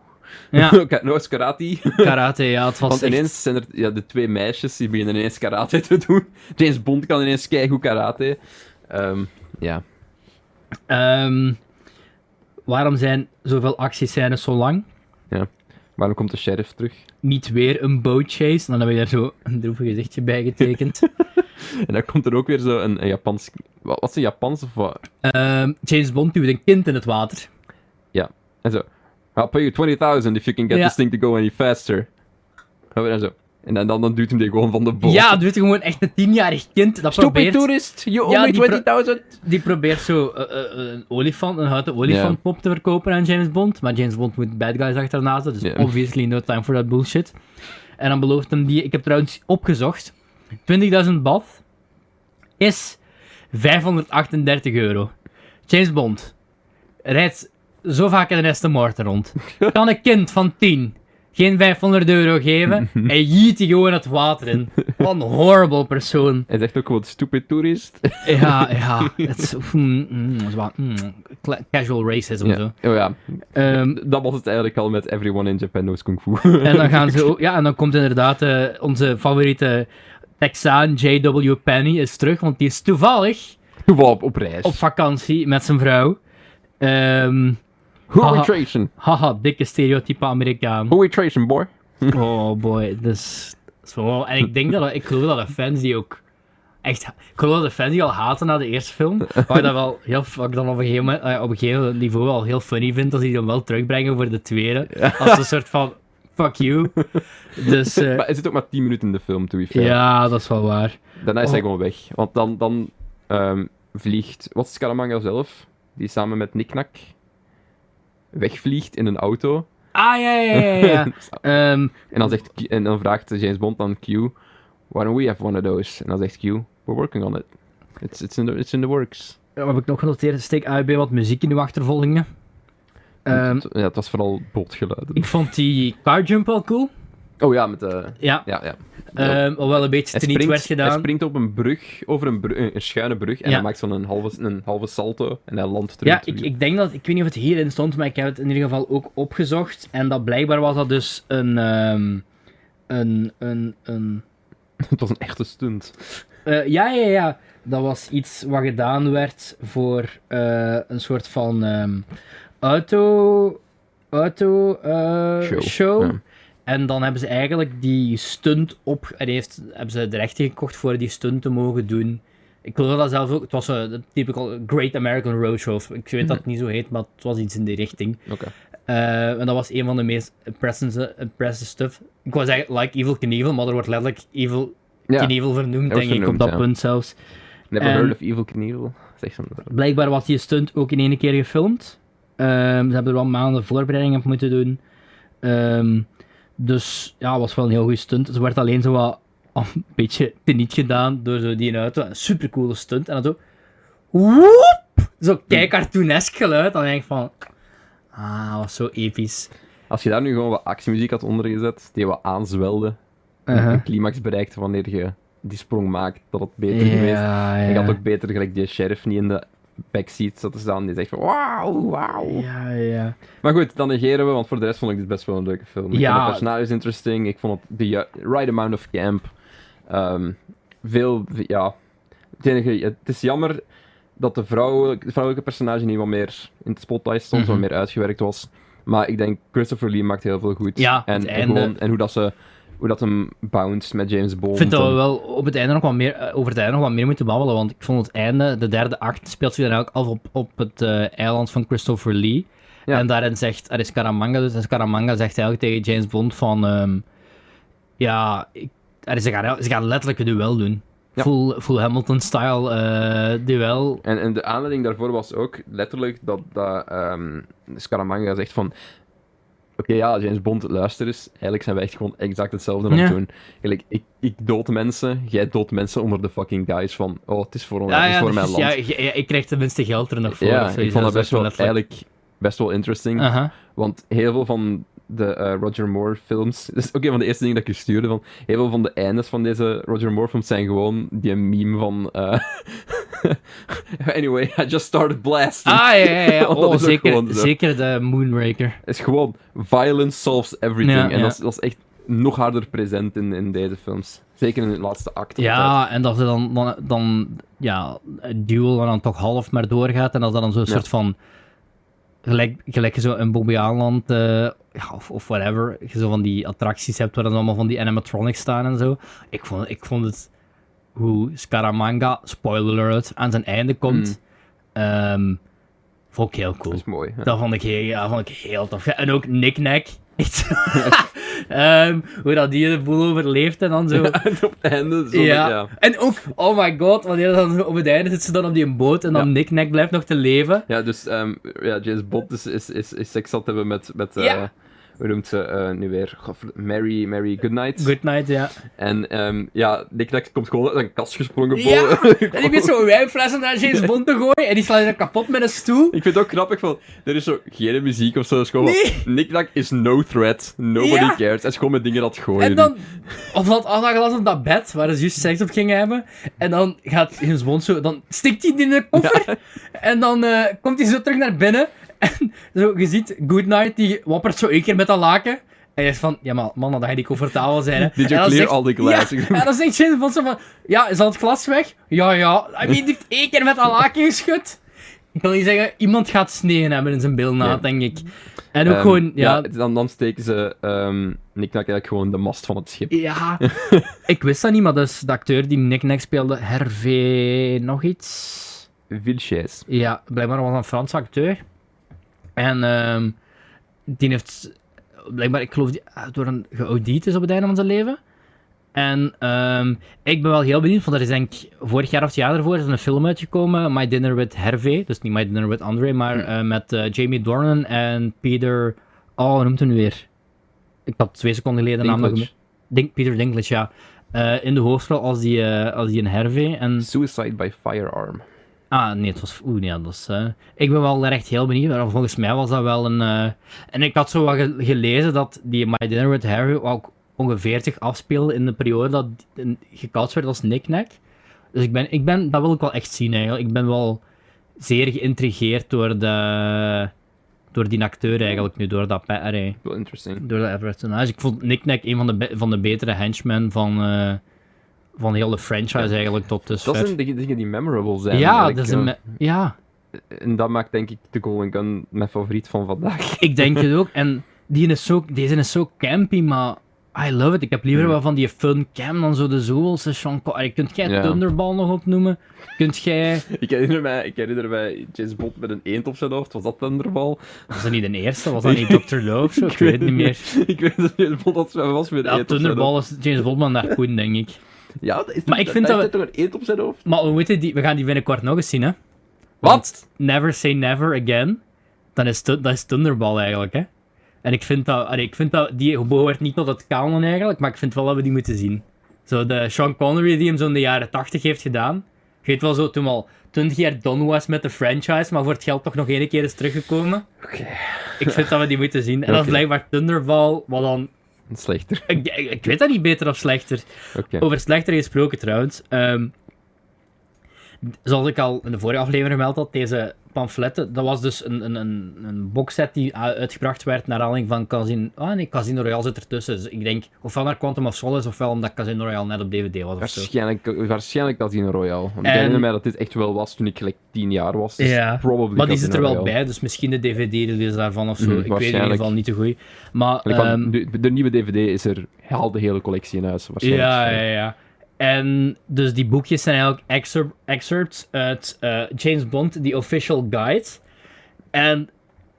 [SPEAKER 2] Ja,
[SPEAKER 1] Oké, knows karate.
[SPEAKER 2] karate, ja, het was
[SPEAKER 1] Want
[SPEAKER 2] echt-
[SPEAKER 1] ineens zijn er ja, de twee meisjes die beginnen ineens karate te doen. James Bond kan ineens keigoed karate. Ehm, ja.
[SPEAKER 2] Ehm, waarom zijn zoveel actiescènes zo lang?
[SPEAKER 1] Waarom komt de sheriff terug?
[SPEAKER 2] Niet weer een bootchase. Dan heb je daar zo een droevig gezichtje bij getekend.
[SPEAKER 1] En dan komt er ook weer zo een, een Japans... Wat was een Japans of wat?
[SPEAKER 2] Ehm, James Bond duwt een kind in het water.
[SPEAKER 1] En zo. I'll pay you 20.000 if you can get
[SPEAKER 2] Ja.
[SPEAKER 1] this thing to go any faster. En dan zo. En dan, dan, dan duwt hem die gewoon van de boot.
[SPEAKER 2] Ja, duwt gewoon echt een tienjarig kind. Dat probeert,
[SPEAKER 1] tourist, you
[SPEAKER 2] Ja, die pro-
[SPEAKER 1] 20.000.
[SPEAKER 2] die probeert zo eh, eh, een olifant, een houten olifantpop te verkopen aan James Bond. Maar James Bond moet bad guys achterna zetten. Dus
[SPEAKER 1] Ja.
[SPEAKER 2] obviously no time for that bullshit. En dan belooft hem die... Ik heb trouwens opgezocht. 20.000 bath is 538 euro. James Bond rijdt zo vaak in de Aston Martin rond. Kan een kind van 10 geen 500 euro geven en jiet die gewoon het water in. Wat een horrible persoon.
[SPEAKER 1] Hij zegt ook gewoon stupid tourist.
[SPEAKER 2] Ja, ja. Het is mm, mm, het is wel, mm, cla- casual racism
[SPEAKER 1] Ja.
[SPEAKER 2] zo.
[SPEAKER 1] Oh ja,
[SPEAKER 2] Ehm,
[SPEAKER 1] dat was het eigenlijk al met Everyone in Japan Knows Kung Fu.
[SPEAKER 2] en dan gaan ze ook, ja, en dan komt inderdaad eh, onze favoriete Texaan J.W. Penny is terug, want die is toevallig
[SPEAKER 1] Toeval op, op reis.
[SPEAKER 2] op vakantie met zijn vrouw. Ehm,
[SPEAKER 1] Who we
[SPEAKER 2] Haha.
[SPEAKER 1] tracing?
[SPEAKER 2] haha, dikke stereotype Amerikaan.
[SPEAKER 1] Who we tracing, boy?
[SPEAKER 2] Oh boy, dus. dus wow. En ik denk dat, ik geloof dat de fans die ook. Echt, ik geloof dat de fans die al haten na de eerste film. Waar ik dat wel heel wat ik dan op een gegeven, moment, eh, op een gegeven niveau al heel funny vind. Dat die dan wel terugbrengen voor de tweede. Als een soort van. Fuck you. Dus. eh,
[SPEAKER 1] Maar hij zit ook maar 10 minuten in de film, to be fair.
[SPEAKER 2] ja, dat is wel waar.
[SPEAKER 1] Daarna is hij
[SPEAKER 2] Oh.
[SPEAKER 1] gewoon weg. Want dan, dan ehm, vliegt... Wat is Scaramanga zelf? Die samen met Niknak wegvliegt in een auto.
[SPEAKER 2] Ah ja, ja, ja, ja, ja. Ehm,
[SPEAKER 1] En dan, zegt, Q- en dan vraagt James Bond aan Q, why don't we have one of those? En dan zegt Q, we're working on it. It's, it's, in, the, it's in the works.
[SPEAKER 2] wat heb ik nog genoteerd? Steek AUB wat muziek in uw achtervolgingen. Ehm,
[SPEAKER 1] Het- ja, het was vooral bootgeluiden.
[SPEAKER 2] ik vond die car jump wel cool.
[SPEAKER 1] Oh ja, met de...
[SPEAKER 2] Ja.
[SPEAKER 1] Ja, ja.
[SPEAKER 2] Ehm wel een beetje
[SPEAKER 1] Hij
[SPEAKER 2] teniet werd gedaan.
[SPEAKER 1] hij springt op een brug, over een, bru- een schuine brug, en
[SPEAKER 2] Ja.
[SPEAKER 1] hij maakt zo'n halve, een halve salto, en hij landt terug.
[SPEAKER 2] Ja,
[SPEAKER 1] op het
[SPEAKER 2] ik,
[SPEAKER 1] wiel.
[SPEAKER 2] ik denk dat, ik weet niet of het hierin stond, maar ik heb het in ieder geval ook opgezocht. En dat blijkbaar was dat dus een, ehm, een, een, een
[SPEAKER 1] Het was een echte stunt.
[SPEAKER 2] eh, ja, ja, ja. Dat was iets wat gedaan werd voor eh, een soort van ehm, auto. auto eh,
[SPEAKER 1] Show,
[SPEAKER 2] show.
[SPEAKER 1] ja.
[SPEAKER 2] En dan hebben ze eigenlijk die stunt op... En heeft, hebben ze de rechten gekocht voor die stunt te mogen doen. Ik wilde dat zelf ook... Het was een typical Great American Roadshow. of- Ik weet dat het niet zo heet, maar het was iets in die richting.
[SPEAKER 1] Oké.
[SPEAKER 2] Eh, en dat was een van de meest impressive, impressive stuff. Ik was zeggen, like Evil Knievel, maar er wordt letterlijk Evil
[SPEAKER 1] Ja.
[SPEAKER 2] Knievel vernoemd,
[SPEAKER 1] Hij wordt
[SPEAKER 2] denk ik, op
[SPEAKER 1] vernoemd,
[SPEAKER 2] dat
[SPEAKER 1] ja.
[SPEAKER 2] punt zelfs.
[SPEAKER 1] Never
[SPEAKER 2] En-
[SPEAKER 1] heard of Evil Knievel. Zeg zo'n...
[SPEAKER 2] Blijkbaar was die stunt ook in één keer gefilmd. Ehm, ze hebben er wel maanden voorbereiding op moeten doen. Ehm, dus ja, was wel een heel goede stunt. Het werd alleen zo wat oh, een beetje teniet gedaan door zo die auto. Een supercoole stunt. En dan zo... Woep! Zo kei cartoonesk geluid. Dan denk ik van... Ah, dat was zo episch.
[SPEAKER 1] Als je daar nu gewoon wat actiemuziek had ondergezet, die wat aanzwelde,
[SPEAKER 2] Uh-huh.
[SPEAKER 1] een climax bereikte wanneer je die sprong maakt, dat het beter geweest.
[SPEAKER 2] ja.
[SPEAKER 1] En je had ook beter gelijk die sheriff niet in de backseat zat te staan, die zegt van wauw, wauw.
[SPEAKER 2] Ja, ja.
[SPEAKER 1] Maar goed, dan negeren we, want voor de rest vond ik dit best wel een leuke film. Ik
[SPEAKER 2] Ja.
[SPEAKER 1] vond de personages interesting, ik vond het de ju- right amount of camp. Ehm, veel, ja... Het, enige, het is jammer dat de vrouwelijke, het vrouwelijke personage niet wat meer in het spotlight stond,
[SPEAKER 2] Mhm.
[SPEAKER 1] wat meer uitgewerkt was. Maar ik denk, Christopher Lee maakt heel veel goed.
[SPEAKER 2] Ja,
[SPEAKER 1] en,
[SPEAKER 2] het
[SPEAKER 1] en,
[SPEAKER 2] einde.
[SPEAKER 1] gewoon- en hoe dat ze... Hoe dat hem bounced met James Bond.
[SPEAKER 2] Ik vind dat
[SPEAKER 1] en-
[SPEAKER 2] we wel op het einde nog wat meer, eh, over het einde nog wat meer moeten babbelen, want ik vond het einde, de derde act, speelt zich dan eigenlijk af op, op het eh, eiland van Christopher Lee.
[SPEAKER 1] Ja.
[SPEAKER 2] En daarin zegt, er is Scaramanga dus, en Scaramanga zegt eigenlijk tegen James Bond van, ehm, ja, ik, er is, ze, gaan, ze gaan letterlijk een duel doen.
[SPEAKER 1] Ja.
[SPEAKER 2] Full, full Hamilton-style eh, duel.
[SPEAKER 1] En, en de aanleiding daarvoor was ook letterlijk dat, dat ehm, Scaramanga zegt van... Oké, ja, James Bond, luister eens. Eigenlijk zijn wij echt gewoon exact hetzelfde aan het
[SPEAKER 2] Ja.
[SPEAKER 1] doen. Eigenlijk, ik, ik dood mensen, jij dood mensen onder de fucking guys van... Oh, het is voor, ons,
[SPEAKER 2] Ja,
[SPEAKER 1] het is
[SPEAKER 2] ja,
[SPEAKER 1] voor
[SPEAKER 2] dus
[SPEAKER 1] mijn
[SPEAKER 2] ja,
[SPEAKER 1] land.
[SPEAKER 2] je- ja, ik krijg tenminste geld er nog voor.
[SPEAKER 1] Ja,
[SPEAKER 2] of zoiets.
[SPEAKER 1] ik vond dat
[SPEAKER 2] is
[SPEAKER 1] best wel
[SPEAKER 2] letterlijk-
[SPEAKER 1] eigenlijk best wel interesting.
[SPEAKER 2] Aha.
[SPEAKER 1] Want heel veel van de eh, Roger Moore films... Dat is ook een van de eerste dingen dat ik je stuurde. Van, heel veel van de eindes van deze Roger Moore films zijn gewoon die meme van... eh, anyway, I just started blasting.
[SPEAKER 2] Ah, ja, ja, ja.
[SPEAKER 1] Want dat
[SPEAKER 2] Oh,
[SPEAKER 1] is ook
[SPEAKER 2] zeker,
[SPEAKER 1] gewoon zo.
[SPEAKER 2] zeker de Moonraker.
[SPEAKER 1] Het is gewoon violence solves everything.
[SPEAKER 2] Ja,
[SPEAKER 1] en
[SPEAKER 2] ja.
[SPEAKER 1] Dat, is, dat is echt nog harder present in, in deze films. Zeker in het laatste act. altijd.
[SPEAKER 2] Ja, en dat ze dan, dan, dan ja, het duel dan, dan toch half maar doorgaat. En dat dat dan zo'n
[SPEAKER 1] Ja.
[SPEAKER 2] soort van. Gelijk, gelijk je zo in Bobby Aanland eh, ja, of, of whatever. Je zo van die attracties hebt waar dan allemaal van die animatronics staan en zo. Ik vond, ik vond het hoe Scaramanga, spoiler alert, aan zijn einde komt. ehm, vond ik heel
[SPEAKER 1] Dat
[SPEAKER 2] cool.
[SPEAKER 1] is mooi. hè.
[SPEAKER 2] Dat vond ik heel, ja, vond ik heel tof. En ook Nick Nack. Echt. Ehm, hoe dat die de boel overleeft en dan zo.
[SPEAKER 1] En op het einde. Zo
[SPEAKER 2] Ja.
[SPEAKER 1] ja. ja.
[SPEAKER 2] En ook, oh my god, wanneer dan op het einde zit ze dan op die boot en dan
[SPEAKER 1] Ja.
[SPEAKER 2] Nick Nack blijft nog te leven.
[SPEAKER 1] Ja, dus ehm, ja, James Bond is, is, is, is seks had hebben met. met eh,
[SPEAKER 2] Ja.
[SPEAKER 1] Hoe noemt ze eh, nu weer? Gof- Mary, Mary Goodnight.
[SPEAKER 2] Goodnight, ja.
[SPEAKER 1] En ehm, ja, Nick Nack komt gewoon uit een kast gesprongen.
[SPEAKER 2] Ja,
[SPEAKER 1] boven.
[SPEAKER 2] en die weet zo'n wijnflessen naar James Bond te gooien en die slaat je dan kapot met een stoel.
[SPEAKER 1] Ik vind het ook grappig van, er is zo geen muziek of zo. Het is gewoon van, Nick Nack is no threat, nobody
[SPEAKER 2] Ja.
[SPEAKER 1] cares. Het is gewoon met dingen dat gooien.
[SPEAKER 2] En dan, of dat afgelaten op dat bed waar ze juist seks op gingen hebben. En dan gaat James Bond zo, dan stikt hij die in de koffer. En dan eh, komt hij zo terug naar binnen. En zo, je ziet Goodnight, die wappert zo één keer met dat laken. En je is van, ja maar man, dan ga je niet comfortabel zijn. Hè.
[SPEAKER 1] Did you
[SPEAKER 2] En dan
[SPEAKER 1] clear
[SPEAKER 2] zegt-
[SPEAKER 1] all the glass?
[SPEAKER 2] Ja, en dan zegt James Bond zo van, ja, is al het glas weg? Ja, ja. I mean, die heeft één keer met dat laken geschud. Ik wil niet zeggen, iemand gaat sneeuwen hebben in zijn bilnaad, denk ik. En ook
[SPEAKER 1] Ehm,
[SPEAKER 2] gewoon, ja,
[SPEAKER 1] dan, dan steken ze ehm Nick Nack eigenlijk gewoon de mast van het schip.
[SPEAKER 2] Ja, ik wist dat niet, maar dus de acteur die Nick Nack speelde, Hervé nog iets.
[SPEAKER 1] Vilches.
[SPEAKER 2] Ja, blijkbaar was hij een Franse acteur. En ehm, die heeft, blijkbaar, ik geloof, die, door een geaudit is op het einde van zijn leven. En ehm, ik ben wel heel benieuwd, want er is denk ik vorig jaar of het jaar ervoor is een film uitgekomen, My Dinner with Hervé. Dus niet My Dinner with André, maar eh, met eh, Jamie Dornan en Peter... Oh, hoe noemt hij nu weer? Ik had twee seconden geleden de naam nog
[SPEAKER 1] Dinklage.
[SPEAKER 2] Dink, Peter Dinklage, ja. Eh, in de hoofdrol als die, eh, als die een Hervé. En
[SPEAKER 1] Suicide by firearm.
[SPEAKER 2] Ah, nee, het was... Oeh, nee, dat is... eh, ik ben wel echt heel benieuwd. maar Volgens mij was dat wel een... eh, En ik had zo wat ge- gelezen dat die My Dinner with Harry ook ongeveer zich afspeelde in de periode dat die- gecast werd als Nick Nack. Dus ik ben, ik ben... Dat wil ik wel echt zien, eigenlijk. Ik ben wel zeer geïntrigeerd door de... Door die acteur eigenlijk nu, door dat... pe- Allee,
[SPEAKER 1] Wel interesting.
[SPEAKER 2] door dat personage. Ik vond Nick Nack een van de, be- van de betere henchmen van... eh, van heel de franchise eigenlijk tot dusver.
[SPEAKER 1] Dat zijn de dingen die memorable zijn.
[SPEAKER 2] Ja,
[SPEAKER 1] eigenlijk,
[SPEAKER 2] dat is een
[SPEAKER 1] eh.
[SPEAKER 2] me- ja.
[SPEAKER 1] En dat maakt denk ik de Golden Gun mijn favoriet van vandaag.
[SPEAKER 2] Ik denk het ook. En die is zo, deze is zo campy, maar I love it. Ik heb liever
[SPEAKER 1] Hmm.
[SPEAKER 2] wel van die fun cam dan zo de zoveelste Sean Connery. Kunt jij
[SPEAKER 1] Ja.
[SPEAKER 2] Thunderball nog opnoemen? Kunt jij...
[SPEAKER 1] Ik herinner mij, ik herinner mij James Bond met een eend op zijn hoofd. Was dat Thunderball?
[SPEAKER 2] Was dat niet de eerste? Was dat niet Dr. Love of zo? Ik weet het niet meer.
[SPEAKER 1] ik weet dat James Bond dat was met een
[SPEAKER 2] Ja,
[SPEAKER 1] eend op zijn hoofd.
[SPEAKER 2] Thunderball is James Bond maar daar goed, denk ik.
[SPEAKER 1] Ja, dat is
[SPEAKER 2] Maar ik vind
[SPEAKER 1] daar
[SPEAKER 2] dat
[SPEAKER 1] zit toch een eend op zijn hoofd?
[SPEAKER 2] Maar we, moeten die, we gaan die binnenkort nog eens zien, hè.
[SPEAKER 1] Wat?
[SPEAKER 2] Never Say Never Again, dan is, thu- dat is Thunderball eigenlijk, hè. En ik vind dat, allee, ik vind dat die behoort niet tot het kanon eigenlijk, maar ik vind wel dat we die moeten zien. Zo de Sean Connery die hem zo in de jaren 80 heeft gedaan. Je weet wel zo, toen al 20 jaar done was met de franchise, maar voor het geld toch nog één keer is teruggekomen.
[SPEAKER 1] Oké.
[SPEAKER 2] Ik vind dat we die moeten zien. En dat is
[SPEAKER 1] Oké.
[SPEAKER 2] blijkbaar Thunderball, wat dan...
[SPEAKER 1] Slechter.
[SPEAKER 2] Ik, ik- ik weet dat niet beter of slechter.
[SPEAKER 1] Oké.
[SPEAKER 2] Over slechter gesproken trouwens. Ehm, zoals ik al in de vorige aflevering gemeld had, deze pamfletten, dat was dus een, een, een, een boxset die a- uitgebracht werd naar aanleiding van Casino... Ah nee, Casino Royale zit ertussen. Dus ik denk, ofwel naar Quantum of Solace, ofwel omdat Casino Royale net op DVD was of zo.
[SPEAKER 1] Waarschijnlijk, waarschijnlijk Casino Royale. Want
[SPEAKER 2] En-
[SPEAKER 1] Ik herinner mij dat dit echt wel was toen ik gelijk 10 jaar was. Dus
[SPEAKER 2] Ja.
[SPEAKER 1] probably
[SPEAKER 2] Maar die zit
[SPEAKER 1] Casino
[SPEAKER 2] er wel
[SPEAKER 1] Royale.
[SPEAKER 2] bij, dus misschien de DVD-release daarvan of zo.
[SPEAKER 1] Mhm,
[SPEAKER 2] ik weet in ieder
[SPEAKER 1] waarschijnlijk.
[SPEAKER 2] geval niet te goed. Maar...
[SPEAKER 1] En ik had-
[SPEAKER 2] ehm,
[SPEAKER 1] de, de nieuwe DVD is er, haal de hele collectie in huis. Waarschijnlijk.
[SPEAKER 2] Ja, ja, ja. En dus die boekjes zijn eigenlijk excerp- excerpts uit eh, James Bond, The Official Guide. En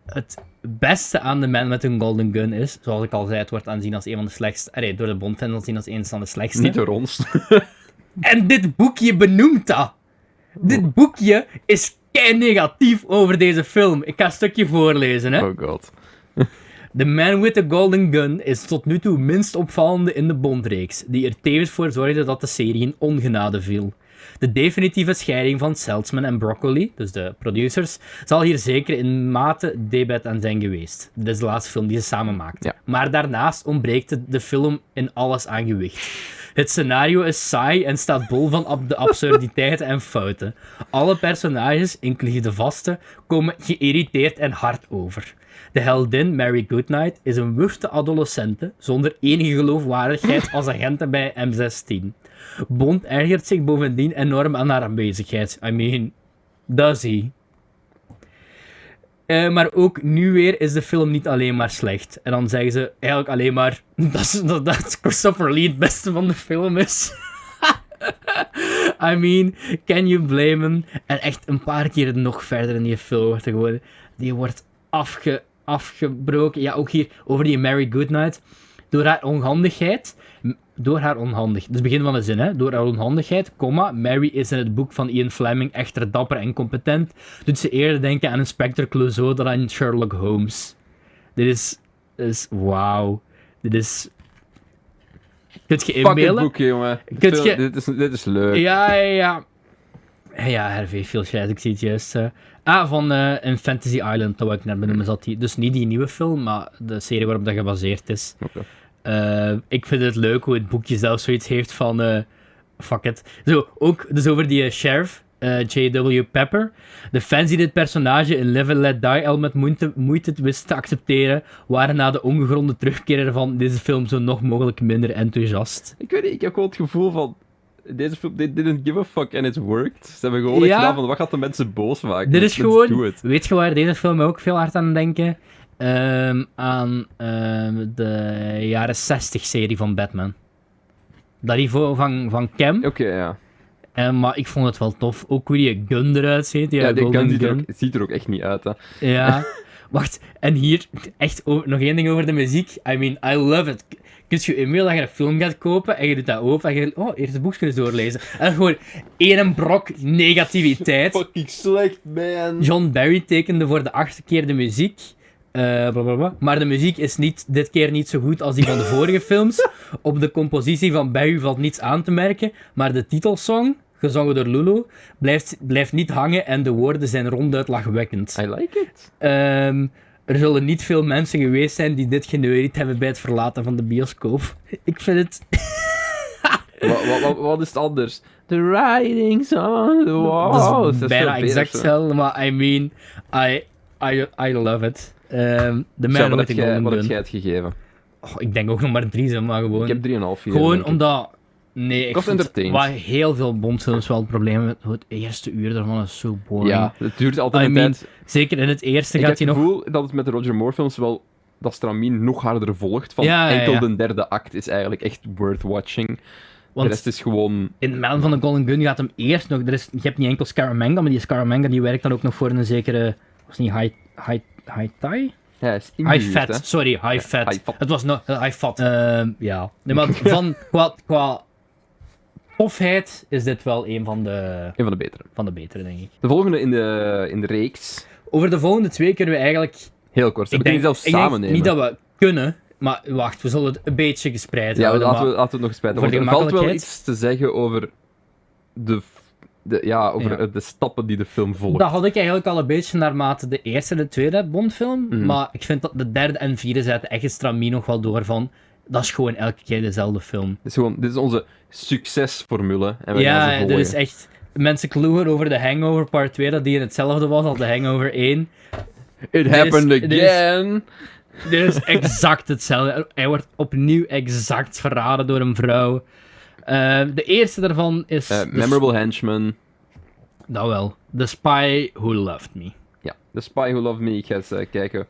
[SPEAKER 2] het beste aan de man met een Golden Gun is, zoals ik al zei, het wordt aanzien als een van de slechtste. Allee, door de Bond-fans aanzien als een van de slechtste.
[SPEAKER 1] Niet door ons.
[SPEAKER 2] En dit boekje benoemt dat. Dit
[SPEAKER 1] Oh.
[SPEAKER 2] boekje is kei negatief over deze film. Ik ga een stukje voorlezen, hè.
[SPEAKER 1] Oh god.
[SPEAKER 2] The Man with the Golden Gun is tot nu toe minst opvallende in de Bondreeks, die er tevens voor zorgde dat de serie in ongenade viel. De definitieve scheiding van Seltzman en Broccoli, dus de producers, zal hier zeker in mate debet aan zijn geweest. Dit is de laatste film die ze samen maakten.
[SPEAKER 1] Ja.
[SPEAKER 2] Maar daarnaast ontbreekt het de film in alles aan gewicht. Het scenario is saai en staat bol van ab- de absurditeiten en fouten. Alle personages, inclusief de vaste, komen geïrriteerd en hard over. De heldin Mary Goodnight is een wufte adolescente zonder enige geloofwaardigheid als agenten bij M16. Bond ergert zich bovendien enorm aan haar aanwezigheid. I mean, does he? Eh, maar ook nu weer is de film niet alleen maar slecht. En dan zeggen ze eigenlijk alleen maar dat, is- dat, dat Christopher Lee het beste van de film is. I mean, can you blame him? En echt een paar keer nog verder in die film wordt er gewoon... Die wordt afge, afgebroken. Ja, ook hier over die Mary Goodnight. Door haar onhandigheid... m- Door haar onhandig... Dat is het begin van de zin, hè. Door haar onhandigheid, comma... Mary is in het boek van Ian Fleming echter dapper en competent. Doet ze eerder denken aan Inspector Clouseau dan aan Sherlock Holmes. Dit is... Dit is... Wauw. Dit is... Kunt je
[SPEAKER 1] Fuck het
[SPEAKER 2] inbeelden?
[SPEAKER 1] boek, jongen.
[SPEAKER 2] Kunt
[SPEAKER 1] Veel-
[SPEAKER 2] je-
[SPEAKER 1] dit, is, dit is leuk.
[SPEAKER 2] Ja, ja, ja. Ja, Hervé, veel shit, ik zie het juist. eh. Ah, van eh, in Fantasy Island, dat wil ik net benoemen, zat die. Dus niet die nieuwe film, maar de serie waarop dat gebaseerd is.
[SPEAKER 1] Oké.
[SPEAKER 2] Eh, ik vind het leuk hoe het boekje zelf zoiets heeft van... eh, fuck it. Zo, ook dus over die eh, sheriff, eh, J.W. Pepper. De fans die dit personage in Live and Let Die al met moeite, moeite wisten te accepteren, waren na de ongegronde terugkeer van deze film zo nog mogelijk minder enthousiast.
[SPEAKER 1] Ik weet niet, ik heb gewoon het gevoel van... Deze film, they didn't give a fuck and it worked. Ze hebben gewoon echt
[SPEAKER 2] Ja.
[SPEAKER 1] gedaan van, wat gaat de mensen boos maken?
[SPEAKER 2] Dit is
[SPEAKER 1] Let's do
[SPEAKER 2] gewoon.
[SPEAKER 1] it.
[SPEAKER 2] Weet je waar deze film ook veel hard aan denken? Ehm, aan ehm, de jaren 60 serie van Batman. Dat niveau van, van Cam.
[SPEAKER 1] Oké, ja.
[SPEAKER 2] En, maar ik vond het wel tof. Ook hoe die gun eruit ziet. Die
[SPEAKER 1] Ja, die
[SPEAKER 2] golden
[SPEAKER 1] gun ziet er,
[SPEAKER 2] gun.
[SPEAKER 1] ook, ziet er ook echt niet uit, hè.
[SPEAKER 2] Ja. Wacht, en hier echt o- nog één ding over de muziek. I mean, I love it. Kun je inmiddels dat je een film gaat kopen en je doet dat open en je denkt, oh, eerst de boekjes doorlezen. En gewoon één brok negativiteit.
[SPEAKER 1] Fucking slecht, man.
[SPEAKER 2] John Barry tekende voor de achtste keer de muziek. Eh, bla, bla, bla. Maar de muziek is niet, dit keer niet zo goed als die van de vorige films. Op de compositie van Barry valt niets aan te merken. Maar de titelsong, gezongen door Lulu, blijft, blijft niet hangen en de woorden zijn ronduit lachwekkend.
[SPEAKER 1] I like it.
[SPEAKER 2] Ehm, er zullen niet veel mensen geweest zijn die dit geneurid hebben bij het verlaten van de bioscoop. Ik vind het
[SPEAKER 1] Wat, wat, wat, wat is het anders? The writings on the wall.
[SPEAKER 2] dat is bijna exact hetzelfde, maar I mean, I, I, I love it. Ehm de
[SPEAKER 1] Zo, wat
[SPEAKER 2] man met
[SPEAKER 1] heb
[SPEAKER 2] de
[SPEAKER 1] jij-
[SPEAKER 2] golden
[SPEAKER 1] wat heb
[SPEAKER 2] gun.
[SPEAKER 1] jij het gegeven?
[SPEAKER 2] Oh, ik denk ook nog maar drie zijn, maar gewoon.
[SPEAKER 1] Ik heb 3,5 hier.
[SPEAKER 2] gewoon omdat Nee, ik
[SPEAKER 1] was
[SPEAKER 2] vond
[SPEAKER 1] entertained.
[SPEAKER 2] waar heel veel Bondfilms wel het probleem met het eerste uur daarvan is zo boring.
[SPEAKER 1] Ja, het duurt altijd
[SPEAKER 2] I
[SPEAKER 1] een
[SPEAKER 2] mean,
[SPEAKER 1] tijd.
[SPEAKER 2] Zeker in het eerste
[SPEAKER 1] Ik heb
[SPEAKER 2] gaat hij
[SPEAKER 1] het
[SPEAKER 2] nog...
[SPEAKER 1] gevoel dat het met de Roger Moore films wel dat stramien nog harder volgt. Van
[SPEAKER 2] Ja, ja,
[SPEAKER 1] enkel
[SPEAKER 2] ja.
[SPEAKER 1] de derde act is eigenlijk echt worth watching.
[SPEAKER 2] Want
[SPEAKER 1] De rest is gewoon...
[SPEAKER 2] in Man van de Golden Gun gaat hem eerst nog... Er is, je hebt niet enkel Scaramanga, maar die Scaramanga die werkt dan ook nog voor een zekere... Was het niet high, high, high tie?
[SPEAKER 1] Ja, hij Hmm, is
[SPEAKER 2] High
[SPEAKER 1] ingehuurd,
[SPEAKER 2] fat,
[SPEAKER 1] hè.
[SPEAKER 2] sorry, high fat.
[SPEAKER 1] high fat.
[SPEAKER 2] Het was nog eh, high fat. Ehm, ja. Nee, maar van, qua, qua tofheid is dit wel een van de,
[SPEAKER 1] Een van de betere.
[SPEAKER 2] van de betere, denk ik.
[SPEAKER 1] De volgende in de, in de reeks.
[SPEAKER 2] Over de volgende twee kunnen we eigenlijk...
[SPEAKER 1] Heel kort. We
[SPEAKER 2] ik
[SPEAKER 1] kunnen die
[SPEAKER 2] denk,
[SPEAKER 1] zelfs
[SPEAKER 2] ik denk
[SPEAKER 1] samen nemen.
[SPEAKER 2] niet dat we kunnen, maar wacht, we zullen het een beetje gespreid
[SPEAKER 1] Ja,
[SPEAKER 2] houden.
[SPEAKER 1] laten we,
[SPEAKER 2] maar-
[SPEAKER 1] laten we het nog eens bij.
[SPEAKER 2] voor
[SPEAKER 1] Want
[SPEAKER 2] de
[SPEAKER 1] er valt wel
[SPEAKER 2] gemakkelijkheid.
[SPEAKER 1] iets te zeggen over de, f- de, ja, over
[SPEAKER 2] Ja.
[SPEAKER 1] eh, de stappen die de film volgt.
[SPEAKER 2] Dat had ik eigenlijk al een beetje naarmate de eerste en de tweede Bondfilm.
[SPEAKER 1] Mhm.
[SPEAKER 2] Maar ik vind dat de derde en vierde zetten echt het stramien nog wel door van... Dat is gewoon elke keer dezelfde film.
[SPEAKER 1] Dit, is gewoon, dit is onze succesformule. En we gaan
[SPEAKER 2] Ja,
[SPEAKER 1] ze
[SPEAKER 2] er
[SPEAKER 1] volgen.
[SPEAKER 2] is echt... Mensen kloegen over de Hangover Part 2, dat die in hetzelfde was als de Hangover 1.
[SPEAKER 1] It happened
[SPEAKER 2] dit is-
[SPEAKER 1] again.
[SPEAKER 2] Dit is exact hetzelfde. Hij wordt opnieuw exact verraden door een vrouw. Eh, de eerste daarvan is...
[SPEAKER 1] Eh,
[SPEAKER 2] de s-
[SPEAKER 1] memorable henchman.
[SPEAKER 2] Dat wel. The Spy Who Loved Me.
[SPEAKER 1] Ja, The Spy Who Loved Me. Ik ga eens eh, kijken.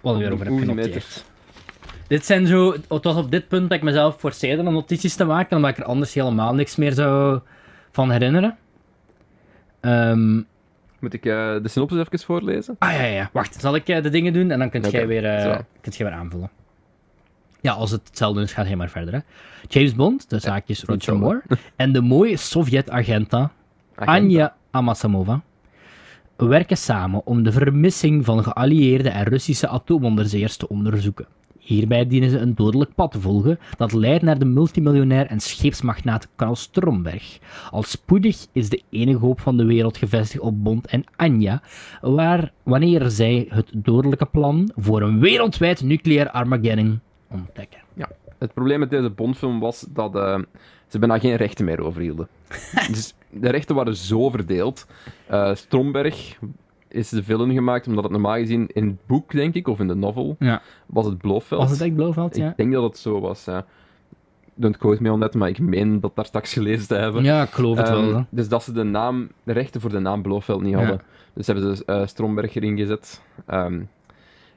[SPEAKER 2] Wat ik erover heb
[SPEAKER 1] Oeh,
[SPEAKER 2] genoteerd. Dit zijn zo... Het was op dit punt dat ik mezelf forceerde om notities te maken, omdat ik er anders helemaal niks meer zou van herinneren. Ehm,
[SPEAKER 1] Moet ik eh, de synopsis even voorlezen?
[SPEAKER 2] ah ja, ja, ja. Wacht, zal ik eh, de dingen doen en dan kunt
[SPEAKER 1] Oké,
[SPEAKER 2] jij weer, eh,
[SPEAKER 1] zo.
[SPEAKER 2] kunt jij weer aanvullen. Ja, als het hetzelfde is, gaat hij maar verder. Hè. James Bond, de zaakjes Roger
[SPEAKER 1] hetzelfde.
[SPEAKER 2] Moore, en de mooie Sovjet-agenta
[SPEAKER 1] Agenda.
[SPEAKER 2] Anja Amasamova werken samen om de vermissing van geallieerde en Russische atoomonderzeeërs te onderzoeken. Hierbij dienen ze een dodelijk pad te volgen dat leidt naar de multimiljonair en scheepsmagnaat Karl Stromberg. Al spoedig is de enige hoop van de wereld gevestigd op Bond en Anja, waar wanneer zij het dodelijke plan voor een wereldwijd nucleair Armageddon ontdekken.
[SPEAKER 1] Het probleem met deze Bondfilm was dat eh, ze bijna geen rechten meer overhielden. dus de rechten waren zo verdeeld. Eh, Stromberg is de villain gemaakt, omdat het normaal gezien in het boek, denk ik, of in de novel,
[SPEAKER 2] Ja.
[SPEAKER 1] was het Blofeld.
[SPEAKER 2] Was het echt Blofeld? Ja,
[SPEAKER 1] Ik denk dat het zo was. ja. Don't quote me on that, maar ik meen dat daar straks gelezen te hebben.
[SPEAKER 2] ja ik geloof het
[SPEAKER 1] Ehm,
[SPEAKER 2] wel. hè.
[SPEAKER 1] dus dat ze de, naam, de rechten voor de naam Blofeld niet
[SPEAKER 2] Ja.
[SPEAKER 1] hadden. Dus hebben ze eh, Stromberg erin gezet. Ehm,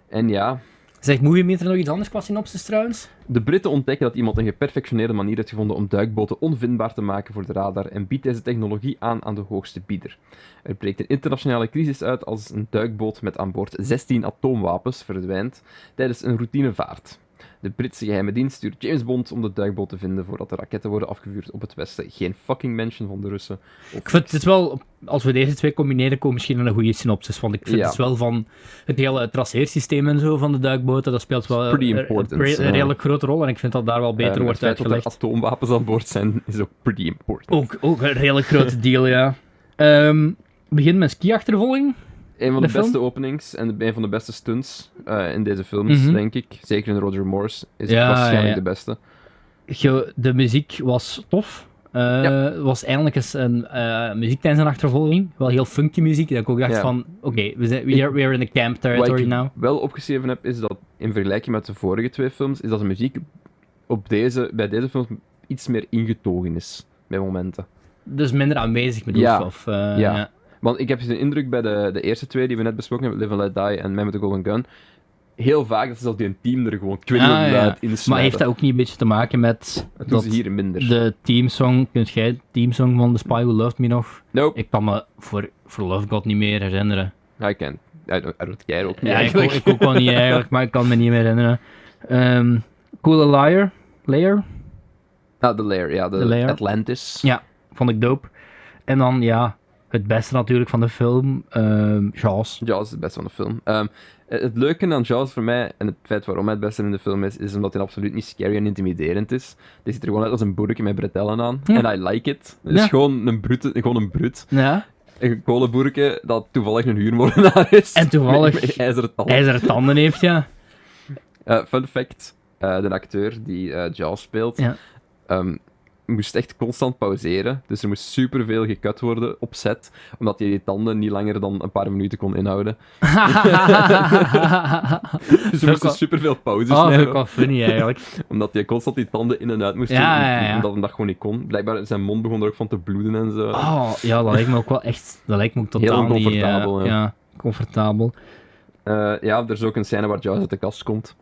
[SPEAKER 1] en ja,
[SPEAKER 2] Zeg, moet je meter nog iets anders qua synopsis trouwens?
[SPEAKER 1] de Britten ontdekken dat iemand een geperfectioneerde manier heeft gevonden om duikboten onvindbaar te maken voor de radar en biedt deze technologie aan aan de hoogste bieder. Er breekt een internationale crisis uit als een duikboot met aan boord 16 atoomwapens verdwijnt tijdens een routinevaart. De Britse geheime dienst stuurt James Bond om de duikboot te vinden voordat de raketten worden afgevuurd op het westen. Geen fucking mention van de Russen.
[SPEAKER 2] Ik vind het wel, als we deze twee combineren, komen misschien een goede synopsis. Want ik vind
[SPEAKER 1] Ja.
[SPEAKER 2] het wel van het hele traceersysteem en zo van de duikboten, dat speelt wel
[SPEAKER 1] pretty
[SPEAKER 2] een-
[SPEAKER 1] important,
[SPEAKER 2] een,
[SPEAKER 1] ja.
[SPEAKER 2] een redelijk grote rol. En ik vind dat daar wel beter
[SPEAKER 1] Eh, het
[SPEAKER 2] wordt
[SPEAKER 1] feit dat er
[SPEAKER 2] uitgelegd.
[SPEAKER 1] atoomwapens aan boord zijn is ook pretty important.
[SPEAKER 2] Ook, ook een redelijk grote deal, ja. Ehm begin met skiachtervolging.
[SPEAKER 1] Een van de,
[SPEAKER 2] De film?
[SPEAKER 1] beste openings en de- een van de beste stunts eh, in deze films,
[SPEAKER 2] Mhm.
[SPEAKER 1] denk ik. Zeker in Roger Moore's is
[SPEAKER 2] Ja,
[SPEAKER 1] het waarschijnlijk
[SPEAKER 2] ja.
[SPEAKER 1] de beste.
[SPEAKER 2] Je- de muziek was tof. Eh,
[SPEAKER 1] Ja.
[SPEAKER 2] was eindelijk eens een eh, muziek tijdens een achtervolging. Wel heel funky muziek. Dat ik ook dacht
[SPEAKER 1] Ja.
[SPEAKER 2] van, oké, we zijn we are, we are in the camp
[SPEAKER 1] Wat
[SPEAKER 2] territory
[SPEAKER 1] ik
[SPEAKER 2] now.
[SPEAKER 1] wel opgeschreven heb, is dat in vergelijking met de vorige twee films, is dat de muziek op deze, bij deze films iets meer ingetogen is. Bij momenten.
[SPEAKER 2] Dus minder aanwezig bedoel
[SPEAKER 1] Ja.
[SPEAKER 2] je, Of, eh,
[SPEAKER 1] Ja.
[SPEAKER 2] ja.
[SPEAKER 1] Want ik heb de indruk bij de, de eerste twee die we net besproken hebben, Live and Let Die en Man with the Golden Gun, heel vaak dat ze zelfs die een team er gewoon kwindend
[SPEAKER 2] Ah, ja.
[SPEAKER 1] luid in
[SPEAKER 2] Maar
[SPEAKER 1] smijten.
[SPEAKER 2] heeft dat ook niet een beetje te maken met
[SPEAKER 1] Dat doen
[SPEAKER 2] dat
[SPEAKER 1] ze hier minder.
[SPEAKER 2] de teamsong, kunt jij de teamsong van The Spy Who Loved Me nog?
[SPEAKER 1] Nope,
[SPEAKER 2] Ik kan me voor, voor Love God niet meer herinneren.
[SPEAKER 1] I can't. I don't, I don't care ook niet
[SPEAKER 2] Ja, ik, ook-
[SPEAKER 1] eigenlijk.
[SPEAKER 2] ik ook wel niet eigenlijk, maar ik kan me niet meer herinneren. Ehm Coole Liar, Layer,
[SPEAKER 1] Ah, de layer, ja. De,
[SPEAKER 2] De layer.
[SPEAKER 1] Atlantis.
[SPEAKER 2] Ja. vond ik dope. En dan, ja, het beste natuurlijk van de film, ehm Jaws.
[SPEAKER 1] Jaws is het beste van de film. Ehm, het leuke aan Jaws voor mij, en het feit waarom hij het beste in de film is, is omdat hij absoluut niet scary en intimiderend is. Die ziet er gewoon uit als een boerke met bretellen aan.
[SPEAKER 2] Ja.
[SPEAKER 1] En I like it. Het is
[SPEAKER 2] Ja.
[SPEAKER 1] gewoon een, brute, gewoon een brut.
[SPEAKER 2] Ja,
[SPEAKER 1] Een kolenboerke dat toevallig een huurmoordenaar is.
[SPEAKER 2] En toevallig-
[SPEAKER 1] Met, met ijzeren tanden.
[SPEAKER 2] ijzeren tanden heeft, ja.
[SPEAKER 1] Eh, fun fact, eh, de acteur die eh, Jaws speelt,
[SPEAKER 2] Ja.
[SPEAKER 1] ehm, moest echt constant pauzeren. Dus er moest superveel gekut worden op set, omdat hij die tanden niet langer dan een paar minuten kon inhouden. Dus er
[SPEAKER 2] Fuck
[SPEAKER 1] moesten
[SPEAKER 2] off.
[SPEAKER 1] superveel pauzes
[SPEAKER 2] Oh,
[SPEAKER 1] nemen,
[SPEAKER 2] fuck off, funny eigenlijk.
[SPEAKER 1] omdat hij constant die tanden in en uit moest
[SPEAKER 2] Ja,
[SPEAKER 1] doen,
[SPEAKER 2] ja, ja.
[SPEAKER 1] omdat hij dat gewoon niet kon. Blijkbaar, zijn mond begon er ook van te bloeden en zo.
[SPEAKER 2] Oh, ja, dat lijkt me ook wel echt. Dat lijkt me ook totaal
[SPEAKER 1] Heel
[SPEAKER 2] niet, eh,
[SPEAKER 1] oncomfortabel, ja.
[SPEAKER 2] ja. comfortabel.
[SPEAKER 1] Eh, ja, er is ook een scène waar Jaws uit de kast komt.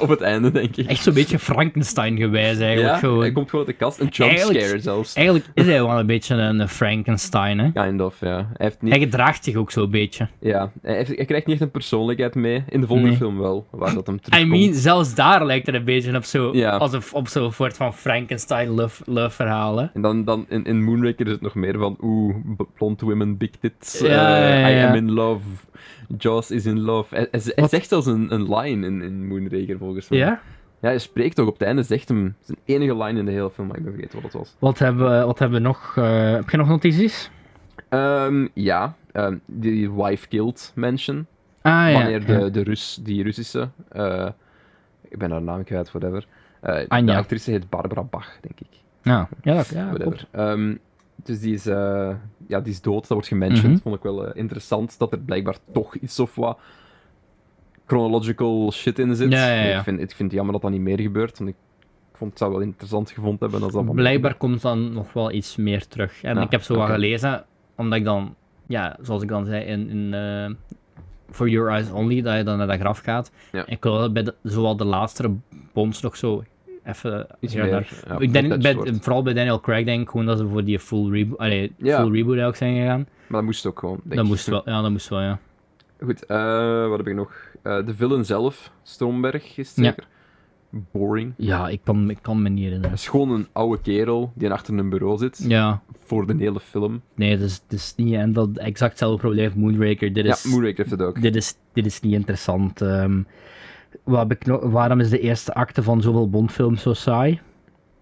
[SPEAKER 1] op het einde, denk ik.
[SPEAKER 2] Echt zo'n beetje Frankenstein-gewijs eigenlijk.
[SPEAKER 1] ja,
[SPEAKER 2] gewoon.
[SPEAKER 1] hij komt gewoon uit de kast. Een
[SPEAKER 2] Eigenlijk-
[SPEAKER 1] jumpscare zelfs.
[SPEAKER 2] Eigenlijk is hij wel een beetje een eh, Frankenstein, hè.
[SPEAKER 1] Kind of, ja. Hij, heeft niet,
[SPEAKER 2] Hij gedraagt zich ook zo'n beetje.
[SPEAKER 1] ja. hij, heeft- hij krijgt niet echt een persoonlijkheid mee. In de volgende
[SPEAKER 2] Nee.
[SPEAKER 1] film wel, waar dat hem
[SPEAKER 2] I
[SPEAKER 1] terugkomt.
[SPEAKER 2] mean, zelfs daar lijkt het een beetje op zo'n
[SPEAKER 1] Ja.
[SPEAKER 2] alsof- op zo'n soort van Frankenstein-love-verhalen.
[SPEAKER 1] En dan, dan in, in Moonraker is het nog meer van, oeh, b- blonde women, big tits, eh,
[SPEAKER 2] Ja, ja, ja.
[SPEAKER 1] I am in love, Jaws is in love. Hij, hij, hij
[SPEAKER 2] Wat?
[SPEAKER 1] zegt zelfs een, een line in, in Moonraker, volgens mij.
[SPEAKER 2] Ja?
[SPEAKER 1] Ja, hij spreekt ook op het einde, zegt hem, zijn enige line in de hele film, maar ik ben vergeten wat het was.
[SPEAKER 2] Wat hebben, wat hebben we nog? eh, heb je nog notities?
[SPEAKER 1] Ehm, ja, ehm, die wife killed mention.
[SPEAKER 2] Ah ja.
[SPEAKER 1] wanneer
[SPEAKER 2] ja.
[SPEAKER 1] de, de Rus, die Russische, eh, ik ben haar naam kwijt, whatever. Eh,
[SPEAKER 2] Anja.
[SPEAKER 1] De actrice heet Barbara Bach, denk ik.
[SPEAKER 2] Ja, ja, dat- ja, klopt.
[SPEAKER 1] whatever. Ehm, dus die is, eh, ja, die is dood, dat wordt gementiond.
[SPEAKER 2] Mhm.
[SPEAKER 1] Vond ik wel eh, interessant dat er blijkbaar toch iets of wat chronological shit in zit.
[SPEAKER 2] Ja, ja, ja.
[SPEAKER 1] Ik, vind, ik vind het jammer dat dat niet meer gebeurt, want ik, vond het zou wel interessant gevonden hebben. Als dat van-
[SPEAKER 2] Blijkbaar komt dan nog wel iets meer terug. En
[SPEAKER 1] Ja,
[SPEAKER 2] ik heb zo
[SPEAKER 1] oké.
[SPEAKER 2] wat gelezen, omdat ik dan, ja, zoals ik dan zei in, in eh, For Your Eyes Only, dat je dan naar dat graf gaat.
[SPEAKER 1] Ja.
[SPEAKER 2] Ik wil bij de, zowel de laatste bons nog zo even...
[SPEAKER 1] Iets
[SPEAKER 2] hier en
[SPEAKER 1] meer,
[SPEAKER 2] daar.
[SPEAKER 1] ja,
[SPEAKER 2] ik denk,
[SPEAKER 1] getouched
[SPEAKER 2] bij,
[SPEAKER 1] wordt.
[SPEAKER 2] vooral bij Daniel Craig denk ik gewoon dat ze voor die full, rebo allee,
[SPEAKER 1] Ja.
[SPEAKER 2] full reboot ook zijn gegaan.
[SPEAKER 1] Maar dat moest ook gewoon. denk
[SPEAKER 2] Dat
[SPEAKER 1] ik.
[SPEAKER 2] moest wel, ja, dat moest wel, ja.
[SPEAKER 1] Goed, eh, wat heb ik nog? Eh, de villain zelf, Stromberg, is het
[SPEAKER 2] Ja.
[SPEAKER 1] zeker. Boring.
[SPEAKER 2] Ja, ik kan, ik kan me niet
[SPEAKER 1] Dat
[SPEAKER 2] herinneren.
[SPEAKER 1] is gewoon een oude kerel die achter een bureau zit
[SPEAKER 2] Ja,
[SPEAKER 1] voor de hele film.
[SPEAKER 2] nee, dat is, dat is niet... En dat exact hetzelfde probleem heeft Moonraker. Dit is,
[SPEAKER 1] Ja, Moonraker heeft het ook.
[SPEAKER 2] dit is, dit is niet interessant. Ehm, wat heb ik nog- waarom is de eerste acte van zoveel Bondfilms zo saai?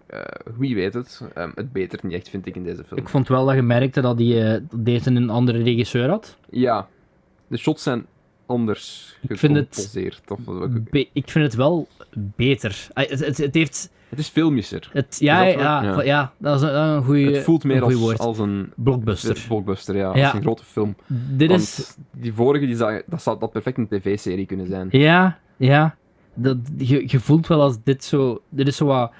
[SPEAKER 1] Eh, wie weet het. Ehm, het betert niet echt, vind ik, in deze film.
[SPEAKER 2] Ik vond wel dat je merkte dat, die, eh, dat deze een andere regisseur had.
[SPEAKER 1] Ja, de shots zijn anders
[SPEAKER 2] Ik vind het- Mm.
[SPEAKER 1] gecomposeerd. Of wat ook.
[SPEAKER 2] Be- ik vind het wel beter. Ah, het, het, het heeft...
[SPEAKER 1] Het is filmischer.
[SPEAKER 2] Het, ja,
[SPEAKER 1] Is dat
[SPEAKER 2] ja,
[SPEAKER 1] zo?
[SPEAKER 2] ja.
[SPEAKER 1] Ja.
[SPEAKER 2] dat is een, een goede
[SPEAKER 1] het voelt meer als,
[SPEAKER 2] woord.
[SPEAKER 1] als een
[SPEAKER 2] Blockbuster.
[SPEAKER 1] blockbuster, ja,
[SPEAKER 2] Ja.
[SPEAKER 1] als een grote film.
[SPEAKER 2] Dit
[SPEAKER 1] Want
[SPEAKER 2] is...
[SPEAKER 1] die vorige, die zou, dat zou dat perfect een tv-serie kunnen zijn.
[SPEAKER 2] Ja, ja. Dat, je, je voelt wel als dit zo... Dit is zo wat...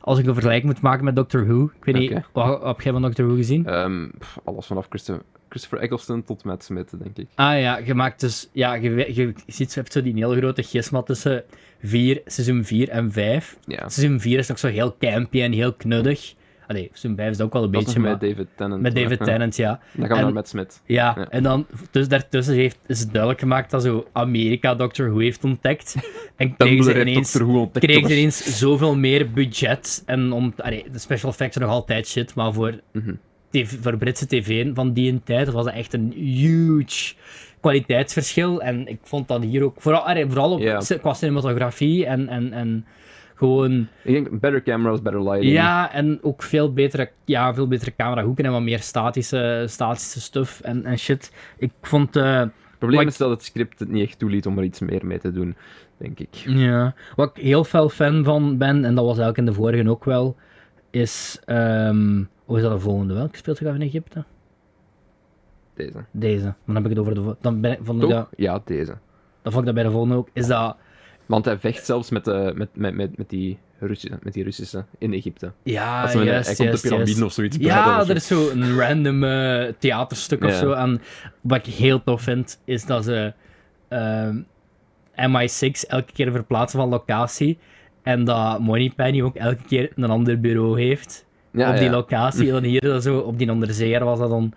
[SPEAKER 2] Als ik een vergelijking moet maken met Doctor Who. Ik weet niet,
[SPEAKER 1] Oké.
[SPEAKER 2] wat, heb jij van Doctor Who gezien?
[SPEAKER 1] Ehm, pff, alles vanaf Christo- Christopher Eccleston tot Matt Smith, denk ik.
[SPEAKER 2] Ah ja, je maakt dus... Ja, je, we- je ziet, je hebt zo die hele grote gisma tussen vier, seizoen 4 en 5.
[SPEAKER 1] Ja.
[SPEAKER 2] Seizoen 4 is nog zo heel campy en heel knuddig. Allee, seizoen 5 is dat ook wel een
[SPEAKER 1] Dat is
[SPEAKER 2] beetje,
[SPEAKER 1] nog
[SPEAKER 2] maar...
[SPEAKER 1] met David Tennant.
[SPEAKER 2] Met David
[SPEAKER 1] Ja.
[SPEAKER 2] Tennant, ja.
[SPEAKER 1] Dan gaan we
[SPEAKER 2] En-
[SPEAKER 1] naar Matt Smith.
[SPEAKER 2] Ja,
[SPEAKER 1] Ja.
[SPEAKER 2] en dan dus daartussen heeft, is het duidelijk gemaakt dat zo Amerika Doctor Who heeft ontdekt. En kregen
[SPEAKER 1] Tumblr
[SPEAKER 2] ze
[SPEAKER 1] heeft
[SPEAKER 2] ineens...
[SPEAKER 1] Doctor Who ontdekt.
[SPEAKER 2] kregen
[SPEAKER 1] dat
[SPEAKER 2] ze
[SPEAKER 1] was-
[SPEAKER 2] ineens zoveel meer budget. En om, allee, de special effects zijn nog altijd shit, maar voor,
[SPEAKER 1] Mhm.
[SPEAKER 2] TV voor Britse tv van die een tijd was dat echt een huge kwaliteitsverschil. En ik vond dat hier ook, vooral, allee, vooral op,
[SPEAKER 1] Ja.
[SPEAKER 2] qua cinematografie en, en, en gewoon,
[SPEAKER 1] Ik denk, better cameras, better lighting.
[SPEAKER 2] ja, en ook veel betere, ja, veel betere camerahoeken en wat meer statische, statische stuff en, en shit. Ik vond, eh,
[SPEAKER 1] Het probleem
[SPEAKER 2] Maar-
[SPEAKER 1] is dat het script het niet echt toeliet om er iets meer mee te doen, denk ik.
[SPEAKER 2] Ja, wat ik heel fel fan van ben, en dat was eigenlijk in de vorige ook wel, is. ehm hoe is dat de volgende? Welke speelt zich af in Egypte?
[SPEAKER 1] Deze.
[SPEAKER 2] Deze. Maar Dan heb ik het over de vo- dan ben ik, vond ik
[SPEAKER 1] Toch?
[SPEAKER 2] dat,
[SPEAKER 1] Ja, deze.
[SPEAKER 2] dan vond ik dat bij de volgende ook. Is dat.
[SPEAKER 1] Want hij vecht zelfs met, de, met, met, met, met, die, Russische, met die Russische in Egypte.
[SPEAKER 2] Ja,
[SPEAKER 1] Als we-
[SPEAKER 2] juist,
[SPEAKER 1] hij komt
[SPEAKER 2] juist,
[SPEAKER 1] de piramide
[SPEAKER 2] juist.
[SPEAKER 1] of zoiets
[SPEAKER 2] Ja,
[SPEAKER 1] of zo.
[SPEAKER 2] er is zo'n random eh, theaterstuk of
[SPEAKER 1] Ja.
[SPEAKER 2] zo. En wat ik heel tof vind, is dat ze ehm, MI6 elke keer verplaatsen van locatie. En dat Moneypenny ook elke keer een ander bureau heeft.
[SPEAKER 1] Ja,
[SPEAKER 2] op die
[SPEAKER 1] ja.
[SPEAKER 2] locatie. Dan hier dat zo, op die onderzeeër was dat dan.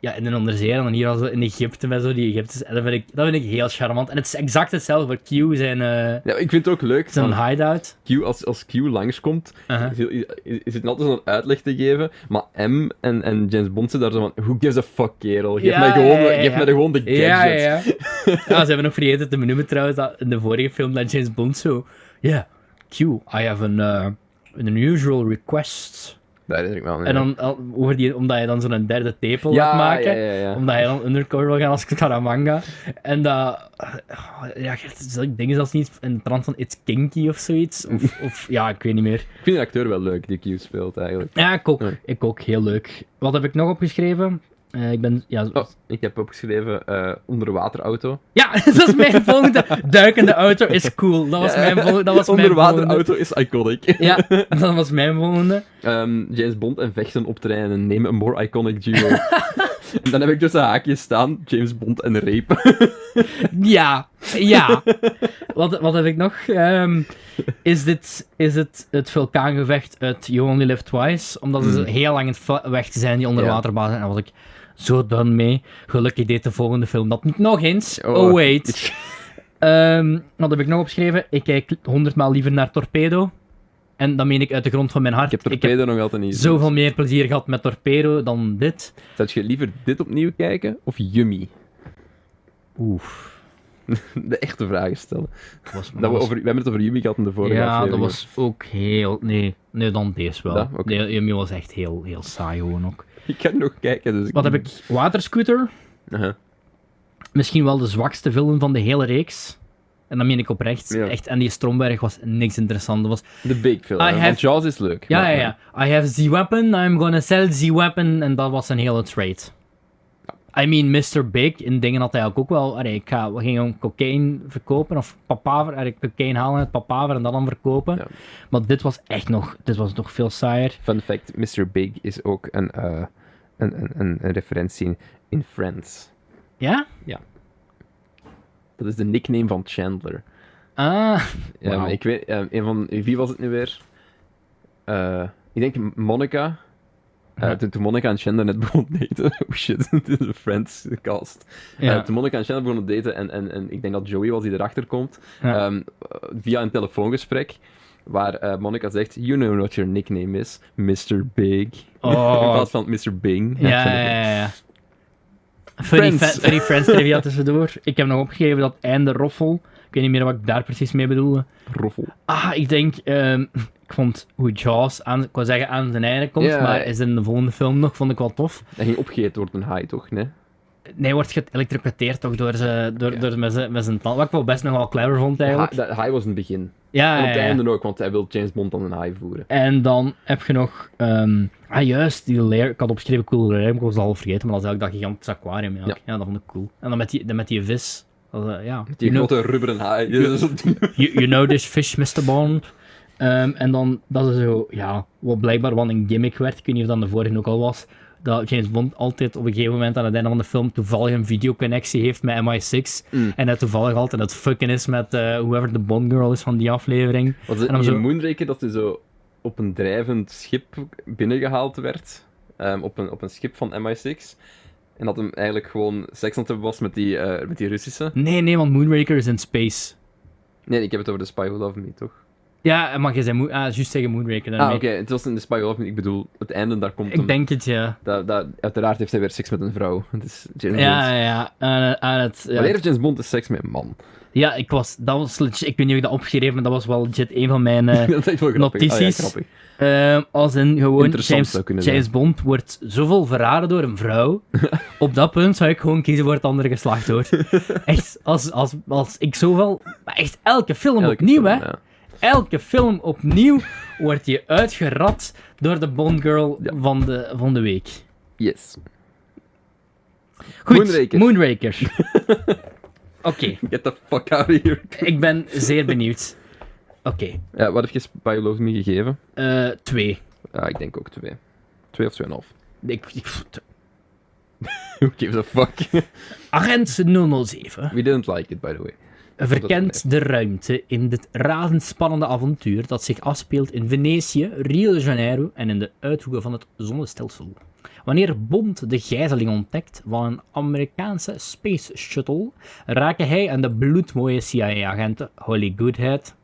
[SPEAKER 2] Ja, in een onderzeeër. En dan hier was dat in Egypte met zo die Egyptische. En dat vind, ik, dat vind ik heel charmant. En het is exact hetzelfde voor Q zijn, eh
[SPEAKER 1] Ja, ik vind het ook leuk.
[SPEAKER 2] zijn
[SPEAKER 1] van
[SPEAKER 2] hideout.
[SPEAKER 1] Q, als, als Q langskomt,
[SPEAKER 2] Uh-huh.
[SPEAKER 1] is, is, is het altijd zo'n uitleg te geven. Maar M en, en James Bond zitten daar zo van: Who gives a fuck, kerel? Geef,
[SPEAKER 2] Ja,
[SPEAKER 1] mij, gewoon,
[SPEAKER 2] ja, ja,
[SPEAKER 1] geef
[SPEAKER 2] ja.
[SPEAKER 1] mij gewoon de gadgets.
[SPEAKER 2] Ja, ja, ja. ja, ze hebben nog vergeten te benoemen trouwens dat in de vorige film dat James Bond zo. Ja, Q, I have an, eh, an unusual request.
[SPEAKER 1] Daar herinner ik me aan.
[SPEAKER 2] En
[SPEAKER 1] ja.
[SPEAKER 2] dan, al- over die, omdat je dan zo'n derde tepel
[SPEAKER 1] ja,
[SPEAKER 2] laat maken.
[SPEAKER 1] Ja, ja, ja.
[SPEAKER 2] Omdat hij dan undercover wil gaan als Scaramanga. En dat... Ja, ik denk zelfs niet in de trant van It's Kinky of zoiets. Of, of ja, ik weet niet meer.
[SPEAKER 1] Ik vind de acteur wel leuk die Q speelt eigenlijk.
[SPEAKER 2] Ja, ik ook.
[SPEAKER 1] Ja.
[SPEAKER 2] Ik ook. Heel leuk. Wat heb ik nog opgeschreven? Eh, ik ben... Ja,
[SPEAKER 1] Oh, ik heb opgeschreven eh onderwaterauto.
[SPEAKER 2] ja, dat is mijn volgende. Duikende auto is cool. Dat was mijn volgende. Dat was mijn volgende.
[SPEAKER 1] Onderwaterauto is iconic.
[SPEAKER 2] Ja, dat was mijn volgende.
[SPEAKER 1] Ehm, James Bond en vechten op treinen. Neem een more iconic duo. en dan heb ik tussen haakjes staan James Bond en rape.
[SPEAKER 2] Ja, ja. Wat, wat heb ik nog? Ehm, is dit is het, het vulkaangevecht uit You Only Live Twice? Omdat ze
[SPEAKER 1] Mm.
[SPEAKER 2] heel lang in het va- weg zijn, die onderwaterbazen. En daar was ik zo done mee. Gelukkig deed de volgende film dat niet nog eens. Oh,
[SPEAKER 1] Oh.
[SPEAKER 2] wait. Ehm, wat heb ik nog opgeschreven? Ik kijk honderdmaal liever naar Torpedo. En dat meen ik uit de grond van mijn hart.
[SPEAKER 1] Ik heb Torpedo nog altijd niet.
[SPEAKER 2] zoveel meer plezier gehad met Torpedo dan dit.
[SPEAKER 1] Zou je liever dit opnieuw kijken of Yummy?
[SPEAKER 2] Oef.
[SPEAKER 1] De echte vragen stellen.
[SPEAKER 2] Dat was,
[SPEAKER 1] Dat we, over, we hebben het over Yummy gehad in de vorige
[SPEAKER 2] Ja, dat
[SPEAKER 1] aflevering.
[SPEAKER 2] was ook heel. Nee, nee dan deze wel.
[SPEAKER 1] Ja, oké.
[SPEAKER 2] Nee, Yumi was echt heel, heel saai gewoon ook.
[SPEAKER 1] Ik kan nog kijken. Dus
[SPEAKER 2] Wat heb ik? Waterscooter.
[SPEAKER 1] Aha.
[SPEAKER 2] Misschien wel de zwakste film van de hele reeks. En dan meen ik oprecht.
[SPEAKER 1] Ja.
[SPEAKER 2] Echt, en die Stromberg was niks interessant. Dat was,
[SPEAKER 1] De Big Film.
[SPEAKER 2] I
[SPEAKER 1] hè, Want
[SPEAKER 2] have-
[SPEAKER 1] Jaws is leuk.
[SPEAKER 2] ja,
[SPEAKER 1] maar- eh,
[SPEAKER 2] ja, ja. I have the weapon, I'm gonna sell the weapon. En dat was een hele trade. I mean, Mr. Big, in dingen had hij ook wel. Allee, ik ga, we gingen cocaïne verkopen of papaver. Allee, cocaïne halen uit papaver en dat dan verkopen.
[SPEAKER 1] Ja.
[SPEAKER 2] Maar dit was echt nog, dit was nog veel saaier.
[SPEAKER 1] Fun fact, Mr. Big is ook een, eh, een, een, een, een referentie in, in Friends.
[SPEAKER 2] Ja?
[SPEAKER 1] Dat is de nickname van Chandler.
[SPEAKER 2] Ah,
[SPEAKER 1] Ehm,
[SPEAKER 2] Wauw.
[SPEAKER 1] ik weet, ehm, een van, wie was het nu weer? Eh, ik denk Monica. Eh,
[SPEAKER 2] Ja.
[SPEAKER 1] toen, toen Monica en Chandler net begonnen daten. Oh shit, dit is een Friends cast.
[SPEAKER 2] ja.
[SPEAKER 1] Eh, toen Monica en Chandler begonnen daten en, en, en ik denk dat Joey was die erachter komt.
[SPEAKER 2] Ja.
[SPEAKER 1] ehm, eh, via een telefoongesprek. Waar eh, Monica zegt, you know what your nickname is, Mr. Big. In
[SPEAKER 2] oh,
[SPEAKER 1] plaats van Mr. Bing.
[SPEAKER 2] ja,
[SPEAKER 1] Chandler.
[SPEAKER 2] ja, ja, ja. Funny,
[SPEAKER 1] Friends.
[SPEAKER 2] fa- funny Friends trivia tussendoor. Ik heb nog opgegeven dat einde roffel. Ik weet niet meer wat ik daar precies mee bedoelde.
[SPEAKER 1] Roffel.
[SPEAKER 2] Ah, ik denk... ehm, ik vond hoe Jaws, aan, ik wou zeggen aan zijn einde komt,
[SPEAKER 1] Ja.
[SPEAKER 2] maar is in de volgende film nog, vond ik wel tof.
[SPEAKER 1] Dat ging opgegeten door een haai, toch? Nee?
[SPEAKER 2] Nee, wordt geëlektrocuteerd toch door, ze, door,
[SPEAKER 1] Ja.
[SPEAKER 2] door met zijn- met zijn tand. Wat ik wel best nog wel clever vond
[SPEAKER 1] Ha,
[SPEAKER 2] eigenlijk.
[SPEAKER 1] dat haai was in het begin.
[SPEAKER 2] Ja,
[SPEAKER 1] en op
[SPEAKER 2] Ah, ja,
[SPEAKER 1] het
[SPEAKER 2] ja.
[SPEAKER 1] einde ook, want hij wil James Bond dan een haai voeren.
[SPEAKER 2] En dan heb je nog... ehm, ah, juist, die leer... Ik had opgeschreven cool leer, maar ik was het al vergeten, maar dat is eigenlijk dat gigantische aquarium. Ja,
[SPEAKER 1] Ja.
[SPEAKER 2] ja dat vond ik cool. En dan met die, dan met die vis. Dat, eh, ja.
[SPEAKER 1] Die
[SPEAKER 2] you, know,
[SPEAKER 1] grote rubberen Dus haai. Dat is zo'n ding.
[SPEAKER 2] you, you know this fish, Mr. Bond. Ehm, en dan, dat is zo... Ja, wat blijkbaar wel een gimmick werd, ik weet niet of dat de vorige ook al was, dat James Bond altijd op een gegeven moment aan het einde van de film toevallig een videoconnectie heeft met MI6.
[SPEAKER 1] Mm.
[SPEAKER 2] En dat toevallig altijd het fucken is met eh whoever de Bond girl is van die aflevering.
[SPEAKER 1] Was
[SPEAKER 2] En dan
[SPEAKER 1] het
[SPEAKER 2] zo-
[SPEAKER 1] in Moonraker dat hij zo op een drijvend schip binnengehaald werd? Ehm, op, een, op een schip van MI6. En dat hem eigenlijk gewoon seks aan het hebben was met die, eh, met die Russische.
[SPEAKER 2] Nee, nee, want Moonraker is in space.
[SPEAKER 1] Nee, ik heb het over de Spy Who Loved Me, toch?
[SPEAKER 2] Ja, maar je zei moe- ah, juist tegen Moonraker daarmee.
[SPEAKER 1] Ah, oké. Het was in de Spy Who Loved Me. Ik bedoel, het einde, daar komt hem.
[SPEAKER 2] Ik denk het, ja.
[SPEAKER 1] Dat, dat, uiteraard heeft hij weer seks met een vrouw. Het is James Bond.
[SPEAKER 2] Ja, ja, ja. Ah, Aan, aan het, ja,
[SPEAKER 1] Wanneer heeft James Bond de seks met een man?
[SPEAKER 2] ja, ik was, dat was legit, ik weet niet of ik dat opgeschreven heb, maar dat was wel legit een van mijn, eh,
[SPEAKER 1] dat is echt wel grappig. Ah, ja,
[SPEAKER 2] notities.
[SPEAKER 1] grappig.
[SPEAKER 2] ehm, als in gewoon,
[SPEAKER 1] Interessant
[SPEAKER 2] James,
[SPEAKER 1] zou kunnen
[SPEAKER 2] James Bond wordt zoveel verraden door een vrouw, op dat punt zou ik gewoon kiezen voor het andere geslacht, hoor. Echt, als, als, als ik zowel, maar echt elke film
[SPEAKER 1] Elke
[SPEAKER 2] opnieuw,
[SPEAKER 1] film,
[SPEAKER 2] hè.
[SPEAKER 1] ja.
[SPEAKER 2] Elke film opnieuw wordt je uitgerat door de Bondgirl
[SPEAKER 1] Ja.
[SPEAKER 2] van, de, van de week.
[SPEAKER 1] Yes.
[SPEAKER 2] Goed,
[SPEAKER 1] Moonraker.
[SPEAKER 2] Moonraker. Oké,
[SPEAKER 1] Get the fuck out of here.
[SPEAKER 2] ik ben zeer benieuwd. Oké,
[SPEAKER 1] Ja, wat heb je Spy Who Loved Me gegeven?
[SPEAKER 2] eh, twee.
[SPEAKER 1] Ah, ik denk ook twee. Twee of tweeënhalf.
[SPEAKER 2] Ik, ik, pff, t-
[SPEAKER 1] Who gives a fuck?
[SPEAKER 2] Agent 007
[SPEAKER 1] We didn't like it, by the way.
[SPEAKER 2] verkent de ruimte in dit razendspannende avontuur dat zich afspeelt in Venetië, Rio de Janeiro en in de uithoeken van het zonnestelsel. Wanneer Bond de gijzeling ontdekt van een Amerikaanse space shuttle, raken hij en de bloedmooie CIA-agenten Holly Goodhead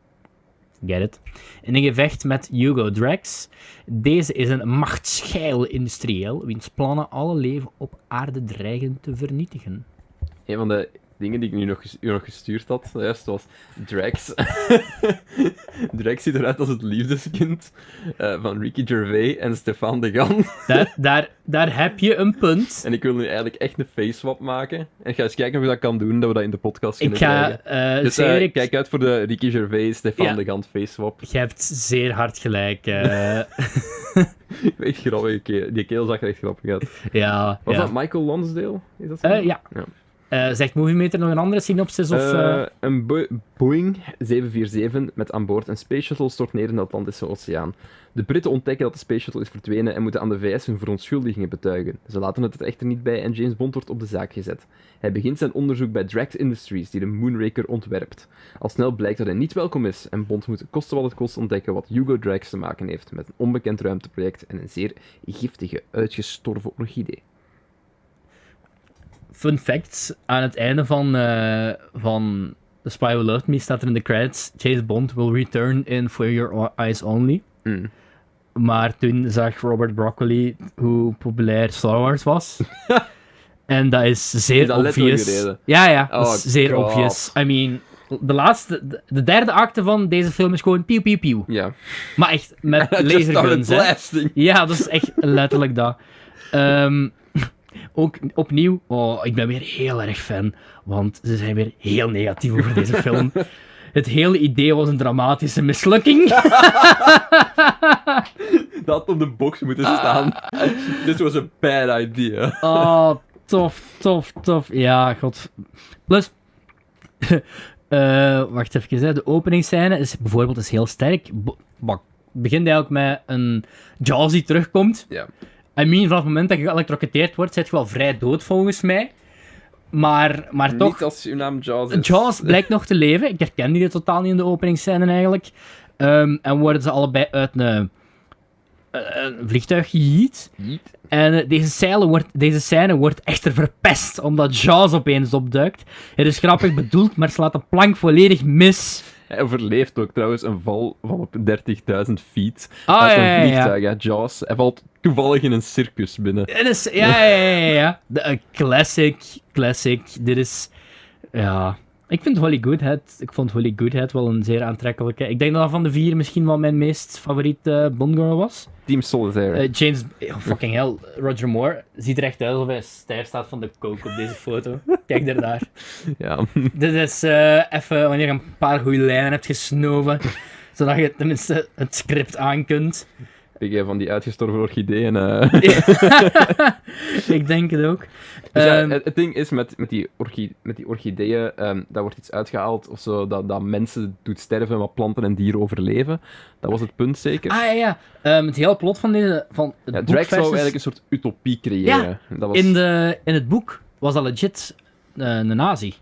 [SPEAKER 2] Get it? In een gevecht met Hugo Drax. Deze is een machtsgeil industrieel, wiens plannen alle leven op aarde dreigen te vernietigen.
[SPEAKER 1] Een van de dingen die ik nu nog, ges- u nog gestuurd had, juist was Drax. Drax ziet eruit als het liefdeskind eh, van Ricky Gervais en Stefan de Gan.
[SPEAKER 2] Daar, daar, daar heb je een punt.
[SPEAKER 1] En ik wil nu eigenlijk echt een face swap maken. En ik ga eens kijken of ik dat kan doen, dat we dat in de podcast
[SPEAKER 2] Ik
[SPEAKER 1] kunnen
[SPEAKER 2] ga
[SPEAKER 1] krijgen.
[SPEAKER 2] eh
[SPEAKER 1] Dus eh,
[SPEAKER 2] zeer... ik-
[SPEAKER 1] kijk uit voor de Ricky Gervais, Stefan
[SPEAKER 2] Ja.
[SPEAKER 1] de Gant face swap.
[SPEAKER 2] Je hebt zeer hard gelijk. eh.
[SPEAKER 1] Echt grappig, ke- die keel zag er echt grappig uit.
[SPEAKER 2] ja.
[SPEAKER 1] Was
[SPEAKER 2] ja.
[SPEAKER 1] dat Michael Lonsdale? Is dat zijn
[SPEAKER 2] Eh,
[SPEAKER 1] naam?
[SPEAKER 2] ja.
[SPEAKER 1] Ja.
[SPEAKER 2] Eh, zegt Moviemeter nog een andere synopsis? Of, eh,
[SPEAKER 1] Eh, een Bo- Boeing 747 met aan boord een space shuttle stort neer in de Atlantische Oceaan. De Britten ontdekken dat de space shuttle is verdwenen en moeten aan de VS hun verontschuldigingen betuigen. Ze laten het er echter niet bij en James Bond wordt op de zaak gezet. Hij begint zijn onderzoek bij Drax Industries, die de Moonraker ontwerpt. Al snel blijkt dat hij niet welkom is en Bond moet kosten wat het kost ontdekken wat Hugo Drax te maken heeft met een onbekend ruimteproject en een zeer giftige, uitgestorven orchidee.
[SPEAKER 2] Fun fact, aan het einde van, eh, van The Spy Who Loved Me staat er in de credits Chase Bond will return in For Your Eyes Only.
[SPEAKER 1] Mm.
[SPEAKER 2] Maar toen zag Robert Broccoli hoe populair Star Wars was. en dat is zeer
[SPEAKER 1] Is dat letterlijk
[SPEAKER 2] obvious.
[SPEAKER 1] de reden?
[SPEAKER 2] Ja, ja, dat
[SPEAKER 1] Oh,
[SPEAKER 2] is zeer
[SPEAKER 1] God.
[SPEAKER 2] obvious. I mean, de laatste, de- de derde acte van deze film is gewoon piu piu piu.
[SPEAKER 1] Ja.
[SPEAKER 2] Maar echt met
[SPEAKER 1] Just started
[SPEAKER 2] laserguns, hè.
[SPEAKER 1] blasting.
[SPEAKER 2] Ja, dat is echt letterlijk dat. Ehm, ook opnieuw, oh, ik ben weer heel erg fan, want ze zijn weer heel negatief over deze film. Het hele idee was een dramatische mislukking.
[SPEAKER 1] Dat had op de box moeten staan. This was a bad idea.
[SPEAKER 2] Oh, tof, tof, tof. Ja, god. Plus, eh, wacht even, hè. de openingsscène is bijvoorbeeld is heel sterk. Bo- bak- begint eigenlijk met een Jaws die terugkomt.
[SPEAKER 1] Ja.
[SPEAKER 2] I mean, vanaf het moment dat je geëlektrocuteerd wordt, zit je wel vrij dood volgens mij. Maar, maar toch,
[SPEAKER 1] Niet als uw naam Jaws is.
[SPEAKER 2] Jaws blijkt nog te leven. Ik herken die totaal niet in de openingsscène eigenlijk. Ehm, en worden ze allebei uit een, eh, een vliegtuig gejiet.
[SPEAKER 1] Niet.
[SPEAKER 2] En eh, deze, scène wordt, deze scène wordt echter verpest, omdat Jaws opeens opduikt. Het is grappig bedoeld, maar slaat de plank volledig mis.
[SPEAKER 1] Hij overleeft ook trouwens een val van op 30.000 feet.
[SPEAKER 2] Ah,
[SPEAKER 1] uit
[SPEAKER 2] ja, ja,
[SPEAKER 1] een
[SPEAKER 2] ja.
[SPEAKER 1] vliegtuig, hè, Jaws. Hij valt toevallig in een circus binnen.
[SPEAKER 2] Het is, ja, ja, ja, ja, ja. De, eh, classic, classic. Dit is, ja... Ik vind Holly Goodhead, ik vond Holly Goodhead wel een zeer aantrekkelijke. Ik denk dat dat van de vier misschien wel mijn meest favoriete Bondgirl was.
[SPEAKER 1] Team Solitaire.
[SPEAKER 2] Eh, James, oh, fucking hell, Roger Moore ziet er echt uit alsof hij stijf staat van de coke op deze foto. Kijk daarnaar.
[SPEAKER 1] ja.
[SPEAKER 2] Dit is eh, even wanneer je een paar goede lijnen hebt gesnoven, zodat je tenminste het script aan kunt.
[SPEAKER 1] Ik heb van die uitgestorven orchideeën. eh.
[SPEAKER 2] Ik denk het ook.
[SPEAKER 1] Dus ja,
[SPEAKER 2] Ehm,
[SPEAKER 1] het, het ding is met, met, die, orchi- met die orchideeën, ehm daar wordt iets uitgehaald of zo, dat, dat mensen doet sterven, maar planten en dieren overleven. Dat was het punt zeker.
[SPEAKER 2] ah ja, ja. Ehm, het hele plot van, deze, van het
[SPEAKER 1] ja,
[SPEAKER 2] boek
[SPEAKER 1] Drax zou
[SPEAKER 2] versus-
[SPEAKER 1] eigenlijk een soort utopie creëren. dat was...
[SPEAKER 2] in, de, in het boek was dat legit eh, een nazi.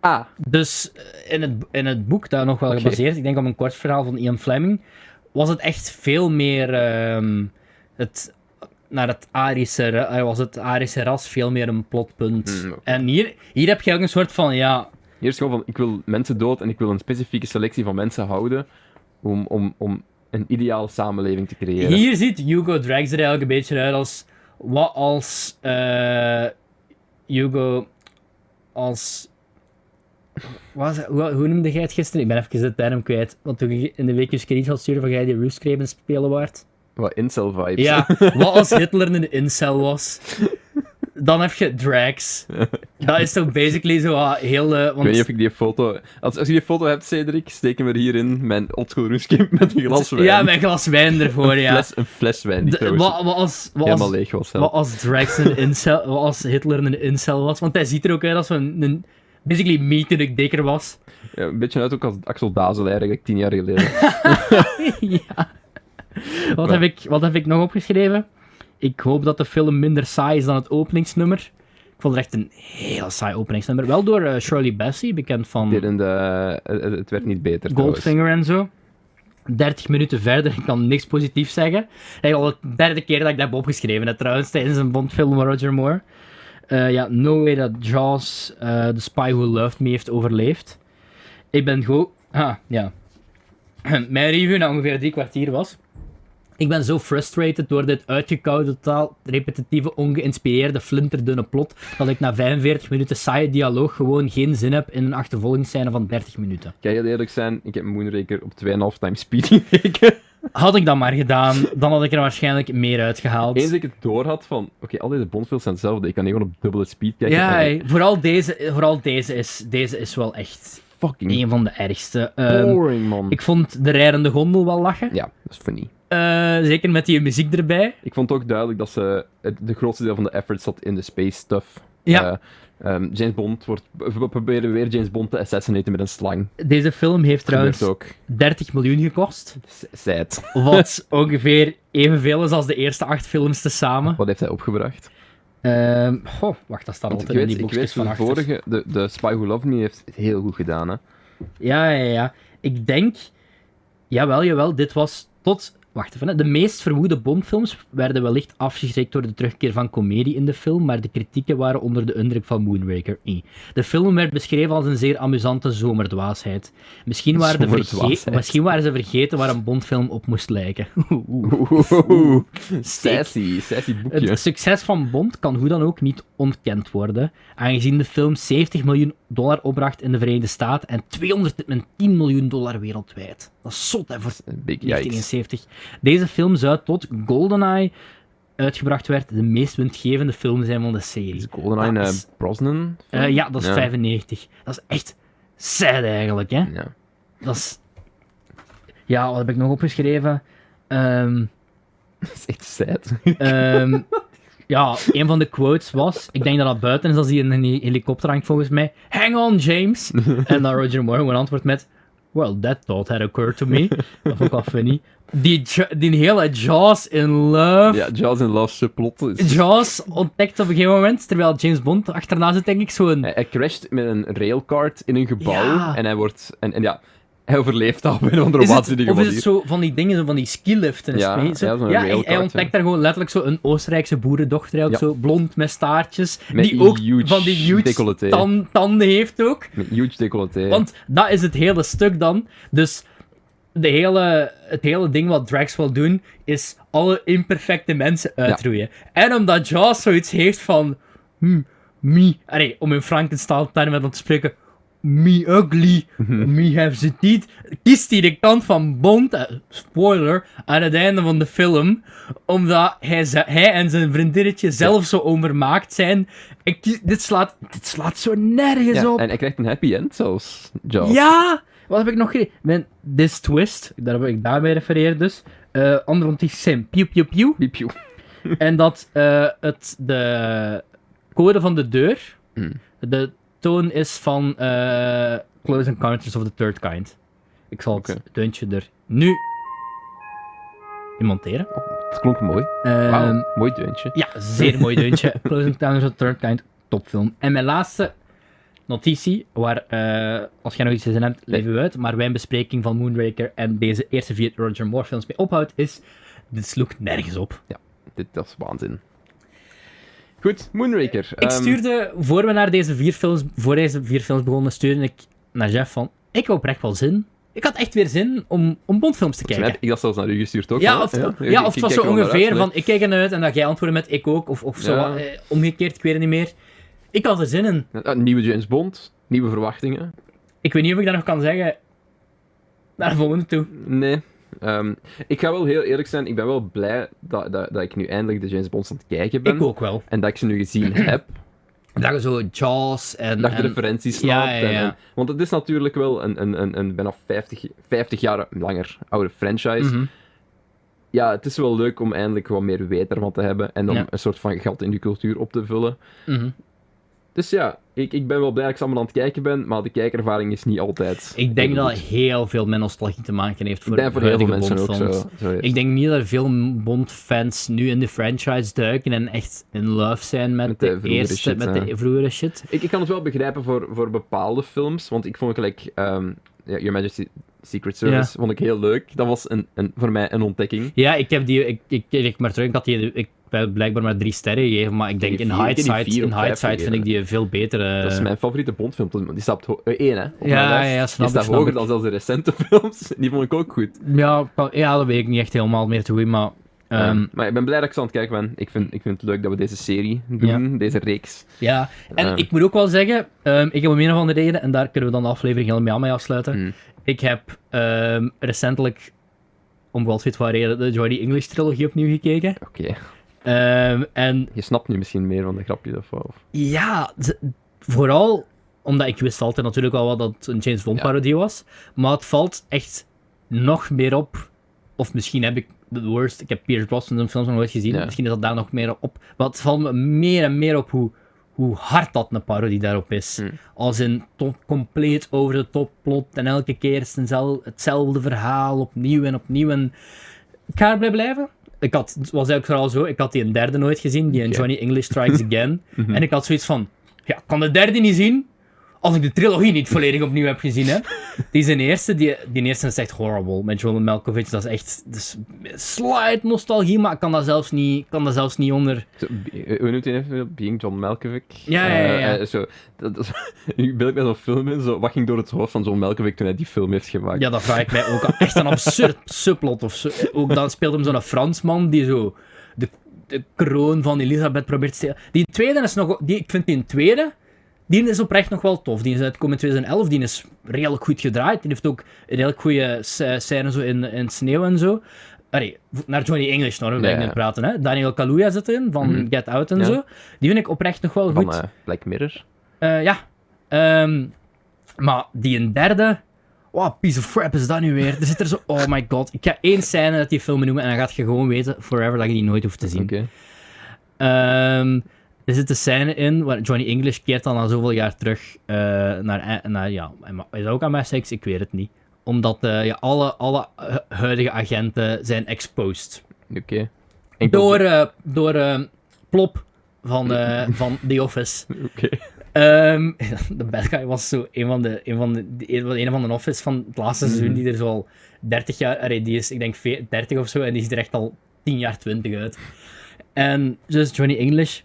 [SPEAKER 1] Ah,
[SPEAKER 2] Dus eh, in het, in het boek, daar nog wel
[SPEAKER 1] Oké.
[SPEAKER 2] gebaseerd, ik denk op een kort verhaal van Ian Fleming, was het echt veel meer ehm, het, naar het Arische, ra- eh, was het Arische ras veel meer een plotpunt.
[SPEAKER 1] Hmm, oké.
[SPEAKER 2] En hier, hier heb je ook een soort van, ja,
[SPEAKER 1] Hier is gewoon van, ik wil mensen dood en ik wil een specifieke selectie van mensen houden om, om, om een ideale samenleving te creëren.
[SPEAKER 2] hier ziet Hugo Drax er eigenlijk een beetje uit als, wat als eh, Hugo, als... Wat was- hoe, hoe noemde jij het gisteren? Ik ben even de term kwijt. Want toen je in de week je screenshot stuurde van jij die Roofscrape spelen waard.
[SPEAKER 1] Wat incel vibes.
[SPEAKER 2] Ja, wat als Hitler een incel was? Dan heb je Drax. Dat is toch basically zo ah, heel... eh,
[SPEAKER 1] Ik weet niet
[SPEAKER 2] want...
[SPEAKER 1] of ik die foto... Als, als je die foto hebt, Cedric, steken we hierin mijn oldschool RuneScape met een glas wijn.
[SPEAKER 2] Ja, met een glas wijn ervoor,
[SPEAKER 1] een,
[SPEAKER 2] ja.
[SPEAKER 1] fles, een fles wijn, die
[SPEAKER 2] De-
[SPEAKER 1] trouwens
[SPEAKER 2] Wat wat als, wat
[SPEAKER 1] helemaal
[SPEAKER 2] als,
[SPEAKER 1] leeg was. hè.
[SPEAKER 2] wat als Drax een incel... Wat als Hitler een incel was? Want hij ziet er ook uit als een... een basically me toen ik dikker was.
[SPEAKER 1] Ja, een beetje uit ook als Axel Dazel eigenlijk, tien jaar geleden.
[SPEAKER 2] ja. Wat
[SPEAKER 1] Ja.
[SPEAKER 2] heb, ik, wat heb ik nog opgeschreven? Ik hoop dat de film minder saai is dan het openingsnummer. Ik vond het echt een heel saai openingsnummer. Wel door eh, Shirley Bassey, bekend van...
[SPEAKER 1] Dit en de- eh, eh, het werd niet beter trouwens.
[SPEAKER 2] Goldfinger en zo. 30 minuten verder, ik kan niks positiefs zeggen. Eigenlijk al de derde keer dat ik dat heb opgeschreven, hè, trouwens, tijdens een Bondfilm van Roger Moore. Eh, ja, no way dat Jaws eh, The Spy Who Loved Me heeft overleefd. Ik ben gewoon... Ah, ja. Mijn review na ongeveer drie kwartier was... Ik ben zo frustrated door dit uitgekoude, totaal repetitieve, ongeïnspireerde, flinterdunne plot, dat ik na 45 minuten saaie dialoog gewoon geen zin heb in een achtervolgingsscène van 30 minuten.
[SPEAKER 1] Kan je eerlijk zijn, ik heb Moonraker op 2,5 time speed gekeken.
[SPEAKER 2] Had ik dat maar gedaan, dan had ik er waarschijnlijk meer uitgehaald.
[SPEAKER 1] Eens ik het door had van, oké, al deze Bondfilms zijn hetzelfde, ik kan hier gewoon op dubbele speed kijken.
[SPEAKER 2] Ja,
[SPEAKER 1] en
[SPEAKER 2] hey, vooral deze, vooral deze, is, deze is wel echt
[SPEAKER 1] fucking
[SPEAKER 2] een van de ergste. Ehm,
[SPEAKER 1] Hm. boring, man.
[SPEAKER 2] ik vond de rijdende gondel wel lachen.
[SPEAKER 1] Ja, dat is funny.
[SPEAKER 2] Eh, zeker met die muziek erbij.
[SPEAKER 1] Ik vond ook duidelijk dat ze het de grootste deel van de effort zat in de space stuff.
[SPEAKER 2] Ja.
[SPEAKER 1] Eh, ehm, James Bond wordt... We we proberen weer James Bond te assassinaten met een slang.
[SPEAKER 2] Deze film heeft trouwens
[SPEAKER 1] Gebeurt ook.
[SPEAKER 2] 30 miljoen gekost.
[SPEAKER 1] Z- Sad.
[SPEAKER 2] Wat ongeveer evenveel is als de eerste acht films tezamen.
[SPEAKER 1] Wat heeft hij opgebracht?
[SPEAKER 2] Ehm goh, wacht, dat staat
[SPEAKER 1] Want ik
[SPEAKER 2] altijd
[SPEAKER 1] weet,
[SPEAKER 2] in die
[SPEAKER 1] ik
[SPEAKER 2] boekjes
[SPEAKER 1] weet
[SPEAKER 2] van
[SPEAKER 1] de
[SPEAKER 2] achter.
[SPEAKER 1] vorige... De, de Spy Who Loved Me heeft het heel goed gedaan, hè.
[SPEAKER 2] Ja, ja, ja. Ik denk... Jawel, jawel, dit was tot... Wacht even, hè. de meest verwoede Bondfilms werden wellicht afgeschrikt door de terugkeer van komedie in de film, maar de kritieken waren onder de indruk van Moonraker. Eh. De film werd beschreven als een zeer amusante zomerdwaasheid. Misschien waren, de verge-
[SPEAKER 1] Zomerdwaasheid.
[SPEAKER 2] misschien waren ze vergeten waar een Bondfilm op moest lijken. Oeh, oeh.
[SPEAKER 1] Oeh,
[SPEAKER 2] Steek.
[SPEAKER 1] sassy, sassy boekje.
[SPEAKER 2] Het succes van Bond kan hoe dan ook niet ontkend worden, aangezien de film 70 miljoen dollar opbracht in de Verenigde Staten en 210 miljoen dollar wereldwijd. Dat is zot, hè, voor
[SPEAKER 1] Big yikes.
[SPEAKER 2] 1971. Deze film zou tot GoldenEye uitgebracht werd de meest windgevende film zijn van de serie.
[SPEAKER 1] Is GoldenEye
[SPEAKER 2] Ah,
[SPEAKER 1] eh,
[SPEAKER 2] is-
[SPEAKER 1] Brosnan?
[SPEAKER 2] Eh, ja, dat is
[SPEAKER 1] Ja.
[SPEAKER 2] 95. Dat is echt sad eigenlijk, hè.
[SPEAKER 1] Ja.
[SPEAKER 2] Dat is... Ja, wat heb ik nog opgeschreven? Ehm...
[SPEAKER 1] Dat is echt sad.
[SPEAKER 2] Ehm, ja, een van de quotes was, ik denk dat dat buiten is als hij in een he- helikopter hangt volgens mij. Hang on, James! en dan Roger Moore gewoon antwoordt met, well, that thought had occurred to me. Dat vond ik wel funny. Die, Ja- die hele Jaws in love.
[SPEAKER 1] Ja, Jaws in Love subplot. is-
[SPEAKER 2] Jaws ontdekt op een gegeven moment, terwijl James Bond achterna zit, denk ik, zo'n...
[SPEAKER 1] Hij, hij crasht met een railcard in een gebouw
[SPEAKER 2] Ja.
[SPEAKER 1] en hij wordt... En, en ja, hij overleeft dat op een of andere
[SPEAKER 2] Is het,
[SPEAKER 1] waanzinnige
[SPEAKER 2] of is het
[SPEAKER 1] manier.
[SPEAKER 2] zo van die dingen, zo van die skiliften? is
[SPEAKER 1] Ja,
[SPEAKER 2] het mee? Zo-
[SPEAKER 1] ja, zo'n
[SPEAKER 2] hij- hij,
[SPEAKER 1] railcard,
[SPEAKER 2] ontdekt
[SPEAKER 1] ja.
[SPEAKER 2] daar gewoon letterlijk zo een Oostenrijkse boerendochter, ook
[SPEAKER 1] Ja.
[SPEAKER 2] zo blond met staartjes,
[SPEAKER 1] Met
[SPEAKER 2] die ook
[SPEAKER 1] huge
[SPEAKER 2] van die huge
[SPEAKER 1] decolleté.
[SPEAKER 2] tan- tanden heeft ook.
[SPEAKER 1] Met huge decolleté.
[SPEAKER 2] Want dat is het hele stuk dan. Dus de hele, het hele ding wat Drax wil doen, is alle imperfecte mensen uitroeien. En omdat Jaws zoiets heeft van... Hm, me... Allee, om in Frankenstein termen dan te spreken... Me ugly,
[SPEAKER 1] Mhm.
[SPEAKER 2] me have the teeth. Kiest hij de kant van Bond, eh, spoiler, aan het einde van de film. Omdat hij, ze- hij en zijn vriendinnetje zelf zo onvermaakt zijn. En kies- dit, slaat, dit slaat zo nergens
[SPEAKER 1] ja,
[SPEAKER 2] op.
[SPEAKER 1] en hij krijgt een happy end zelfs, Jaws.
[SPEAKER 2] Ja! Wat heb ik nog gelezen? Mijn This Twist, daar heb ik daarmee refereerd dus. eh Ander Sim, piu piu piu.
[SPEAKER 1] Piep, joe.
[SPEAKER 2] en dat eh, het de code van de deur,
[SPEAKER 1] Mm.
[SPEAKER 2] de toon is van eh, Close Encounters of the Third Kind. Ik zal het
[SPEAKER 1] Oké.
[SPEAKER 2] deuntje er nu in monteren.
[SPEAKER 1] Het klonk mooi. Wauw,
[SPEAKER 2] Ehm,
[SPEAKER 1] mooi deuntje.
[SPEAKER 2] ja, zeer mooi deuntje. Close Encounters of the Third Kind, topfilm. En mijn laatste notitie, waar eh, als jij nog iets te zeggen hebt, leef u uit, maar mijn bespreking van Moonraker en deze eerste vier Roger Moore films mee ophoudt, is dit sloeg nergens op.
[SPEAKER 1] Dit dat is waanzin. Goed, Moonraker.
[SPEAKER 2] ik
[SPEAKER 1] ehm,
[SPEAKER 2] stuurde, voor we naar deze vier films, voor deze vier films begonnen, stuurde ik naar Jeff van, ik heb oprecht wel zin. Ik had echt weer zin om, om Bondfilms
[SPEAKER 1] volgens
[SPEAKER 2] te
[SPEAKER 1] mij
[SPEAKER 2] kijken.
[SPEAKER 1] heb ik dat zelfs naar u gestuurd ook.
[SPEAKER 2] Ja,
[SPEAKER 1] hè?
[SPEAKER 2] of, ja,
[SPEAKER 1] ik-
[SPEAKER 2] of het
[SPEAKER 1] ik
[SPEAKER 2] was
[SPEAKER 1] kijk
[SPEAKER 2] zo
[SPEAKER 1] er wel naar
[SPEAKER 2] ongeveer
[SPEAKER 1] uit,
[SPEAKER 2] van, ik kijk ernaar uit en dat jij antwoordde met ik ook, of, of zo,
[SPEAKER 1] Ja.
[SPEAKER 2] eh, omgekeerd, ik weet het niet meer. Ik had er zin in.
[SPEAKER 1] nee. Een Ah, Nieuwe James Bond, nieuwe verwachtingen.
[SPEAKER 2] Ik weet niet of ik dat nog kan zeggen. Naar de volgende toe.
[SPEAKER 1] Nee. Ehm, ik ga wel heel eerlijk zijn, ik ben wel blij dat, dat, dat ik nu eindelijk de James Bonds aan het kijken ben.
[SPEAKER 2] Ik ook wel.
[SPEAKER 1] En dat ik ze nu gezien heb.
[SPEAKER 2] Dat je zo Jaws en...
[SPEAKER 1] Dat ik de
[SPEAKER 2] en-
[SPEAKER 1] referenties
[SPEAKER 2] ja,
[SPEAKER 1] snapt.
[SPEAKER 2] ja,
[SPEAKER 1] en-
[SPEAKER 2] ja.
[SPEAKER 1] en- eh, want het is natuurlijk wel een, een, een, een bijna 50, 50 jaar langer oude franchise.
[SPEAKER 2] Mhm.
[SPEAKER 1] Ja, het is wel leuk om eindelijk wat meer weet ervan te hebben. En om
[SPEAKER 2] Ja.
[SPEAKER 1] een soort van gat in die cultuur op te vullen.
[SPEAKER 2] mhm.
[SPEAKER 1] Dus ja, ik, ik ben wel blij dat ik ze allemaal aan het kijken ben. Maar de kijkervaring is niet altijd.
[SPEAKER 2] Ik denk
[SPEAKER 1] even
[SPEAKER 2] dat
[SPEAKER 1] goed.
[SPEAKER 2] heel veel met nostalgie te maken heeft voor,
[SPEAKER 1] Ik ben voor heel veel
[SPEAKER 2] huidige
[SPEAKER 1] mensen ook zo.
[SPEAKER 2] Bondfilms.
[SPEAKER 1] zo is.
[SPEAKER 2] Ik denk niet dat er veel Bond-fans nu in de franchise duiken en echt in love zijn met,
[SPEAKER 1] Met de
[SPEAKER 2] de,
[SPEAKER 1] vroegere
[SPEAKER 2] eerste,
[SPEAKER 1] shit,
[SPEAKER 2] met
[SPEAKER 1] ja.
[SPEAKER 2] de vroegere shit.
[SPEAKER 1] Ik, ik kan het wel begrijpen voor, voor bepaalde films, want ik vond gelijk ehm, ja, Your Majesty's Secret Service vond ik heel leuk. Dat was een, een, voor mij een ontdekking.
[SPEAKER 2] Ja, ik heb die. Ik, ik kreeg maar terug. Ik had die. Ik heb blijkbaar maar drie sterren gegeven. Maar ik denk
[SPEAKER 1] die
[SPEAKER 2] in
[SPEAKER 1] vier- ik heb die
[SPEAKER 2] hindsight,
[SPEAKER 1] vier
[SPEAKER 2] in
[SPEAKER 1] op vijf
[SPEAKER 2] hindsight vind
[SPEAKER 1] gegeven.
[SPEAKER 2] ik die veel beter. eh,
[SPEAKER 1] dat is mijn favoriete Bondfilm. tot nu toe. Die staat op één, hè? Op
[SPEAKER 2] Ja,
[SPEAKER 1] mijn lijst.
[SPEAKER 2] ja, snap
[SPEAKER 1] Die staat
[SPEAKER 2] ik, snap
[SPEAKER 1] hoger
[SPEAKER 2] ik.
[SPEAKER 1] dan zelfs de recente films. Die vond ik ook goed.
[SPEAKER 2] ja, ik kan- ja, dat weet ik niet echt helemaal meer te goed. Maar. ehm,
[SPEAKER 1] Ehm, maar ik ben blij dat ik zo aan het kijken ben. Ik vind, ik vind het leuk dat we deze serie doen, deze reeks.
[SPEAKER 2] Ja, en
[SPEAKER 1] Ehm.
[SPEAKER 2] ik moet ook wel zeggen, ehm, ik heb om een of andere reden, en daar kunnen we dan de aflevering helemaal mee afsluiten.
[SPEAKER 1] Mm.
[SPEAKER 2] Ik heb ehm, recentelijk, om wel weet wat reden, de Johnny English trilogie opnieuw gekeken.
[SPEAKER 1] Oké,
[SPEAKER 2] Ehm, en
[SPEAKER 1] je snapt nu misschien meer van de grapjes of wat. of-
[SPEAKER 2] ja, ze- vooral omdat ik wist altijd natuurlijk al wel dat het een James Bond
[SPEAKER 1] Ja.
[SPEAKER 2] parodie was, maar het valt echt nog meer op, of misschien heb ik The Worst, ik heb Pierce Brosnan films nog nooit gezien,
[SPEAKER 1] Ja.
[SPEAKER 2] misschien is dat daar nog meer op, maar het valt me meer en meer op hoe, hoe hard dat een parodie daarop is.
[SPEAKER 1] Hm.
[SPEAKER 2] Als in to- compleet over de top plot en elke keer is het eenzel- hetzelfde verhaal opnieuw en opnieuw. En ik ga erbij blijven. Ik had, het was eigenlijk vooral zo, ik had die een derde nooit gezien, die in
[SPEAKER 1] Oké. Mhm.
[SPEAKER 2] Johnny English Strikes Again. En ik had zoiets van, ja, ik kan de derde niet zien als ik de trilogie niet volledig opnieuw heb gezien. Hè. Die zijn eerste, die, die eerste is echt horrible met John Malkovich. Dat is echt dat is slight nostalgie, maar ik kan daar zelfs niet, ik kan daar zelfs niet onder.
[SPEAKER 1] Zo, be- eh, Hoe noemt hij even? Being John Malkovich?
[SPEAKER 2] Ja, ja, ja, ja.
[SPEAKER 1] Eh, eh, zo, dat, dat, nu beeld ik bij zo'n film in, zo, wat ging door het hoofd van John Malkovich toen hij die film heeft gemaakt?
[SPEAKER 2] Ja, dat vraag ik mij ook af. Echt een absurd subplot of zo. Ook dan speelt hem zo'n Fransman die zo de, de kroon van Elisabeth probeert te stelen. Die tweede is nog... Die, ik vind die tweede... Die is oprecht nog wel tof. Die is uitgekomen in 2011. Die is redelijk goed gedraaid. Die heeft ook een redelijk goede sc- scène zo in, in sneeuw en zo. Allee, naar Johnny English nog, we
[SPEAKER 1] Ja,
[SPEAKER 2] blijven
[SPEAKER 1] ja.
[SPEAKER 2] nu praten. Hè? Daniel Kaluuya zit erin, van
[SPEAKER 1] Mhm.
[SPEAKER 2] Get Out en
[SPEAKER 1] Ja.
[SPEAKER 2] zo. Die vind ik oprecht nog wel goed.
[SPEAKER 1] Van eh, Black Mirror.
[SPEAKER 2] Eh, ja. Ehm, maar die een derde... Wow, piece of crap is dat nu weer. Er zit er zo... Oh my god. Ik ga één scène uit die film noemen en dan gaat je gewoon weten forever dat je die nooit hoeft te zien.
[SPEAKER 1] Oké.
[SPEAKER 2] Ehm, er zit een scène in waar Johnny English keert dan na zoveel jaar terug eh, naar, naar... Ja, is dat ook aan MI6? Ik weet het niet. Omdat eh, ja, alle, alle eh, huidige agenten zijn exposed.
[SPEAKER 1] Oké. Enkel-
[SPEAKER 2] Door, eh, door eh, Plop van, eh, van The Office.
[SPEAKER 1] Oké.
[SPEAKER 2] Ehm, de bad guy was zo een van de, een van de, de- een van de, een van de office van het laatste seizoen, die er zo al 30 jaar, allee, die is ik denk ve- 30 of zo, en die ziet er echt al 10 jaar 20 uit. En dus Johnny English,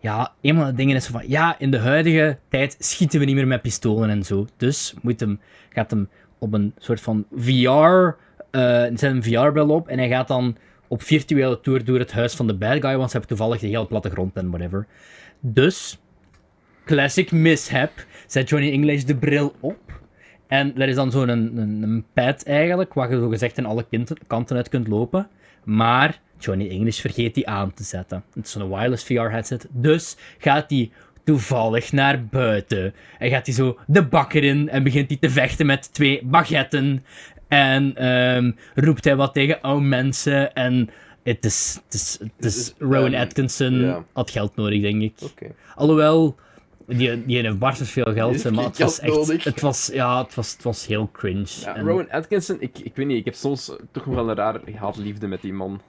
[SPEAKER 2] ja, een van de dingen is zo van, ja, in de huidige tijd schieten we niet meer met pistolen en zo. Dus moet hem, gaat hem op een soort van VR, eh zet een VR-bril op, en hij gaat dan op virtuele tour door het huis van de bad guy, want ze hebben toevallig de hele plattegrond en whatever. Dus classic mishap. Zet Johnny English de bril op. En er is dan zo'n een, een, een pad eigenlijk, waar je zo gezegd aan alle kinten- kanten uit kunt lopen. Maar Johnny English vergeet die aan te zetten. Het is zo'n wireless VR-headset. Dus gaat die toevallig naar buiten. En gaat hij zo de bakker in en begint hij te vechten met twee baguetten. En ehm, roept hij wat tegen oude mensen. En het is, het is, het is Rowan
[SPEAKER 1] ehm,
[SPEAKER 2] Atkinson
[SPEAKER 1] ja.
[SPEAKER 2] had geld nodig, denk ik.
[SPEAKER 1] Oké.
[SPEAKER 2] Alhoewel, die, die heeft barstens veel geld,
[SPEAKER 1] Die
[SPEAKER 2] hè, maar het
[SPEAKER 1] heeft
[SPEAKER 2] was
[SPEAKER 1] geen
[SPEAKER 2] echt...
[SPEAKER 1] geld nodig.
[SPEAKER 2] Het was, ja, het was, het was heel cringe.
[SPEAKER 1] Ja,
[SPEAKER 2] En
[SPEAKER 1] Rowan Atkinson, ik, ik weet niet, ik heb soms eh, toch nog wel een rare haatliefde met die man.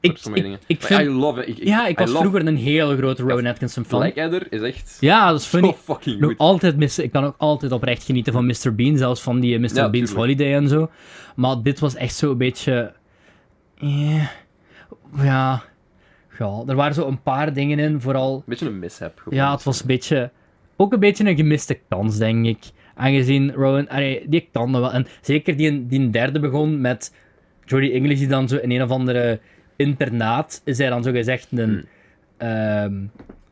[SPEAKER 2] ik,
[SPEAKER 1] voor sommige
[SPEAKER 2] ik,
[SPEAKER 1] dingen.
[SPEAKER 2] ik
[SPEAKER 1] Maar I
[SPEAKER 2] vind...
[SPEAKER 1] love it. Ik, ik,
[SPEAKER 2] Ja, ik
[SPEAKER 1] I
[SPEAKER 2] was
[SPEAKER 1] love
[SPEAKER 2] vroeger een hele grote Rowan Atkinson fan.
[SPEAKER 1] Blackadder is echt
[SPEAKER 2] Ja, dat is
[SPEAKER 1] zo
[SPEAKER 2] funny.
[SPEAKER 1] fucking
[SPEAKER 2] Nog
[SPEAKER 1] Oh, goed.
[SPEAKER 2] altijd missen. Ik kan ook altijd oprecht genieten van Mr. Bean, zelfs van die eh, Mr.
[SPEAKER 1] Ja,
[SPEAKER 2] Bean's
[SPEAKER 1] tuurlijk.
[SPEAKER 2] Holiday en zo. Maar dit was echt zo een beetje. eh, ja. Ja, er waren zo een paar dingen in, vooral
[SPEAKER 1] Een beetje een mishap. gewoon.
[SPEAKER 2] Ja, het was een beetje... Ook een beetje een gemiste kans, denk ik. Aangezien Rowan... Allee, die kan dat wel. En zeker die, die derde begon met... Jodie English die dan zo in een of andere internaat... Is hij dan zo gezegd een... ehm,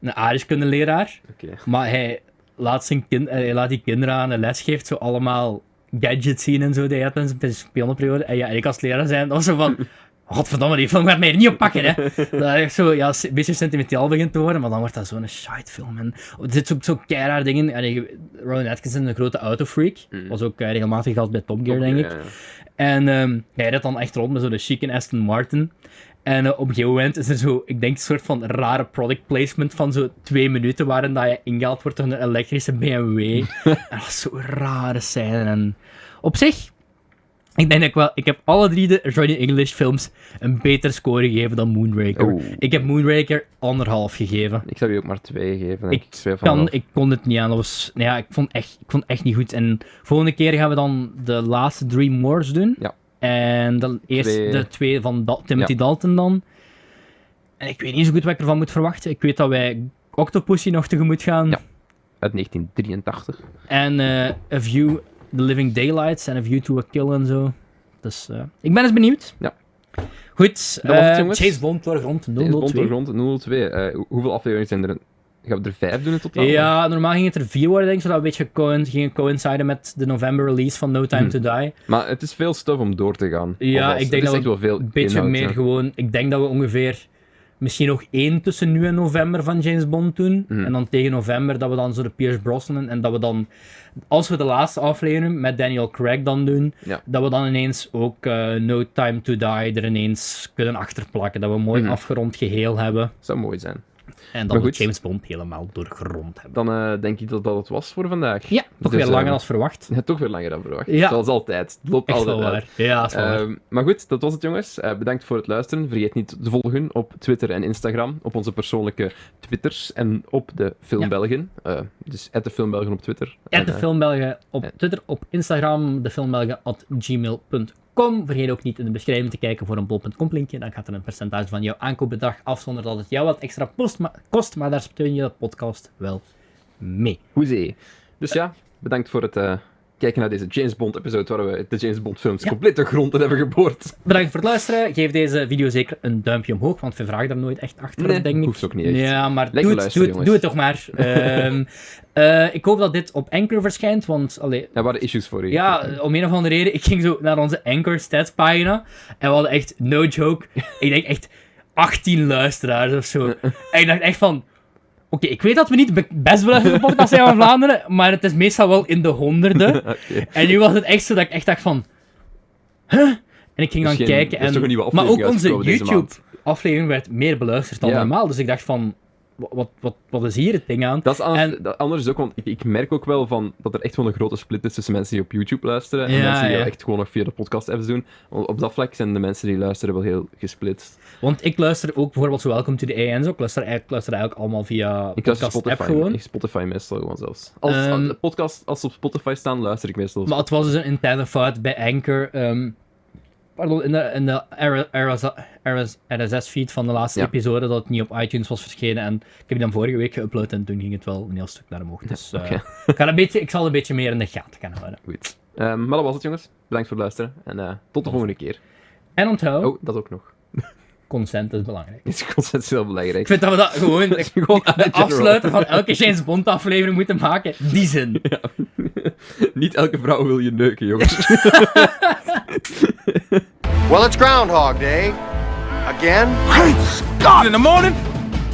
[SPEAKER 2] een aardrijkskundeleraar.
[SPEAKER 1] Oké.
[SPEAKER 2] Maar hij laat, zijn kind, eh, hij laat die kinderen aan de les geeft zo allemaal gadgets zien en zo die hij had in zijn spionenperiode. En ja, en ik als leraar zijn, dan zo van... Godverdomme, die film gaat mij er niet op pakken, hè. Dat hij echt zo, ja, een beetje sentimentaal begint te worden, maar dan wordt dat zo'n shite film, man. Er zitten ook zo keiraar dingen in. Allee, Rowan Atkinson, een grote autofreak. Was ook eh, regelmatig gast bij Top Gear, denk ik.
[SPEAKER 1] Ja, ja.
[SPEAKER 2] En ehm hij redt dan echt rond met zo'n chique Aston Martin. En eh, op een gegeven moment is er zo, ik denk, een soort van rare product placement van zo twee minuten waarin dat je ingehaald wordt door een elektrische BMW. en dat is zo'n rare scène. En op zich, Ik denk dat ik wel... Ik heb alle drie de Johnny English films een beter score gegeven dan Moonraker.
[SPEAKER 1] Oeh.
[SPEAKER 2] Ik heb Moonraker anderhalf gegeven.
[SPEAKER 1] Ik zou je ook maar twee geven. denk
[SPEAKER 2] Ik
[SPEAKER 1] Ik, twee van
[SPEAKER 2] Kan,
[SPEAKER 1] half.
[SPEAKER 2] ik kon het niet aan. Dat was, nou ja, ik, vond echt, ik vond het echt niet goed. En volgende keer gaan we dan de laatste Dream Wars doen.
[SPEAKER 1] Ja.
[SPEAKER 2] En dan eerst
[SPEAKER 1] Twee.
[SPEAKER 2] de twee van Dal- Timothy
[SPEAKER 1] Ja.
[SPEAKER 2] Dalton dan. En ik weet niet zo goed wat ik ervan moet verwachten. Ik weet dat wij Octopussy nog tegemoet gaan.
[SPEAKER 1] Ja. Uit 1983.
[SPEAKER 2] En eh, A View, The Living Daylights en A View to a Kill en zo. Dus eh, ik ben eens benieuwd.
[SPEAKER 1] Ja.
[SPEAKER 2] Goed,
[SPEAKER 1] Dat was het,
[SPEAKER 2] eh,
[SPEAKER 1] jongens.
[SPEAKER 2] Chase Bond door grond
[SPEAKER 1] Deze
[SPEAKER 2] 002.
[SPEAKER 1] Bond 002. Eh, hoe- hoeveel afleveringen zijn er? Gaan we er vijf doen in totaal?
[SPEAKER 2] Ja, normaal ging het er vier worden, denk ik, zodat we een beetje coin- gingen coinciden met de november release van No Time
[SPEAKER 1] Hmm.
[SPEAKER 2] to Die.
[SPEAKER 1] Maar het is veel stuff om door te gaan.
[SPEAKER 2] Ja,
[SPEAKER 1] Alvast.
[SPEAKER 2] ik
[SPEAKER 1] Het
[SPEAKER 2] denk
[SPEAKER 1] is
[SPEAKER 2] dat
[SPEAKER 1] echt wel veel
[SPEAKER 2] Een beetje
[SPEAKER 1] inhoud,
[SPEAKER 2] meer
[SPEAKER 1] ja.
[SPEAKER 2] gewoon. Ik denk dat we ongeveer misschien nog één tussen nu en november van James Bond doen.
[SPEAKER 1] Hmm.
[SPEAKER 2] En dan tegen november dat we dan zo de Pierce Brosnan en dat we dan, als we de laatste aflevering met Daniel Craig dan doen,
[SPEAKER 1] Ja.
[SPEAKER 2] dat we dan ineens ook eh, No Time to Die er ineens kunnen achterplakken. Dat we een mooi
[SPEAKER 1] Hmm.
[SPEAKER 2] afgerond geheel hebben
[SPEAKER 1] Zou mooi zijn.
[SPEAKER 2] en
[SPEAKER 1] Maar
[SPEAKER 2] dat we
[SPEAKER 1] goed.
[SPEAKER 2] James Bond helemaal doorgrond hebben.
[SPEAKER 1] Dan eh, denk ik dat dat het was voor vandaag.
[SPEAKER 2] Ja, toch
[SPEAKER 1] Dus,
[SPEAKER 2] weer langer
[SPEAKER 1] eh,
[SPEAKER 2] als verwacht.
[SPEAKER 1] Ja, toch weer langer dan verwacht.
[SPEAKER 2] Ja.
[SPEAKER 1] Zoals altijd. Het loopt
[SPEAKER 2] Echt
[SPEAKER 1] altijd
[SPEAKER 2] wel
[SPEAKER 1] uit.
[SPEAKER 2] waar. Ja, is wel waar.
[SPEAKER 1] Ehm, maar goed, dat was het jongens. Eh, bedankt voor het luisteren. Vergeet niet te volgen op Twitter en Instagram, op onze persoonlijke Twitters en op de Film
[SPEAKER 2] Ja.
[SPEAKER 1] Belgen. Eh, dus at de Film Belgen op Twitter.
[SPEAKER 2] At
[SPEAKER 1] En,
[SPEAKER 2] de
[SPEAKER 1] eh,
[SPEAKER 2] Filmbelgen op
[SPEAKER 1] eh.
[SPEAKER 2] Twitter, op Instagram, defilmbelgen.gmail.com. Vergeet ook niet in de beschrijving te kijken voor een bol.com linkje. Dan gaat er een percentage van jouw aankoopbedrag af, zonder dat het jou wat extra post ma- kost. Maar daar steun je de podcast wel mee.
[SPEAKER 1] hoezee.
[SPEAKER 2] Eh.
[SPEAKER 1] Dus ja, bedankt voor het eh, kijken naar deze James Bond episode waar we de James Bond films
[SPEAKER 2] Ja.
[SPEAKER 1] compleet de grond in hebben geboord.
[SPEAKER 2] Bedankt voor het luisteren. Geef deze video zeker een duimpje omhoog, want we vragen daar nooit echt achter,
[SPEAKER 1] Nee,
[SPEAKER 2] denk ik.
[SPEAKER 1] hoeft ook niet echt.
[SPEAKER 2] Ja, maar
[SPEAKER 1] Lekker
[SPEAKER 2] doe het, doe,
[SPEAKER 1] luisteren,
[SPEAKER 2] het, doe het toch maar. Ehm, eh, ik hoop dat dit op Anchor verschijnt, want allee,
[SPEAKER 1] Er waren issues voor u.
[SPEAKER 2] Ja, om een of andere reden. Ik ging zo naar onze Anchor Stats pagina. En we hadden echt, no joke, ik denk echt 18 luisteraars of zo. En ik dacht echt van... Oké, ik weet dat we niet be- best wel even de podcast zijn van Vlaanderen, maar het is meestal wel in de honderden.
[SPEAKER 1] Oké.
[SPEAKER 2] En nu was het echt zo dat ik echt dacht van... Huh? En ik ging dan
[SPEAKER 1] Misschien
[SPEAKER 2] kijken
[SPEAKER 1] is
[SPEAKER 2] en...
[SPEAKER 1] toch een nieuwe
[SPEAKER 2] maar ook
[SPEAKER 1] aflevering
[SPEAKER 2] onze
[SPEAKER 1] uitgekomen deze maand.
[SPEAKER 2] YouTube-aflevering werd meer beluisterd dan
[SPEAKER 1] Ja.
[SPEAKER 2] normaal. Dus ik dacht van... wa- Wat, wat, wat is hier het ding aan?
[SPEAKER 1] Dat is anders,
[SPEAKER 2] En-
[SPEAKER 1] dat anders ook, want ik, ik merk ook wel van dat er echt wel een grote split is tussen mensen die op YouTube luisteren en
[SPEAKER 2] Ja,
[SPEAKER 1] mensen die
[SPEAKER 2] ja.
[SPEAKER 1] echt gewoon nog via de podcast-apps doen. Want Op dat vlak zijn de mensen die luisteren wel heel gesplitst.
[SPEAKER 2] Want ik luister ook bijvoorbeeld zo Welcome to the AI en zo. Ik luister, eigenlijk- ik luister eigenlijk allemaal via
[SPEAKER 1] Ik luister
[SPEAKER 2] podcast-app
[SPEAKER 1] Spotify,
[SPEAKER 2] gewoon.
[SPEAKER 1] ik Spotify meestal gewoon zelfs. Als,
[SPEAKER 2] Ehm,
[SPEAKER 1] als de podcast, als ze op Spotify staan, luister ik meestal.
[SPEAKER 2] Maar het was dus een interne fout bij Anchor. ehm, pardon, in de, in de RSS-feed van de laatste
[SPEAKER 1] Ja.
[SPEAKER 2] episode dat het niet op iTunes was verschenen. En ik heb die dan vorige week geüpload en toen ging het wel een heel stuk naar omhoog. Dus eh,
[SPEAKER 1] Oké.
[SPEAKER 2] ik, ga een beetje, ik zal een beetje meer in de gaten gaan houden.
[SPEAKER 1] Goed. Ehm, maar dat was het, jongens. Bedankt voor het luisteren en eh, tot de volgende keer.
[SPEAKER 2] En onthoud,
[SPEAKER 1] Oh, dat ook nog.
[SPEAKER 2] consent is belangrijk.
[SPEAKER 1] Dat is constant heel belangrijk.
[SPEAKER 2] Ik vind dat we dat gewoon
[SPEAKER 1] Dat is gewoon
[SPEAKER 2] de
[SPEAKER 1] general.
[SPEAKER 2] afsluiter van elke James Bond aflevering moeten maken. Die zin.
[SPEAKER 1] Niet elke vrouw wil je neuken, jongens.
[SPEAKER 3] Well, it's Groundhog Day. Again?
[SPEAKER 4] God, in the morning,